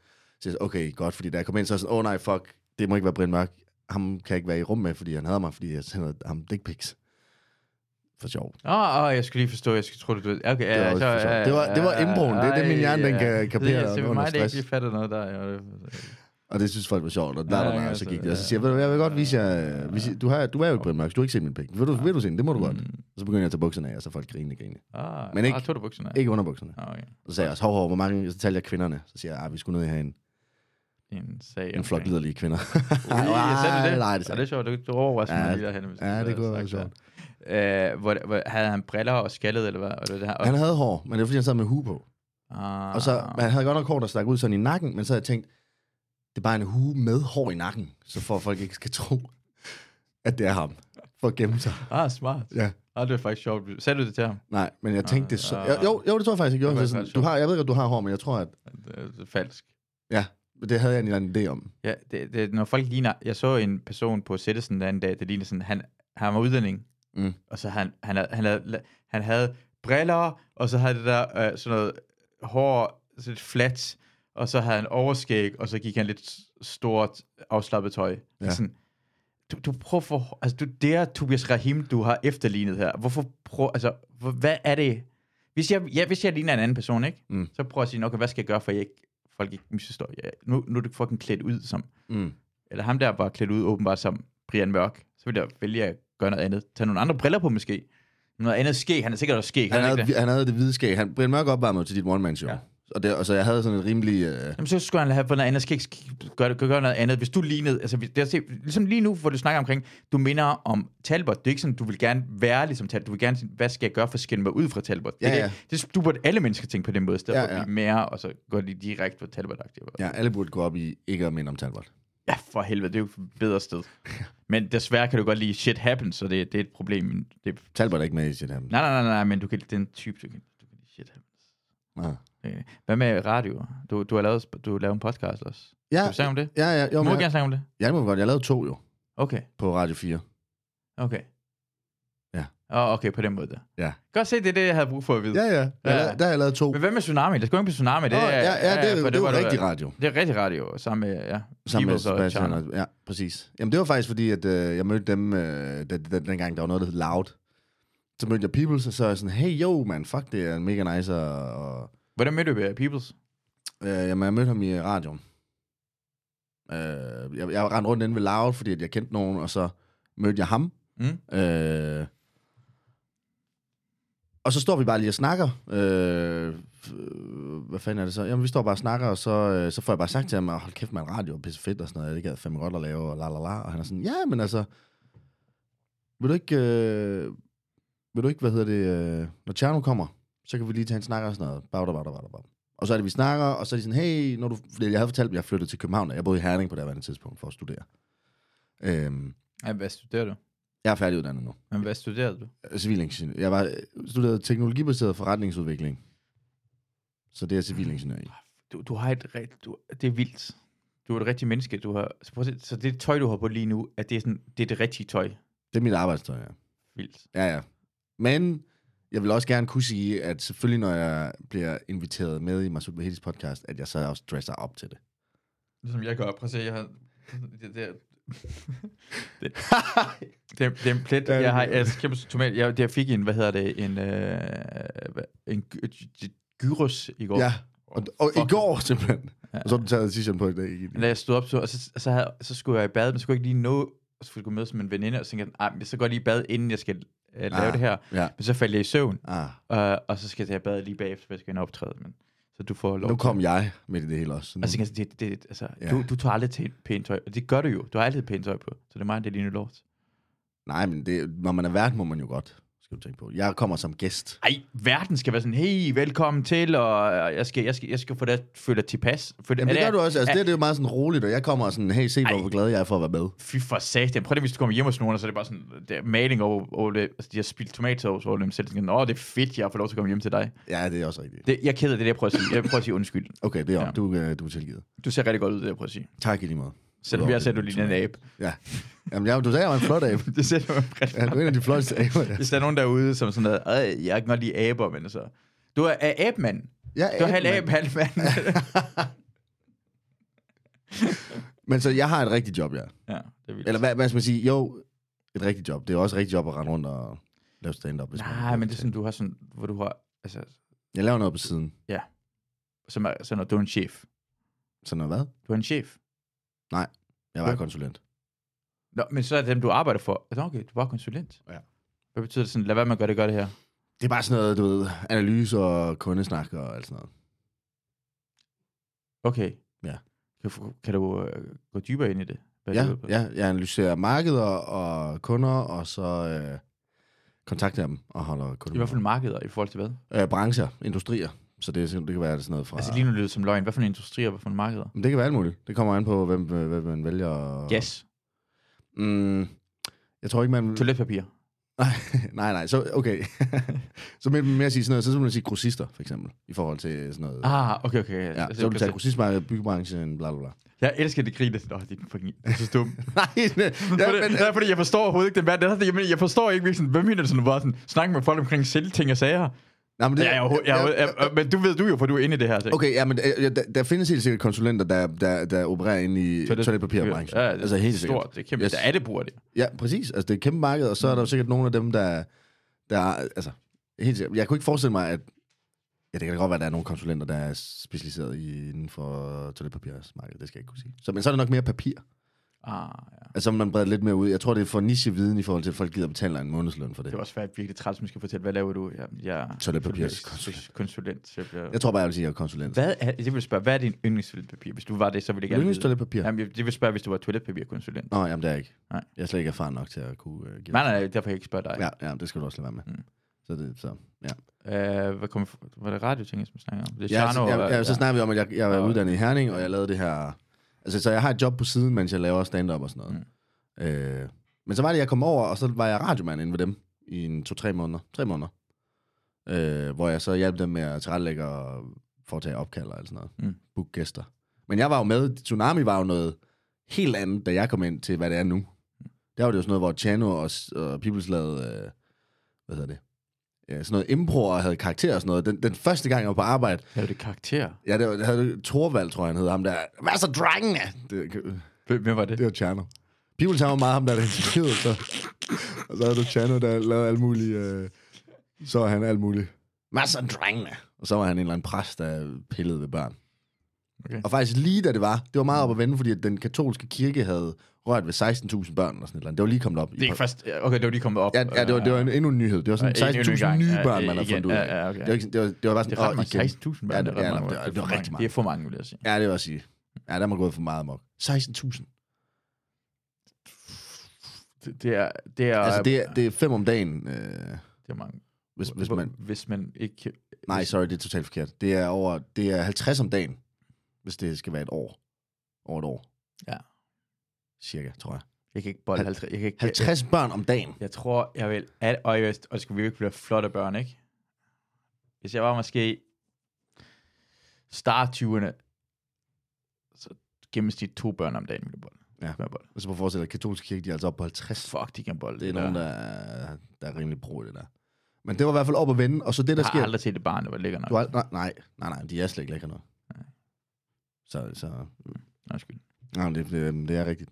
Så jeg sagde, okay, godt, fordi da jeg kommer ind, så er jeg sådan, åh oh, nej, fuck, det må ikke være Brian Mørk. Ham kan jeg ikke være i rum med, fordi han havde mig, fordi jeg sender ham dick pics. For sjov. Åh, oh, jeg skulle lige forstå, jeg skulle tro, du... Okay, ja, Det var så, også for sjovt. Det var- det var indbroen. Det er det, min hjerne, den kan kapere Det er under mig, der ikke stress. lige fatter noget der. jo. Og det synes folk var sjovt, og der, Ja, der, der, ja, og så så- gik det. Og så ja. siger jeg, ved du hvad, jeg vil godt vise jer, øh, hvis I, du, har, du er jo i Brian Mørk, du har ikke set min pik. Vil du, vil du se den? Det må du godt. Mm. Og så begynder jeg at tage bukserne af, og så er folk grine, grine. Ah, Men ikke- ah, tog du bukserne af? Ikke under bukserne. Nå, okay. Så sagde jeg også, hov, hov, hvor mange, så talte jeg kvinderne. Så siger jeg, ah, vi skulle ned i herinde. En sag. En flok omkring- liderlige kvinder. Ah, Ui, jeg sagde [laughs] det. Nej, Nej, det det, sagde er det sjovt. Du, du overrasker Ja, mig lige derhen. Hvis ja, det kunne være sjovt. Øh, hvor, hvor, havde han briller og skaldet, eller hvad? Og det, der, og, Han havde hår, men det var fordi, han sad med hue på. ah, Og så, han havde godt nok hår, der stak ud sådan i nakken, men så havde jeg tænkt, det er bare en hue med hår i nakken, så for at folk ikke skal tro, at det er ham, for at gemme sig. ah, smart. Ja. Ah, det er faktisk sjovt. Sagde du det til ham? Nej, men jeg tænkte det så... Ah, Jo, jo, jo, det tror jeg faktisk, jeg Det gjorde. Det var jeg, sådan, faktisk du har, jeg ved godt, du har hår, men jeg tror, at... Det er- det er falsk. Ja, men det havde jeg en eller anden idé om. Ja, det, det, når folk ligner... Jeg så en person på Citizen den anden dag, det ligner sådan, han, han var udlænding, Mm. og så han, han, havde, han, havde, han havde briller, og så havde det der øh, sådan noget hår, sådan lidt flat, og så havde han overskæg, og så gik han lidt s- stort afslappet tøj. Ja. Ja. Sådan, du, du prøver for... Altså, du, det er Tobias Rahim, du har efterlignet her. Hvorfor prøver... Altså, hvor, hvad er det... Hvis jeg, ja, hvis jeg ligner en anden person, ikke? Mm. Så prøver jeg at sige, okay, hvad skal jeg gøre, for at jeg ikke, folk ikke misforstår? Ja, nu, nu er du fucking klædt ud som Mm. eller ham der var klædt ud åbenbart som Brian Mørk, så ville jeg vælge at gøre noget andet. Tage nogle andre briller på måske. Noget andet skæg. Han er sikkert også skæg. er Han, ikke havde, det? han havde det hvide skæg. Han, Brian Mørk opvarmede til dit one-man-show. Ja. Ja. Og, det, og så jeg havde sådan en rimelig... Øh, Jamen, så skulle han have på noget andet skæg. Sk- Gør, gør, gør noget andet. Hvis du lignede... Altså, hvis- det er, se- ligesom lige nu, hvor du snakker omkring, du minder om Talbot. Det er ikke sådan, du vil gerne være ligesom Talbot. Du vil gerne sige, hvad skal jeg gøre for at skille mig ud fra Talbot? Det, er Ja, det, det, du burde alle mennesker tænke på den måde, i stedet Ja, ja, for at ja. blive mere, og så går de direkte på Talbot-aktivt. ja, alle burde gå op i ikke at minde om Talbot. Ja, for helvede, det er jo et bedre [laughs] sted. Men desværre kan du godt lide shit happens, så det, det er et problem. men Det, Talbot er ikke med i sit øh, ham. Nej, nej, nej, nej, men du kan den type, du kan, du kan lide shit. Nej. Okay. Hvad med radio? Du, du har lavet, du har lavet en podcast også. Ja, Kan du snakke om det? ja, ja. Du Jo, må men, jeg... gerne snakke om det. ja, det må vi godt. Jeg lavede to jo Okay, på Radio 4. okay. Ja. Oh, okay, på den måde der. Ja. Godt se, det er det, jeg havde brug for at vide. Ja, ja. Jeg Ja. lavede, der har jeg lavet to. Men hvad med Tsunami? Lad os gå ind på Tsunami. Det Åh, er, ja, ja, det, for er- det, det var du- rigtig radio. Det er rigtig radio, sammen med, ja. Sammen med Peoples og Sebastian. Charme. Og, ja, præcis. Jamen, det var faktisk fordi, at øh, jeg mødte dem, øh, den, den, dengang der var noget, der hed Loud. Så mødte jeg Peoples, og så er jeg sådan, hey, yo, man, fuck, det er mega nice. Og, og, Hvordan mødte du øh, Peoples? øh, jamen, jeg mødte ham i øh, radioen. Øh, jeg, jeg rendte rundt inde ved Loud, fordi at jeg kendte nogen, og så mødte jeg ham. Mm. Øh, og så står vi bare lige og snakker. Øh, øh, hvad fanden er det så? Jamen, vi står bare og snakker, og så, øh, så får jeg bare sagt til ham, "Åh, hold kæft, man, radio er pisse fedt og sådan noget. Det gad jeg fandme godt at lave, og la la la. Og han er sådan, ja, men altså, vil du ikke, øh, vil du ikke, hvad hedder det, øh, når Tjerno kommer, så kan vi lige tage en snak og sådan noget. Bagda, bagda, bagda, bagda. Og så er det, vi snakker, og så er de sådan, hey, når du... fordi Jeg havde fortalt dem, at jeg flyttede til København, og jeg boede i Herning på det her tidspunkt for at studere. Øhm, Ja, hvad studerede du? jeg er færdiguddannet nu Men hvad studerede du? civilingeniør. Jeg var øh, studerede teknologibaseret forretningsudvikling. Så det er jeg civilingeniør i. Du, du har et rigt, du, det er vildt. Du er et rigtigt menneske. Du har, så, prøv at se, så det tøj, du har på lige nu, at det er, sådan, det, er det rigtige tøj. Det er mit arbejdstøj, ja. Vildt. ja, ja. Men jeg vil også gerne kunne sige, at selvfølgelig, når jeg bliver inviteret med i Masud Bahedis podcast, at jeg så også dresser op til det. Ligesom jeg gør. Prøv at se, jeg har det der [laughs] Det, er- det er en plet. Ja, det Jeg har er- jeg, kæmpe tomat. Jeg, jeg fik en, hvad hedder det, en, øh, hvad- en gy- gy- gyros i går. Ja, og, og i Fuck. går simpelthen. Og så har du taget t-shirt på i dag. igen. Når jeg stod op, så, og så, så, havde, så skulle jeg i bad, men så skulle jeg ikke lige nå, og så skulle jeg mødes med en veninde, og så tænkte jeg, "Ej, men så går jeg lige i bad, inden jeg skal øh, lave Ah, det her. ja. Men så faldt jeg i søvn, Ah, øh, og så skal jeg til at bade lige bagefter, for jeg skal ind og optræde. Men, så du får lov. nu kom til- jeg med i det hele også. Så Nu, Og så tænker jeg, det, det, det, altså, Ja. ja. du, du tager aldrig til pænt tøj, og det gør du jo. Du har altid pænt tøj på, så det er mig, det er lige nu lort. nej, men det, når man er vært, må man jo godt, skal du tænke på. Jeg kommer som gæst. Ej, verden skal være sådan, hey, velkommen til, og øh, jeg skal, jeg skal, jeg skal få det, føle dig tilpas. Føle, Jamen, det er gør du også. Altså, er- det, her, det er jo meget sådan roligt, og jeg kommer og sådan, hey, se, hvor glad jeg er for at være med. Fy for satan. Prøv lige, hvis du kommer hjem hos nogen, og så er det bare sådan, der er maling over, over det. Altså, de har spildt tomatsovs over dem selv. Sådan, Åh, det er fedt, jeg får lov til at komme hjem til dig. Ja, det er også rigtigt. Det, jeg er ked af det, der jeg prøver at sige. Jeg prøver at sige undskyld. Okay, det er ja. Ja. du, øh, du er tilgivet. Du ser rigtig godt ud, det jeg prøver at sige. Tak i lige måde. Selvom jeg ser, du ligner en abe. [laughs] Ja. Jamen, jeg, du sagde, jeg var en flot abe. Det ser du rigtig Ja, du er en af de flotteste aber. der. Hvis der er nogen derude, som sådan noget, "Ej, jeg kan godt lide aber, men så... Du er, er abemand. Jeg Du er halv mand. abe, halv [laughs] mand. Men så jeg har et rigtigt job, ja. ja, det er vildt. Eller hvad, hvad skal man sige? Jo, et rigtigt job. Det er også et rigtigt job at rende rundt og lave stand-up. Hvis man Nej, men det er sådan, du har sådan, hvor du har, altså, Jeg laver noget på siden. som er, sådan, noget, du er en chef. Sådan noget hvad? Du er en chef. Jeg var Ja. konsulent. Nå, men så er det dem, du arbejder for. Altså, okay, du var konsulent. Ja. Hvad betyder det sådan, lad være med at gøre det, gør det her? Det er bare sådan noget, du ved, analyse og kundesnak og alt sådan noget. Okay. Ja. Kan, du- kan du øh, gå dybere ind i det? Hvad Ja, det går ud på? ja, jeg analyserer markeder og kunder, og så øh, kontakter jeg dem og holder kunder. I hvert fald markeder i forhold til hvad? Øh, brancher, industrier. Så det, er sådan- det kan være sådan noget fra... Altså lige nu lyder det som løgn. Hvad for en industri og hvad for en markeder? Men det kan være alt muligt. Det kommer an på, hvem, øh, hvem man vælger. og- Gas. Mm, jeg tror ikke, man... Toiletpapir. [laughs] nej, nej, så okay. [laughs] så med, med at sige sådan noget, så vil man sige grossister, for eksempel, i forhold til sådan noget. Ah, okay, altså, okay. ja, så vil du tage grossistmarkedet, byggebranchen, bla [laughs] bla bla. jeg elsker det grine. Nå, det er fucking... Det er så [laughs] dumt. [laughs] nej, Ja, ja, det, men, det er fordi, jeg forstår overhovedet ikke den verden. Det er, fordi, jeg, jeg forstår ikke, virkelig sådan, hvad mener du sådan, bare sådan, snak med folk omkring selv ting og sager. nej, men Ja, jeg, jeg, jeg, jeg, jeg, men du ved du jo, for du er inde i det her. Så. Okay, ja, men øh, ja, der, der findes helt sikkert konsulenter, der, der, der opererer inde i toiletpapirbranchen. Ja, det er altså helt stort. sikkert. Det er kæmpe. Yes. Yes. Der er det, bruger det. Ja, præcis. Altså, det er et kæmpe marked, og så Mm. er der jo sikkert nogle af dem, der... der er- altså, helt sikkert. Jeg kunne ikke forestille mig, at... Ja, det kan da godt være, at der er nogle konsulenter, der er specialiseret i, inden for toiletpapirsmarkedet. Det skal jeg ikke kunne sige. Så, men så er det nok mere papir. Ah, ja. Altså, om man breder lidt mere ud. Jeg tror, det er for nicheviden i forhold til, at folk gider betale en månedsløn for det. Det var også svært virkelig træt, som skal fortælle, hvad laver du? Jeg, jeg Toiletpapirskonsulent. konsulent. Så jeg bliver... Jeg tror bare, jeg vil sige, at jeg er konsulent. Hvad er, jeg vil spørge, hvad er din yndlingstoiletpapir? Hvis du var det, så ville jeg gerne vide. Yndlingstoiletpapir? Jamen, jeg, jeg vil spørge, hvis du var toiletpapirkonsulent. Nå, jamen, det er jeg ikke. Nej. Jeg er slet ikke erfaren nok til at kunne uh, give Nej, nej, nej, derfor kan jeg ikke spørge dig. Ja, ja, det skal du også lade være med. Mm. Så det, så, ja. Øh, hvad kom, var det radio, tænker jeg, som vi snakker om? Det er Ja, Tjerno, så, ja, ja, så og- snakker vi om, at jeg, jeg er Og- uddannet i Herning, og jeg lavede det her... Altså, så jeg har et job på siden, mens jeg laver stand-up og sådan noget. Mm. Øh, men så var det, jeg kom over, og så var jeg radiomand inde ved dem i en to-tre måneder. Tre måneder. Øh, hvor jeg så hjalp dem med at tilrettelægge og foretage opkald og alt sådan noget. Mm. Book gæster. Men jeg var jo med. Tsunami var jo noget helt andet, da jeg kom ind til, hvad det er nu. Der var det jo sådan noget, hvor Chano og, s- og Peoples lavede... Øh, hvad hedder det? Ja, sådan noget impro og havde karakter og sådan noget. Den, den første gang, jeg var på arbejde, Ja, det er karakter. Ja, det, var, det havde Torvald, tror jeg, han hed ham der. Hvad så, drengene? Det, Hvem hvem var det? det var Tjerno. Pibels, han var meget ham der, der interviewede, så. Og så havde du Tjerno, der lavede alt muligt. Øh, så var han alt muligt. Hvad så, drengene? Og så var han en eller anden præst, der pillede ved børn. Okay. Og faktisk lige da det var, det var meget op at vende, fordi at den katolske kirke havde rørt ved 16.000 børn og sådan et eller andet. Det var lige kommet op. i Det er ikke først... ja, Okay, det var lige kommet op. Ja, ja, det var, det var en, endnu en nyhed. Det var Ja, sådan endnu en 16.000 gang. nye Ja, børn, man havde igen. fundet ud af. Ja, ja, okay. det, var, ikke- det, var, det var bare Det er sådan... ret "Åh, mange. 16.000 igen." børn, Ja, det er ja, ret mange. det var- det var rigtig Det meget. er for mange, vil jeg sige. Ja, det vil jeg sige. Ja, der må gået for meget mok. 16.000. Det, det er... Det er, Altså, det er, det er fem om dagen, øh, det er mange. hvis, hvis man... hvis man ikke... Nej, sorry, det er totalt forkert. Det er, over, det er 50 om dagen, hvis det skal være et år. Over et år. Ja. Cirka, tror jeg. Jeg kan ikke bolle Hal- 50... Jeg, kan ikke, 50 børn om dagen. jeg, jeg tror, jeg vil... At, og, jeg, og skal vi jo ikke blive flotte børn, ikke? Hvis jeg var måske... Start 20'erne, så gennemsnit to børn om dagen, ville jeg bolle. Ja. Kan jeg bolle. Og så på forestille dig, at katolske kirke, de er altså oppe på 50. Fuck, de kan bolle. Det er der. nogen, der, er- der er rimelig brug i det der. Men det var i hvert fald op at vende, og så det, der Jeg har sker... aldrig set et barn, der var lækker nok. Du har, nej, nej, nej, nej, de er slet ikke lækre noget. Så, så Undskyld. Nej, det, det, det er rigtigt.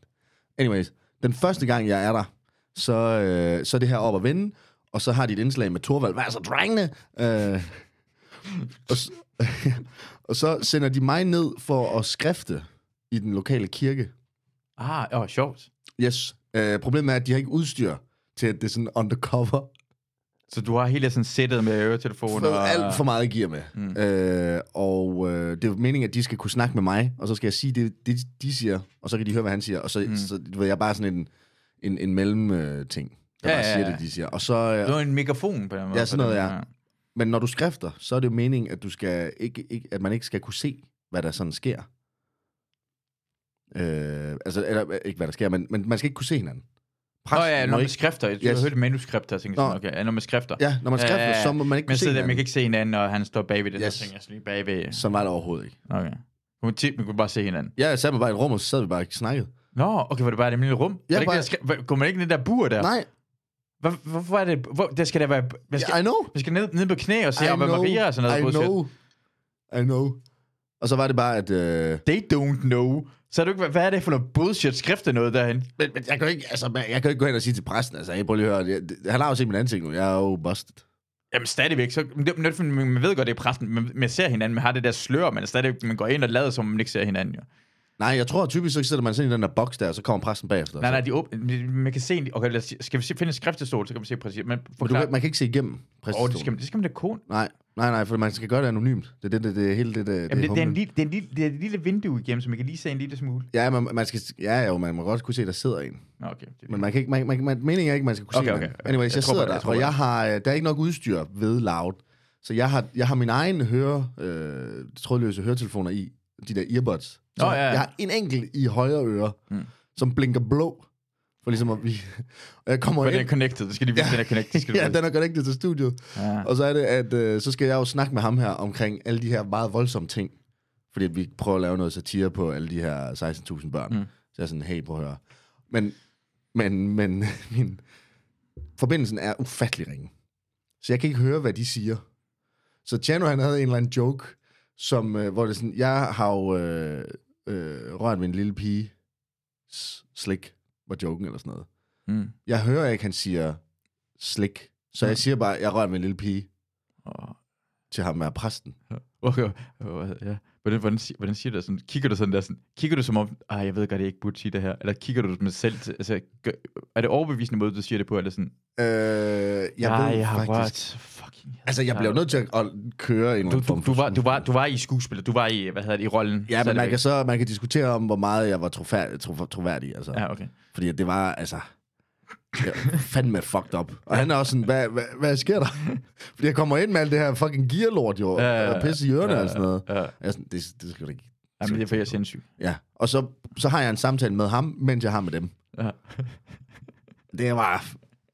Anyways, den første gang, jeg er der, så, øh, så er det her op at vende, og så har de et indslag med Torvald. Hvad er så, drengene? Øh, og, s- [laughs] og så sender de mig ned for at skrifte i den lokale kirke. Ah, åh, sjovt. Yes. Øh, problemet er, at de har ikke udstyr til, at det er sådan undercover. Så du har hele sådan sættet med øretelefoner. fået og- alt for meget gear med. Mm. Øh, og øh, det er jo meningen, at de skal kunne snakke med mig, og så skal jeg sige det, det de siger, og så kan de høre, hvad han siger. Og så, mm. så du ved, jeg er bare sådan en, en, en mellem-ting, der Ja, ja, bare ja, siger ja. det, de siger. Og så, øh, Du har en mikrofon på den måde. Ja, sådan på noget, den- ja. Men når du skrifter, så er det jo meningen, at, du skal ikke, ikke, at man ikke skal kunne se, hvad der sådan sker. Øh, altså, eller, øh, ikke hvad der sker, men, men man skal ikke kunne se hinanden. Nå ja, Præsten når må man ikke, skrifter. Jeg yes. Yes. har hørt manuskripter, jeg tænker Nå. sådan, okay, ja, når man skrifter. ja, når man Ja, skrifter, ja, ja. så må man ikke Men kunne så se der, man hinanden. kan ikke se hinanden, og han står bagved det, yes. Yes. så tænker jeg så lige bagved. Sådan var det overhovedet ikke. Okay. Kunne man, man kunne bare se hinanden. Ja, jeg sad mig bare i et rum, og så sad vi bare og snakkede. Nå, okay, var det bare det lille rum? Ja, Ja, var det bare- ikke, bare... kunne man ikke i den der bur der? Nej, Hvor, hvorfor er det... Hvor, der skal der være... Man skal, I know. man skal ned, ned på knæ og se, I om hvad know. Maria og sådan noget. I bullshit. know. I know. Og så var det bare, at... Øh, They don't know. Så er du ikke... Hvad er det for noget bullshit skrift, der noget derhen? men, men jeg kan jo ikke, altså, man- jeg kan jo ikke gå hen og sige til præsten, altså, hey, prøv lige at høre, det, det, han har jo set min ansigt nu, jeg er jo busted. Jamen stadigvæk, så, men det, men det- man ved godt, det er præsten, man, man ser hinanden, man har det der slør, men stadigvæk, man går ind og lader, som om man ikke ser hinanden. Jo. Nej, jeg tror typisk, så sætter man sig ind i den der boks der, og så kommer præsten bagefter. Nej, nej, de åbner, man kan se, okay, lad os, sige- skal vi se, finde en skriftestol, så kan man se præcis, men Men du, forklar, kan- man kan ikke se igennem åh, det præstestolen. skal man, det skal man da kun, Nej, nej, nej, for man skal gøre det anonymt. Det er det, det, det, hele det, Jamen, det, det, det, er en humlen. lille, det, er en lille, det er et lille vindue igennem, så man kan lige se en lille smule. Ja, man, man skal, ja, jo, man må godt kunne se, der sidder en. Nå, okay. Det, Men man kan ikke, man, man, man, meningen er ikke, at man skal kunne Okay, se okay, hinanden. okay. Anyways, Jeg jeg, tror på sidder det, jeg der, tror og på jeg har, øh, der er ikke nok udstyr ved loud. Så jeg har, jeg har min egen høre, øh, trådløse høretelefoner i, de der earbuds. Så Nå, ja, ja. Jeg har en enkelt i højre øre, Mm. mm. som blinker blå. For ligesom at vi... [laughs] Og jeg kommer for den ind... er connected, det skal de vise, den er connected. Skal [laughs] ja, ja, den er connected til studiet. ja. Og så er det, at øh, så skal jeg jo snakke med ham her omkring alle de her meget voldsomme ting. Fordi at vi prøver at lave noget satire på alle de her 16.000 børn. Mm. Mm. Så jeg er sådan, hey, prøv at høre. Men, men, men [laughs] min forbindelsen er ufattelig ringe. Så jeg kan ikke høre, hvad de siger. Så Chano, han havde en eller anden joke, som, øh, hvor det er sådan, jeg har jo øh, øh, rørt min lille pige s- slik, var joken eller sådan noget. Mm. Jeg hører ikke, han siger slik. Så jeg siger bare, jeg rører min lille pige Åh. til ham med præsten. Okay, okay, ja. Hvordan, hvordan, si- hvordan siger du det sådan? Kigger du sådan der sådan, kigger du som om, ah, jeg ved godt, jeg ikke burde sige det her, eller kigger du med selv til, altså, gør, er det overbevisende måde, du siger det på, eller sådan, Øh, jeg "Nej, ved jeg har faktisk... rørt fucking... Altså, jeg blev nødt til at køre en Du, du, du, var, du, var, du var i skuespillet, du var i, hvad hedder det, i rollen. Ja, men man stadigvæk. kan, så, man kan diskutere om, hvor meget jeg var trofærdig, trof, troværdig, altså. Ja. Ja, okay. Fordi at det var, altså... Jeg [laughs] var fandme fucked up. Og han er også sådan, hvad, hvad, hvad sker der? [laughs] Fordi jeg kommer ind med alt det her fucking gearlort, jo. Ja, ja, ja. og pisse i ørerne og sådan noget. Ja, ja. Jeg er sådan, det, det skal du ikke... Jamen, det er for, jeg er sindssyg. Ja, og så, så har jeg en samtale med ham, mens jeg har med dem. Ja. Det var...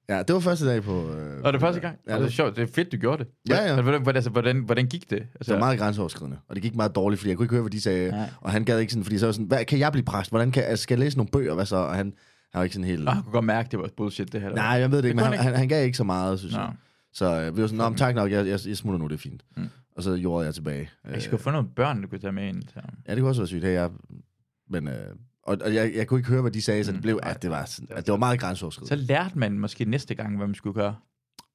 Ja, det var første dag på... Øh, Og det er første gang? Ja, Ja, det er det, sjovt, det er fedt, du gjorde det. Ja, ja. Men Hvordan, hvordan, altså, hvordan, hvordan gik det? det Altså, var meget grænseoverskridende, og det gik meget dårligt, fordi jeg kunne ikke høre, hvad de sagde, Nej. Nej. og han gad ikke sådan, fordi så var jeg sådan, hvad, kan jeg blive præst? Hvordan kan, altså, skal jeg læse nogle bøger, hvad så? Og han, han var ikke sådan helt... Nå, jeg kunne godt mærke, Ah, det var bullshit, det her. Nej, jeg ved det ikke, men kunne han, han han, han gav ikke så meget, synes Nå. jeg. Så øh, vi var sådan, "Nå, men tak nok, jeg, jeg, jeg smutter nu, det er fint. Mm. Og så jordede jeg tilbage. Jeg Øh, skulle få nogle børn, du kunne tage med ind. til ham. Ja, det kunne også være sygt, hey, jeg, men... Øh, og, og jeg, jeg kunne ikke høre, hvad de sagde, Mm. så det blev, at det var, sådan, at det var meget Så grænseoverskridende. lærte man måske næste gang, hvad man skulle gøre.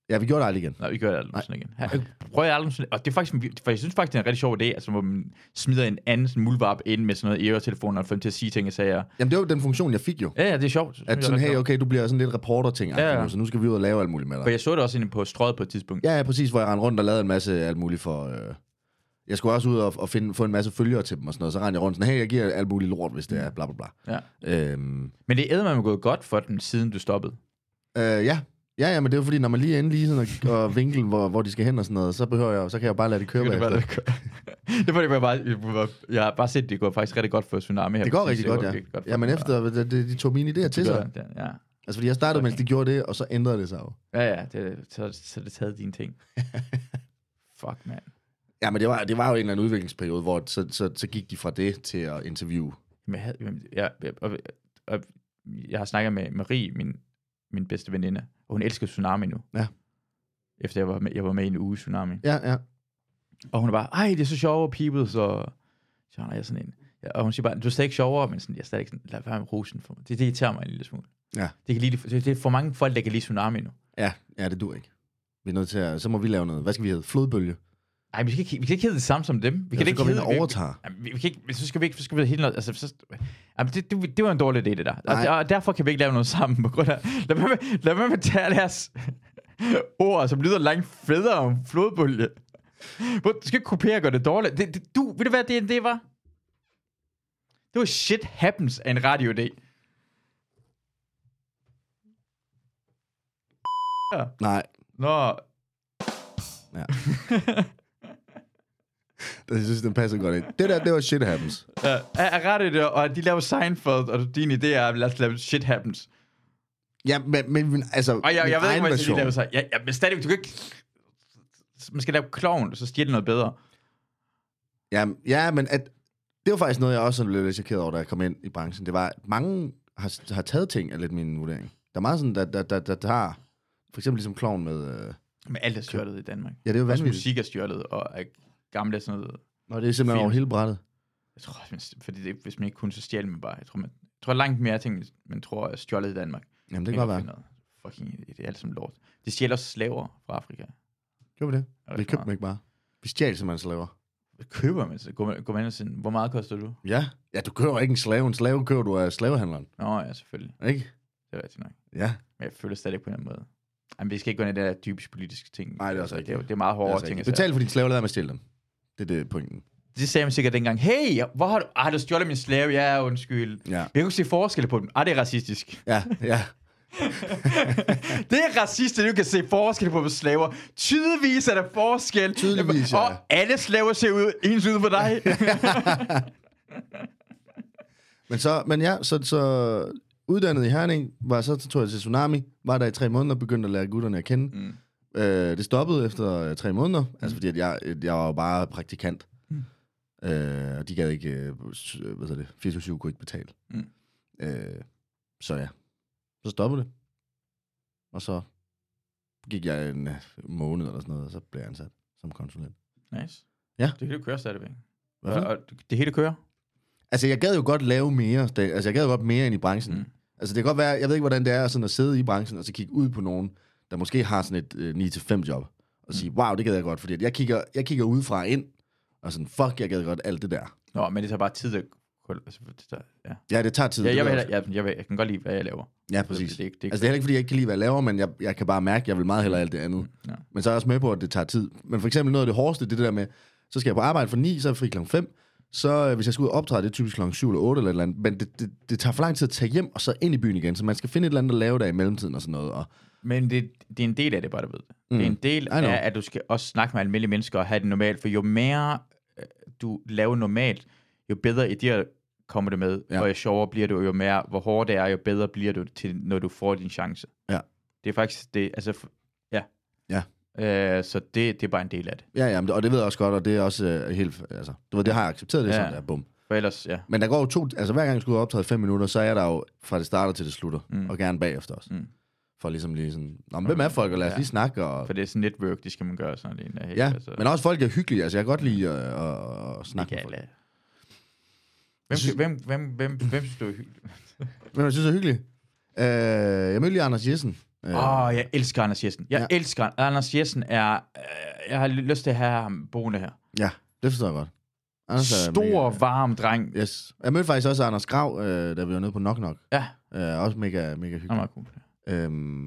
Ja, vi gjorde det aldrig igen. Nej, vi gør det aldrig sådan igen. Prøv jeg aldrig sådan Og det er faktisk, en- for jeg synes faktisk, det er en rigtig sjov idé, altså, hvor man smider en anden sådan muldvarp ind med sådan noget øretelefoner, og får dem til at sige ting og sager. Jamen, det var jo den funktion, jeg fik jo. Ja, ja, det er sjovt. Det synes At jeg sådan, er ret hey, sjovt. okay, du bliver sådan lidt reporter-ting, Ja, ja, ja. ja. så nu skal vi ud og lave alt muligt med For dig. jeg så det også inde på strøget på et tidspunkt. Ja, ja, præcis, hvor jeg rendte rundt og lavede en masse alt muligt for... Øh... Jeg skulle også ud og, og finde, få en masse følgere til dem og sådan noget, så rendte jeg rundt sådan, hey, jeg giver alt muligt lort, hvis det er bla bla bla. Ja. Øhm, Men det er man gået godt for den, siden du stoppede. øh, ja. ja, ja, men det er jo fordi, når man lige er inde lige sådan og, og vinkel, hvor, hvor de skal hen og sådan noget, så behøver jeg jo- så kan jeg jo bare lade det køre Det var bagefter. det, Det, der gør. [laughs] det var det, hvor jeg bare... Jeg har bare set, det går faktisk rigtig godt for Tsunami her. [laughs] det går rigtig godt, ja. for Jamen dem, og efter, de, de tog mine idéer til det gør sig. det, Ja, Altså, fordi jeg startede, mens de gjorde det, og så ændrede det sig jo. ja, ja det, så, så er det taget dine [laughs] ting. Fuck, mand. Ja, men det var, det var jo en eller anden udviklingsperiode, hvor så, så, så gik de fra det til at interviewe. Men jeg, havde, jamen, jeg, jeg, og, og, jeg har snakket med Marie, min, min bedste veninde, og hun elsker Tsunami nu. Ja. Efter jeg var med, jeg var med i en uge i Tsunami. Ja, ja. Og hun er bare, ej, det er så sjovt, Peoples, og så er jeg er sådan en, Ja, Og hun siger bare, du er stadig sjovere, men sådan, jeg er stadig sådan, lad være med rosen for mig. Det, det irriterer mig en lille smule. Ja. Det, kan lige, det, det er for mange folk, der kan lide tsunami nu. Ja, ja, det dur ikke. Vi er nødt til at, så må vi lave noget. Hvad skal vi hedde? Flodbølge. Nej, vi, skal ikke, vi kan ikke hedde det samme som dem. Vi Vi kan kan så ikke går vi ind hedde- og overtager. Jamen, vi, vi kan ikke, men så skal vi ikke, så skal vi helt noget, altså, så, jamen, det, det, det var en dårlig idé, det der. Nej. Og, og, derfor kan vi ikke lave noget sammen, på grund af, lad være med, lad være med at tage deres [laughs] ord, som lyder langt federe om flodbølge. Hvor- Du skal ikke kopiere og gøre det dårligt. Det, det, du, ved du hvad det, det var? Det var shit happens af en radio -idé. Nej. Nå, [laughs] Ja. det jeg synes, den passer godt ind. Det der, det var shit happens. øh, er, er radio det, og de laver Seinfeld, og din idé er, lad os lave shit happens. Ja, men, men men, altså, Og jeg, min jeg ved ikke, egen hvad jeg skal version. lige lave sig. Ja, ja, men stadigvæk, du kan ikke... Man skal lave klovn, og så stjæle noget bedre. Ja, ja men at, det var faktisk noget, jeg også sådan blev lidt chokeret over, da jeg kom ind i branchen. Det var, at mange har, har taget ting af lidt min vurdering. Der er meget sådan, der, der, der, der tager... For eksempel ligesom kloven med... Øh, Men alt er stjålet i Danmark. ja, det er jo Også vanvittigt. musik er stjålet, og er gamle sådan noget. Nå, det er simpelthen Film. over hele brættet. Jeg tror, også, man- fordi det, hvis man ikke kunne, så stjæle man bare. Jeg tror, man, jeg tror langt mere ting, man tror er stjålet i Danmark. Jamen, det kan godt være. Fucking, det er alt som lort. De stjæler også slaver fra Afrika. Gjorde vi det? Og Vi købte dem ikke bare. Vi stjal simpelthen slaver. Hvad Køber man så? Går man, går man ind og siger, hvor meget koster du? Ja. Ja, du køber ikke en slave. En slave køber du af slavehandleren, Nå ja, selvfølgelig. ikke? Det er rigtigt nok. Ja. Men jeg føler stadig på en eller anden måde. Jamen, vi skal ikke gå ind i det der typisk politiske ting. Altså, Nej, det er også det, er, jo- rigtigt. det er meget hårdere ting. at sige. Betal for din slave, lad være med at stjæle dem. Det er det pointen. Det sagde man sikkert dengang. Hey, hvor har du... Ah, du stjålet min slave. Ja, undskyld. Ja. Jeg kunne ikke se forskel på dem. Ah, det er racistisk. Ja, ja. Det er racistisk, at du kan se forskel på slaver. Tydeligvis er der forskel. Tydeligvis, ja. Og alle slaver ser ud, ens ud for [laughs] dig. Men så, men ja, så, så uddannet i Herning, var så, så tog jeg til Tsunami, var der i tre måneder, begyndte at lære gutterne at kende. Mm. Øh, det stoppede efter øh, tre måneder, mm. altså fordi at jeg, at jeg var jo bare praktikant. Mm. Øh, og de gad ikke, øh, s- øh, hvad hedder det, 24-7 kunne ikke betale. Mm. Øh, så ja, så stoppede det. Og så gik jeg en øh, måned eller sådan noget, og så blev jeg ansat som konsulent. nice. Ja. Det hele kører stadigvæk. Hvad for noget? Og, og det hele kører. Altså, jeg gad jo godt lave mere. da- Altså, jeg gad jo godt mere end i branchen. Mm. Mm. Altså, det kan godt være, jeg ved ikke, hvordan det er sådan at sidde i branchen, og så kigge ud på nogen, der måske har sådan et øh, 9-5 job, og Mm. sige, wow, det gad jeg godt, fordi at jeg kigger, jeg kigger udefra ind, og sådan, fuck, jeg gad godt alt det der. Nå, men det tager bare tid at... Altså, det tager, ja. Ja, det tager tid. Ja, det jeg, ved vil, også. heller- jeg, jeg, vil, jeg kan godt lide, hvad jeg laver. Ja, præcis. Det, det, det, det, Altså, det er heller ikke, fordi jeg ikke kan lide, hvad jeg laver, men jeg, jeg kan bare mærke, at jeg vil meget hellere alt det andet. Ja. Men så er jeg også med på, at det tager tid. Men for eksempel noget af det hårdeste, det er det der med, så skal jeg på arbejde fra 9, så er jeg fri kl. 5. Så øh, hvis jeg skal ud og optræde, det er typisk kl. 7 eller 8 eller et eller andet. Men det, det, det, tager for lang tid at tage hjem og så ind i byen igen. Så man skal finde et eller andet at lave der i mellemtiden og sådan noget. Og, Men det, det er en del af det, bare du ved. Mm. Det er en del I know. af, at du skal også snakke med almindelige mennesker og have det normalt, for jo mere øh, du laver normalt, jo bedre idéer kommer det med, ja. Ja. og jo sjovere bliver du, jo mere, hvor hårdt det er, jo bedre bliver du til, når du får din chance. Ja. Det er faktisk det, altså, f- ja. Ja. Øh, så det, det er bare en del af det. ja, ja, men det- og det ved jeg også godt, og det er også øh, helt... Altså, du ved, det har jeg accepteret, det er Ja. ja. sådan der, bum. For ellers, ja. Men der går jo to... Altså, hver gang jeg skulle ud og optræde 5 minutter, så er jeg der jo fra det starter til det slutter. Mm. Og gerne bagefter også. Mm. Mm. For ligesom lige sådan... Nå, men hvem er folk, og lad os Ja. ja. lige snakke, og... For det er sådan network, det skal man gøre sådan en. Ja, men også folk er hyggelige. Altså, jeg kan godt lide at, at, at snakke med folk. Gala. Hvem, synes... hvem, hvem, hvem, hvem synes du er hyggelig? Hvem jeg synes er hyggelig? Øh, jeg mødte lige Anders Jessen. Øh, Åh, oh, jeg elsker Anders Jessen. Jeg ja. Ja. elsker Anders Jessen. Er, øh, jeg har lyst til at have ham boende her. Ja, det forstår jeg godt. er Stor, mega- varm dreng. Ja, Yes. Jeg mødte faktisk også Anders Grav, øh, da vi var nede på Knock Knock. ja Øh, også mega, mega han er hyggelig. meget cool. Øhm,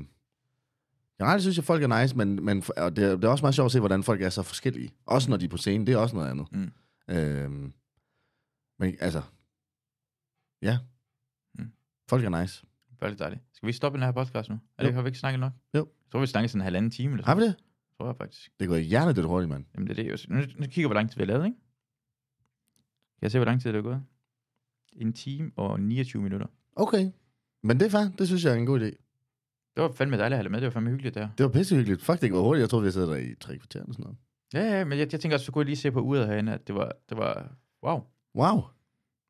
jeg ret synes, at folk er nice, men, men og det, er- det er også meget sjovt at se, hvordan folk er så forskellige. Også når de er på scenen, det er også noget andet. Mm. Øhm, men altså, ja. Mm. Folk er nice. Det var lidt dejligt. Skal vi stoppe den her podcast nu? Er det, Jo. har vi ikke snakket nok? Jo. Jeg tror, vi snakkede sådan en halvanden time. Eller Har sådan. vi det? noget. Tror jeg faktisk. Det går hjernet lidt hurtigt, mand. Jamen, det er det. jo. Nu, nu kigger vi, hvor lang tid vi har lavet, ikke? Kan jeg se, hvor lang tid det er gået? En time og 29 minutter. Okay. Men det er fair. Det synes jeg er en god idé. Det var fandme dejligt at have dig med. Det var fandme hyggeligt, det her. Det var pissehyggeligt. Fuck, det går hurtigt. Jeg troede, vi havde siddet der i tre kvarter eller sådan noget. Ja, ja, men jeg, jeg tænker også, så kunne jeg lige se på uret herinde, at det var, det var wow. Wow.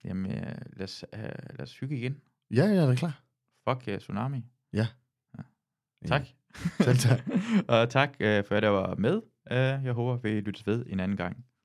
Jamen, øh, lad os, øh, lad os hygge igen. Ja, ja, det er klar. Fuck uh, Tsunami. Ja. Ja. Tak. øh, Selv tak. [laughs] og tak, uh, for at jeg var med. Uh, jeg håber, vi lyttes ved en anden gang.